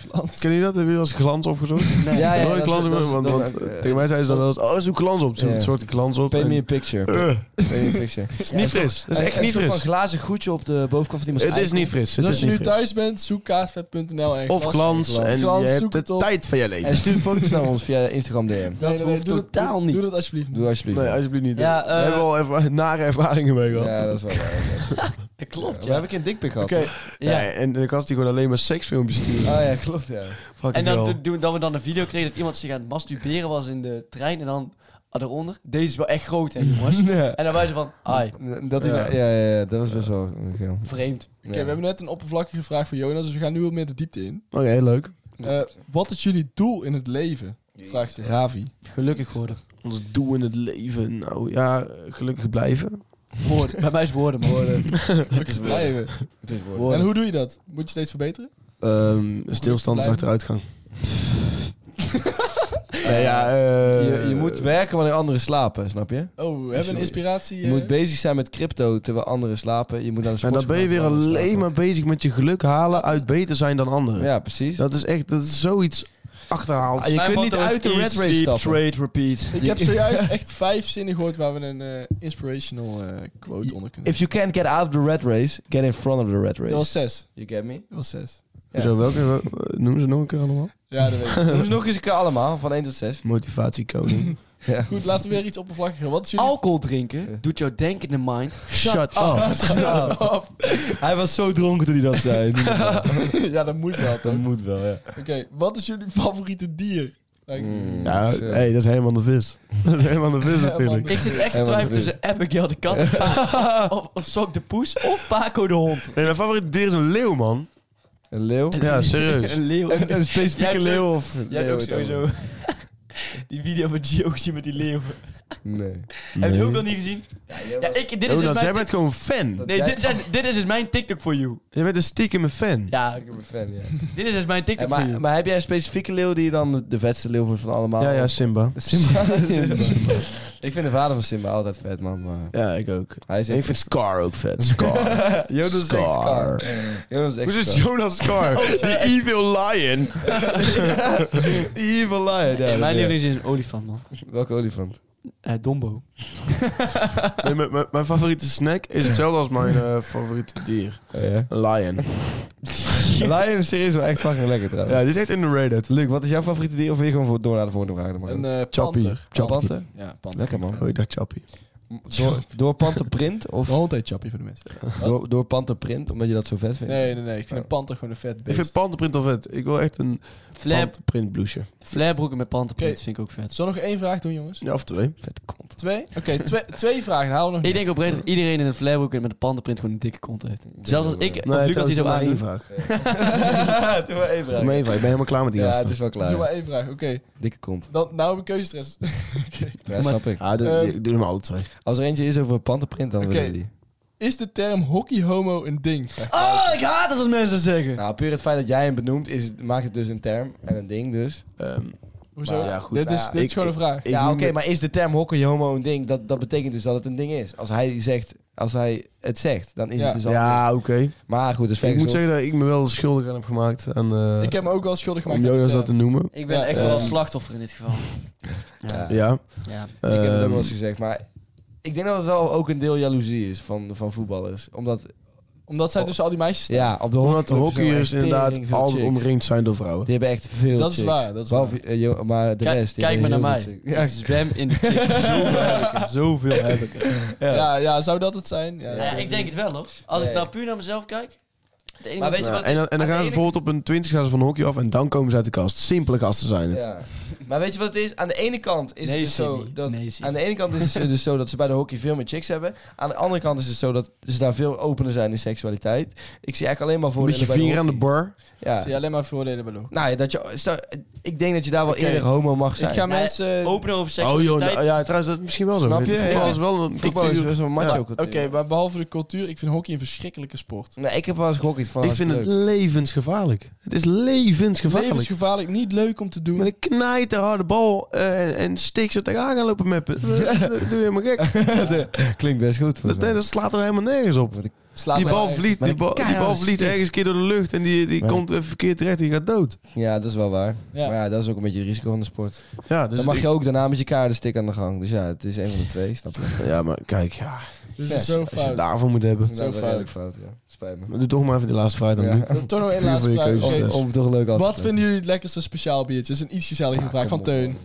[SPEAKER 5] Glans.
[SPEAKER 6] Ken je dat? Heb je wel eens glans opgezocht?
[SPEAKER 4] Ja, ja, ja,
[SPEAKER 6] nooit
[SPEAKER 4] dat is-
[SPEAKER 6] glans
[SPEAKER 4] dat is-
[SPEAKER 6] opgezocht, want,
[SPEAKER 4] dat
[SPEAKER 6] want,
[SPEAKER 4] is-
[SPEAKER 6] eh, tegen mij zeiden ze dan wel eens... Oh, zoek glans op. Zo'n
[SPEAKER 4] Ja.
[SPEAKER 6] soort glans op.
[SPEAKER 4] Pay me a
[SPEAKER 6] en-
[SPEAKER 4] picture.
[SPEAKER 6] Eh,
[SPEAKER 4] Pay me a picture.
[SPEAKER 6] het is niet fris. Het is echt
[SPEAKER 4] Een
[SPEAKER 6] niet
[SPEAKER 4] soort van
[SPEAKER 6] fris.
[SPEAKER 4] glazen goedje op de bovenkant van iemands
[SPEAKER 6] Het is
[SPEAKER 4] eikel.
[SPEAKER 6] niet fris.
[SPEAKER 5] Dus
[SPEAKER 6] Het
[SPEAKER 5] als
[SPEAKER 6] is
[SPEAKER 5] je
[SPEAKER 6] niet
[SPEAKER 5] nu
[SPEAKER 6] fris.
[SPEAKER 5] thuis bent, zoek kaarsvet.nl. en
[SPEAKER 6] Of glans. En je
[SPEAKER 5] Glans, zoek
[SPEAKER 6] hebt de
[SPEAKER 5] het op.
[SPEAKER 6] tijd van je
[SPEAKER 4] En
[SPEAKER 6] leven.
[SPEAKER 4] stuur foto's naar ons via Instagram DM.
[SPEAKER 5] Dat
[SPEAKER 7] Nee, nee,
[SPEAKER 5] hoeft
[SPEAKER 7] doe dat-
[SPEAKER 5] totaal
[SPEAKER 7] doe-
[SPEAKER 5] niet.
[SPEAKER 7] doe
[SPEAKER 5] Doe dat alsjeblieft
[SPEAKER 4] Doe alsjeblieft.
[SPEAKER 6] Nee, alsjeblieft niet.
[SPEAKER 7] Ja,
[SPEAKER 6] We hebben al erva- nare ervaringen mee gehad.
[SPEAKER 4] ja, dat is wel waar.
[SPEAKER 7] Dat klopt,
[SPEAKER 4] We
[SPEAKER 7] ja.
[SPEAKER 4] hebben een dikpik gehad.
[SPEAKER 5] Oké,
[SPEAKER 4] toch?
[SPEAKER 6] Ja. en dan kan die gewoon alleen maar seksfilmpjes sturen.
[SPEAKER 4] Ah ja, klopt ja.
[SPEAKER 6] Fucking
[SPEAKER 7] En dan
[SPEAKER 6] hell.
[SPEAKER 7] do- doen dat we dan een video kregen dat iemand zich aan het masturberen was in de trein. En dan ah, daaronder. Deze is wel echt groot, hè, jongens.
[SPEAKER 4] Ja.
[SPEAKER 7] En dan waren ze van, ai,
[SPEAKER 4] Dat ja.
[SPEAKER 6] Ja.
[SPEAKER 4] Ja, ja, ja, dat was best wel... oké.
[SPEAKER 7] vreemd.
[SPEAKER 5] Oké, we hebben net een oppervlakkige vraag voor Jonas, dus we gaan nu wat meer de diepte in.
[SPEAKER 6] Oké, leuk.
[SPEAKER 5] Eh, wat is jullie doel in het leven? Vraagt Ravi.
[SPEAKER 7] Gelukkig geworden.
[SPEAKER 6] Ons doel in het leven. Nou ja, gelukkig blijven.
[SPEAKER 7] Woorden. Bij mij is woorden, man.
[SPEAKER 5] Het is blijven. En hoe doe je dat? Moet je steeds verbeteren?
[SPEAKER 6] Ehm stilstand is
[SPEAKER 5] Blijven.
[SPEAKER 6] achteruitgang. nee, ja, eh,
[SPEAKER 4] Je, je moet werken wanneer anderen slapen, snap je?
[SPEAKER 5] Oh, we hebben een inspiratie.
[SPEAKER 4] Je
[SPEAKER 5] eh,
[SPEAKER 4] moet bezig zijn met crypto terwijl anderen slapen. Je moet naar de
[SPEAKER 6] En dan ben je weer
[SPEAKER 4] sportschool terwijl
[SPEAKER 6] alleen
[SPEAKER 4] anderen
[SPEAKER 6] maar bezig met je geluk halen uit beter zijn dan anderen.
[SPEAKER 4] slapen. Ja, precies.
[SPEAKER 6] Dat is echt, dat is zoiets achterhaald.
[SPEAKER 4] Ah, je kunt niet uit de red race stappen.
[SPEAKER 7] repeat.
[SPEAKER 5] ik heb zojuist echt vijf zinnen gehoord waar we een eh, inspirational eh, quote onder kunnen.
[SPEAKER 4] If you can't get out of the red race, get in front of the red race.
[SPEAKER 5] Dat was zes.
[SPEAKER 4] You get me?
[SPEAKER 5] Dat was zes.
[SPEAKER 6] Zo, welke eh, noemen ze nog een keer allemaal?
[SPEAKER 5] Ja, dat weet ik.
[SPEAKER 4] Noem ze nog eens een keer allemaal, van 1 tot 6.
[SPEAKER 6] Motivatiekoning.
[SPEAKER 4] Ja.
[SPEAKER 5] Goed, laten we weer iets oppervlakkiger. Wat is jullie...
[SPEAKER 7] Alcohol drinken doet jouw denkende mind.
[SPEAKER 6] Shut up.
[SPEAKER 4] Hij was zo dronken toen hij dat zei.
[SPEAKER 5] ja, dat moet wel.
[SPEAKER 4] dat moet wel, ja.
[SPEAKER 5] Oké, wat is jullie favoriete dier? Like,
[SPEAKER 6] Ja, hey, dat is helemaal de vis. Dat is helemaal de vis natuurlijk.
[SPEAKER 7] Ik zit echt te
[SPEAKER 4] Helemaal
[SPEAKER 7] twijfelen
[SPEAKER 4] niet.
[SPEAKER 7] tussen Abigail de kat, en Pa- of, of Sok de poes, of Paco de hond.
[SPEAKER 6] Nee, mijn favoriete dier is een leeuw, man.
[SPEAKER 4] Een leeuw?
[SPEAKER 6] Ja, serieus.
[SPEAKER 7] Een leeuw.
[SPEAKER 4] Een, een
[SPEAKER 7] Jij
[SPEAKER 4] Dus. specifieke
[SPEAKER 7] hebt
[SPEAKER 4] leeuw of...
[SPEAKER 7] Jij hebt ook sowieso die video van Gio gezien met die leeuwen.
[SPEAKER 4] Nee.
[SPEAKER 7] Heb je ook nog niet gezien? Ja, ik, dit is dus
[SPEAKER 6] Jonas, jij
[SPEAKER 7] mijn...
[SPEAKER 6] bent gewoon fan.
[SPEAKER 7] Nee, dit, zijn, dit is dus mijn TikTok voor you.
[SPEAKER 6] Jij bent een stiekem fan.
[SPEAKER 7] Ja,
[SPEAKER 4] Ik ben fan, ja.
[SPEAKER 7] dit is dus mijn
[SPEAKER 4] En
[SPEAKER 7] TikTok voor
[SPEAKER 4] maar,
[SPEAKER 7] you.
[SPEAKER 4] maar heb jij een specifieke leeuw die je dan de vetste leeuw vindt van allemaal?
[SPEAKER 6] Ja, ja, Simba.
[SPEAKER 4] Simba. Simba. ik vind de vader van Simba altijd vet, man. Maar
[SPEAKER 6] Ja, ik ook.
[SPEAKER 4] hij is
[SPEAKER 6] Ik
[SPEAKER 4] echt...
[SPEAKER 6] vind Scar ook vet. Scar.
[SPEAKER 4] Jonas is echt
[SPEAKER 6] Scar.
[SPEAKER 4] scar. Jonas is echt
[SPEAKER 6] Hoe is
[SPEAKER 4] scar.
[SPEAKER 6] het Jonas Scar? Oh, Die evil lion.
[SPEAKER 4] Evil lion. Ja,
[SPEAKER 7] Nee, mijn
[SPEAKER 4] ja.
[SPEAKER 7] leeuw is een olifant, man.
[SPEAKER 4] Welke olifant?
[SPEAKER 7] Eh, Dombo.
[SPEAKER 6] Nee, mijn- mijn- mijn favoriete snack is hetzelfde als mijn eh, favoriete dier.
[SPEAKER 4] Oh,
[SPEAKER 6] Een lion.
[SPEAKER 4] Lion is serieus wel echt fucking lekker
[SPEAKER 6] Ja,
[SPEAKER 4] trouwens.
[SPEAKER 6] die is echt underrated.
[SPEAKER 4] Luc, wat is jouw favoriete dier? Of wil je gewoon voor door naar de volgende vraag? Dan maar
[SPEAKER 5] een
[SPEAKER 4] ook.
[SPEAKER 5] eh
[SPEAKER 6] Chappie.
[SPEAKER 5] panter.
[SPEAKER 6] Chappie.
[SPEAKER 5] Panter. Ja, panter.
[SPEAKER 4] Lekker, man.
[SPEAKER 6] Oh, ik dacht Chappie.
[SPEAKER 4] door, door panterprint? Of
[SPEAKER 5] De hond heet Chappie voor de mensen.
[SPEAKER 4] door, door panterprint, omdat je dat zo vet vindt?
[SPEAKER 5] Nee, nee, nee. Ik vind een panter gewoon een vet
[SPEAKER 6] Ik
[SPEAKER 5] beest.
[SPEAKER 6] vind pantenprint al vet. Ik wil echt een
[SPEAKER 7] Flap,
[SPEAKER 6] pantenprint blouseje.
[SPEAKER 7] flairbroeken met pantenprint
[SPEAKER 5] Oké.
[SPEAKER 7] vind ik ook vet.
[SPEAKER 5] Zal nog één vraag doen, jongens?
[SPEAKER 6] Ja, of twee.
[SPEAKER 4] Vet kont.
[SPEAKER 5] Twee? Oké, twee, twee vragen. Dan Halen we nog
[SPEAKER 7] Ik denk oprecht dat iedereen in een flairbroek en met een pantenprint gewoon een dikke kont heeft. Zelfs als ik, of Lucas die zo aan
[SPEAKER 6] één
[SPEAKER 7] doet.
[SPEAKER 6] vraag.
[SPEAKER 4] Doe maar één vraag.
[SPEAKER 6] Doe maar één vraag. Ik ben helemaal klaar met die
[SPEAKER 4] Ja,
[SPEAKER 6] gasten.
[SPEAKER 4] het is wel
[SPEAKER 5] niet. Doe
[SPEAKER 4] klaar.
[SPEAKER 5] maar één vraag. Oké,
[SPEAKER 4] Dikke kont.
[SPEAKER 5] dan nou heb ik keuzestress.
[SPEAKER 4] Ja, snap ik.
[SPEAKER 6] Ah, doe,
[SPEAKER 5] Eh,
[SPEAKER 6] ik doe hem alle twee.
[SPEAKER 4] Als er eentje is over panterprint, dan
[SPEAKER 5] Oké.
[SPEAKER 4] willen we die.
[SPEAKER 5] Is de term hockey-homo een ding? Vraagt
[SPEAKER 7] Oh, ik haat het als mensen dat zeggen.
[SPEAKER 4] Nou, puur het feit dat jij hem benoemt, is, maakt het dus een term en een ding dus.
[SPEAKER 6] Ehm,
[SPEAKER 5] Hoezo?
[SPEAKER 6] Maar ja, goed,
[SPEAKER 5] dit is,
[SPEAKER 6] ja,
[SPEAKER 5] dit is
[SPEAKER 6] ik-
[SPEAKER 5] gewoon een vraag.
[SPEAKER 6] ik
[SPEAKER 4] ja,
[SPEAKER 6] noem
[SPEAKER 4] oké,
[SPEAKER 6] het-
[SPEAKER 4] maar is de term hockey homo een ding? Dat, dat betekent dus dat het een ding is. Als hij, zegt, als hij het zegt, dan is
[SPEAKER 5] Ja.
[SPEAKER 4] het dus al een ding.
[SPEAKER 6] Ja, oké.
[SPEAKER 4] Maar goed, dus
[SPEAKER 6] Ik moet zeggen dat ik me wel schuldig aan heb gemaakt. Aan, eh,
[SPEAKER 5] ik heb me ook wel schuldig
[SPEAKER 6] om
[SPEAKER 5] gemaakt. aan de
[SPEAKER 6] Jonas
[SPEAKER 5] term.
[SPEAKER 6] dat te noemen.
[SPEAKER 7] Ik ben
[SPEAKER 5] Ja,
[SPEAKER 7] echt
[SPEAKER 5] eh,
[SPEAKER 7] wel een slachtoffer in dit geval.
[SPEAKER 4] Ja.
[SPEAKER 6] Ja.
[SPEAKER 7] Ja.
[SPEAKER 4] Ik heb het ook
[SPEAKER 6] Ehm,
[SPEAKER 4] wel eens gezegd, maar ik denk dat het wel ook een deel jaloezie is van, van voetballers. Omdat,
[SPEAKER 5] Omdat
[SPEAKER 6] Oh.
[SPEAKER 5] zij tussen al die meisjes staan.
[SPEAKER 4] ja, op de
[SPEAKER 6] omdat de
[SPEAKER 4] hockeyclubs
[SPEAKER 6] hockeyers
[SPEAKER 4] zijn er echt
[SPEAKER 6] inderdaad
[SPEAKER 4] tering veel
[SPEAKER 6] altijd
[SPEAKER 4] chicks.
[SPEAKER 6] omringd zijn door vrouwen.
[SPEAKER 4] Die hebben echt veel
[SPEAKER 5] Dat is
[SPEAKER 4] chicks.
[SPEAKER 5] waar, dat is
[SPEAKER 4] Behalve, eh, jo- maar de
[SPEAKER 7] Kijk-
[SPEAKER 4] rest... die
[SPEAKER 7] kijk maar
[SPEAKER 4] hebben
[SPEAKER 7] naar
[SPEAKER 4] heel
[SPEAKER 7] mij.
[SPEAKER 4] veel
[SPEAKER 7] Ik
[SPEAKER 4] chicks.
[SPEAKER 7] zwem in de chicks. Zoveel heb ik er. Zoveel heb ik er.
[SPEAKER 5] Ja, ja, zou dat het zijn? Ja,
[SPEAKER 7] Ja, ik denk het wel hoor. Als
[SPEAKER 4] Nee.
[SPEAKER 7] ik nou puur naar mezelf kijk. het enige
[SPEAKER 4] Maar weet je
[SPEAKER 6] Ja,
[SPEAKER 7] wat het
[SPEAKER 6] en
[SPEAKER 7] is?
[SPEAKER 6] dan, en dan
[SPEAKER 7] Aan
[SPEAKER 6] gaan ze
[SPEAKER 7] de ene-
[SPEAKER 6] bijvoorbeeld op een 20 gaan ze van de hockey af en dan komen ze uit de kast. Simpele gasten zijn het.
[SPEAKER 4] Ja. Maar weet je wat het is? Aan de ene kant is
[SPEAKER 7] Nee,
[SPEAKER 4] het dus
[SPEAKER 7] Sidney.
[SPEAKER 4] zo dat
[SPEAKER 7] Nee, Sidney.
[SPEAKER 4] aan de ene kant is het dus zo dat ze bij de hockey veel meer chicks hebben. Aan de andere kant is het zo dat ze daar veel opener zijn in seksualiteit. Ik zie eigenlijk alleen maar
[SPEAKER 6] Met je
[SPEAKER 4] voordelen bij
[SPEAKER 6] vinger aan de
[SPEAKER 4] hockey.
[SPEAKER 6] bar.
[SPEAKER 5] Zie je
[SPEAKER 4] Ja.
[SPEAKER 5] alleen maar voordelen bij de hockey.
[SPEAKER 4] Nou ja, dat je, stel, ik denk dat je daar wel
[SPEAKER 5] Oké.
[SPEAKER 4] eerder homo mag zijn.
[SPEAKER 5] Ik ga
[SPEAKER 7] Nee,
[SPEAKER 5] mensen... Oké,
[SPEAKER 7] Opener over
[SPEAKER 6] Oh joh,
[SPEAKER 7] seksualiteit.
[SPEAKER 6] nou, ja, trouwens, dat is misschien wel zo.
[SPEAKER 4] Snap je?
[SPEAKER 6] Voetbal
[SPEAKER 4] Ja.
[SPEAKER 6] is wel een
[SPEAKER 4] Voetbal is
[SPEAKER 6] cultuur.
[SPEAKER 4] best wel een macho
[SPEAKER 6] Ja.
[SPEAKER 4] cultuur.
[SPEAKER 5] maar behalve de cultuur, ik vind hockey een verschrikkelijke sport.
[SPEAKER 4] Nee, ik heb wel eens gehockeyd van.
[SPEAKER 6] Ik
[SPEAKER 4] was
[SPEAKER 6] vind het
[SPEAKER 4] leuk.
[SPEAKER 6] levensgevaarlijk. Het is levensgevaarlijk.
[SPEAKER 5] Levensgevaarlijk, niet leuk om te doen.
[SPEAKER 6] Met een knijterharde bal eh, en, en steek ze tegenaan gaan lopen meppen. Dat dat doe je helemaal gek.
[SPEAKER 4] Klinkt best goed.
[SPEAKER 6] Dat, nee, dat slaat er helemaal nergens op.
[SPEAKER 5] Slaat
[SPEAKER 6] Die
[SPEAKER 5] mij
[SPEAKER 6] bal
[SPEAKER 5] uit.
[SPEAKER 6] vliegt,
[SPEAKER 4] Met
[SPEAKER 6] die
[SPEAKER 4] een
[SPEAKER 6] bal, die
[SPEAKER 4] keiharde
[SPEAKER 6] bal vliegt
[SPEAKER 4] stick.
[SPEAKER 6] ergens een keer door de lucht en die, die
[SPEAKER 4] Maar-
[SPEAKER 6] komt even verkeerd terecht en die gaat dood.
[SPEAKER 4] Ja, dat is wel waar.
[SPEAKER 5] Ja.
[SPEAKER 4] Maar ja, dat is ook een beetje het risico van de sport.
[SPEAKER 6] Ja, dus
[SPEAKER 4] Dan mag
[SPEAKER 6] ik-
[SPEAKER 4] je ook daarna met je kaardenstick aan de gang. Dus ja, het is een van de twee, snap je?
[SPEAKER 6] ja, maar kijk, ja,
[SPEAKER 5] Dit
[SPEAKER 4] Ja,
[SPEAKER 5] is zo
[SPEAKER 6] als je het
[SPEAKER 5] fout.
[SPEAKER 6] daarvoor moet hebben.
[SPEAKER 4] Dat is wel
[SPEAKER 5] fout.
[SPEAKER 4] redelijk fout, ja. Spijt me.
[SPEAKER 6] Doe toch maar even de laatste vraag dan,
[SPEAKER 4] Ja.
[SPEAKER 6] Luc.
[SPEAKER 5] Dan Toch nog
[SPEAKER 6] Puur
[SPEAKER 5] één
[SPEAKER 6] voor
[SPEAKER 5] laatste
[SPEAKER 6] je
[SPEAKER 5] vraag.
[SPEAKER 6] keuzes.
[SPEAKER 5] Oké,
[SPEAKER 6] Yes.
[SPEAKER 4] Om toch leuk af te
[SPEAKER 5] Wat
[SPEAKER 4] sluiten.
[SPEAKER 5] vinden jullie het lekkerste speciaal biertje? Dat is een iets gezellige vraag van Teun.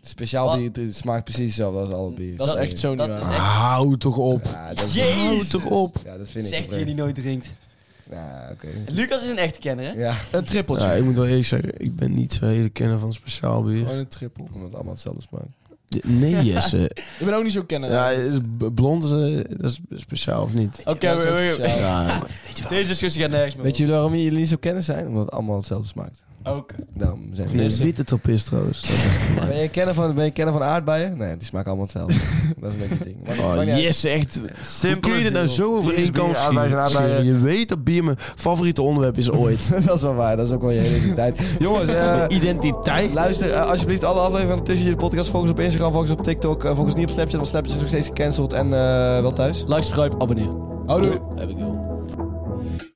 [SPEAKER 4] Speciaal bier het- het smaakt precies hetzelfde als al het bier. Ah,
[SPEAKER 5] Dat is echt zo niet
[SPEAKER 7] Dat is
[SPEAKER 5] waar.
[SPEAKER 7] echt-
[SPEAKER 6] Hou toch op.
[SPEAKER 4] Ja, Ah, dat
[SPEAKER 7] Jezus.
[SPEAKER 6] Hou toch op.
[SPEAKER 4] ja, dat vind ik.
[SPEAKER 7] Zegt
[SPEAKER 4] oprecht.
[SPEAKER 7] hij die nooit drinkt.
[SPEAKER 4] Ja, oké.
[SPEAKER 7] Lucas is een echte kenner, hè?
[SPEAKER 4] Ja,
[SPEAKER 5] Een trippeltje.
[SPEAKER 6] Ja, ik moet wel eerlijk zeggen, ik ben niet zo hele kenner van speciaal bier.
[SPEAKER 5] Gewoon een trippel.
[SPEAKER 4] omdat het allemaal hetzelfde smaakt.
[SPEAKER 6] Nee, Jesse.
[SPEAKER 5] Ik ben ook niet zo kenner.
[SPEAKER 6] Ja, is b- blond is, eh, dat is speciaal of niet?
[SPEAKER 5] Oké,
[SPEAKER 7] Dat is
[SPEAKER 5] we-
[SPEAKER 7] ook
[SPEAKER 5] we-
[SPEAKER 7] speciaal.
[SPEAKER 6] Ja,
[SPEAKER 7] Deze discussie gaat nergens meer.
[SPEAKER 4] Weet je waarom jullie niet zo kennen zijn? Omdat het allemaal hetzelfde smaakt.
[SPEAKER 7] Ook.
[SPEAKER 4] Daarom zijn
[SPEAKER 6] of
[SPEAKER 4] we
[SPEAKER 6] een witte trappist trouwens. Dat is echt voor mij.
[SPEAKER 4] Ben je kenner van, ben je kenner van aardbeien? Nee, die smaken allemaal hetzelfde. dat is een beetje het ding. Maar-
[SPEAKER 6] Oh,
[SPEAKER 4] maar ja,
[SPEAKER 6] yes, echt. Hoe
[SPEAKER 7] Simpel.
[SPEAKER 6] kun je er nou zo over
[SPEAKER 4] Bier is
[SPEAKER 6] één kant
[SPEAKER 4] bier, aardbeien zijn
[SPEAKER 6] scheren?
[SPEAKER 4] aardbeien.
[SPEAKER 6] Scheren. Je weet dat bier mijn favoriete onderwerp is ooit.
[SPEAKER 4] dat is wel waar. Dat is ook wel je hele tijd. Jongens, eh,
[SPEAKER 6] Identiteit.
[SPEAKER 4] Luister eh, alsjeblieft alle afleveringen van Tussen Jullie Podcast. Volg ons op Instagram, volg ons op TikTok. eh, volg ons niet op Snapchat, want Snapchat is nog steeds gecanceld. En eh, wel thuis.
[SPEAKER 7] Like, subscribe, abonneer.
[SPEAKER 4] Houdoe.
[SPEAKER 6] Heb ik wel.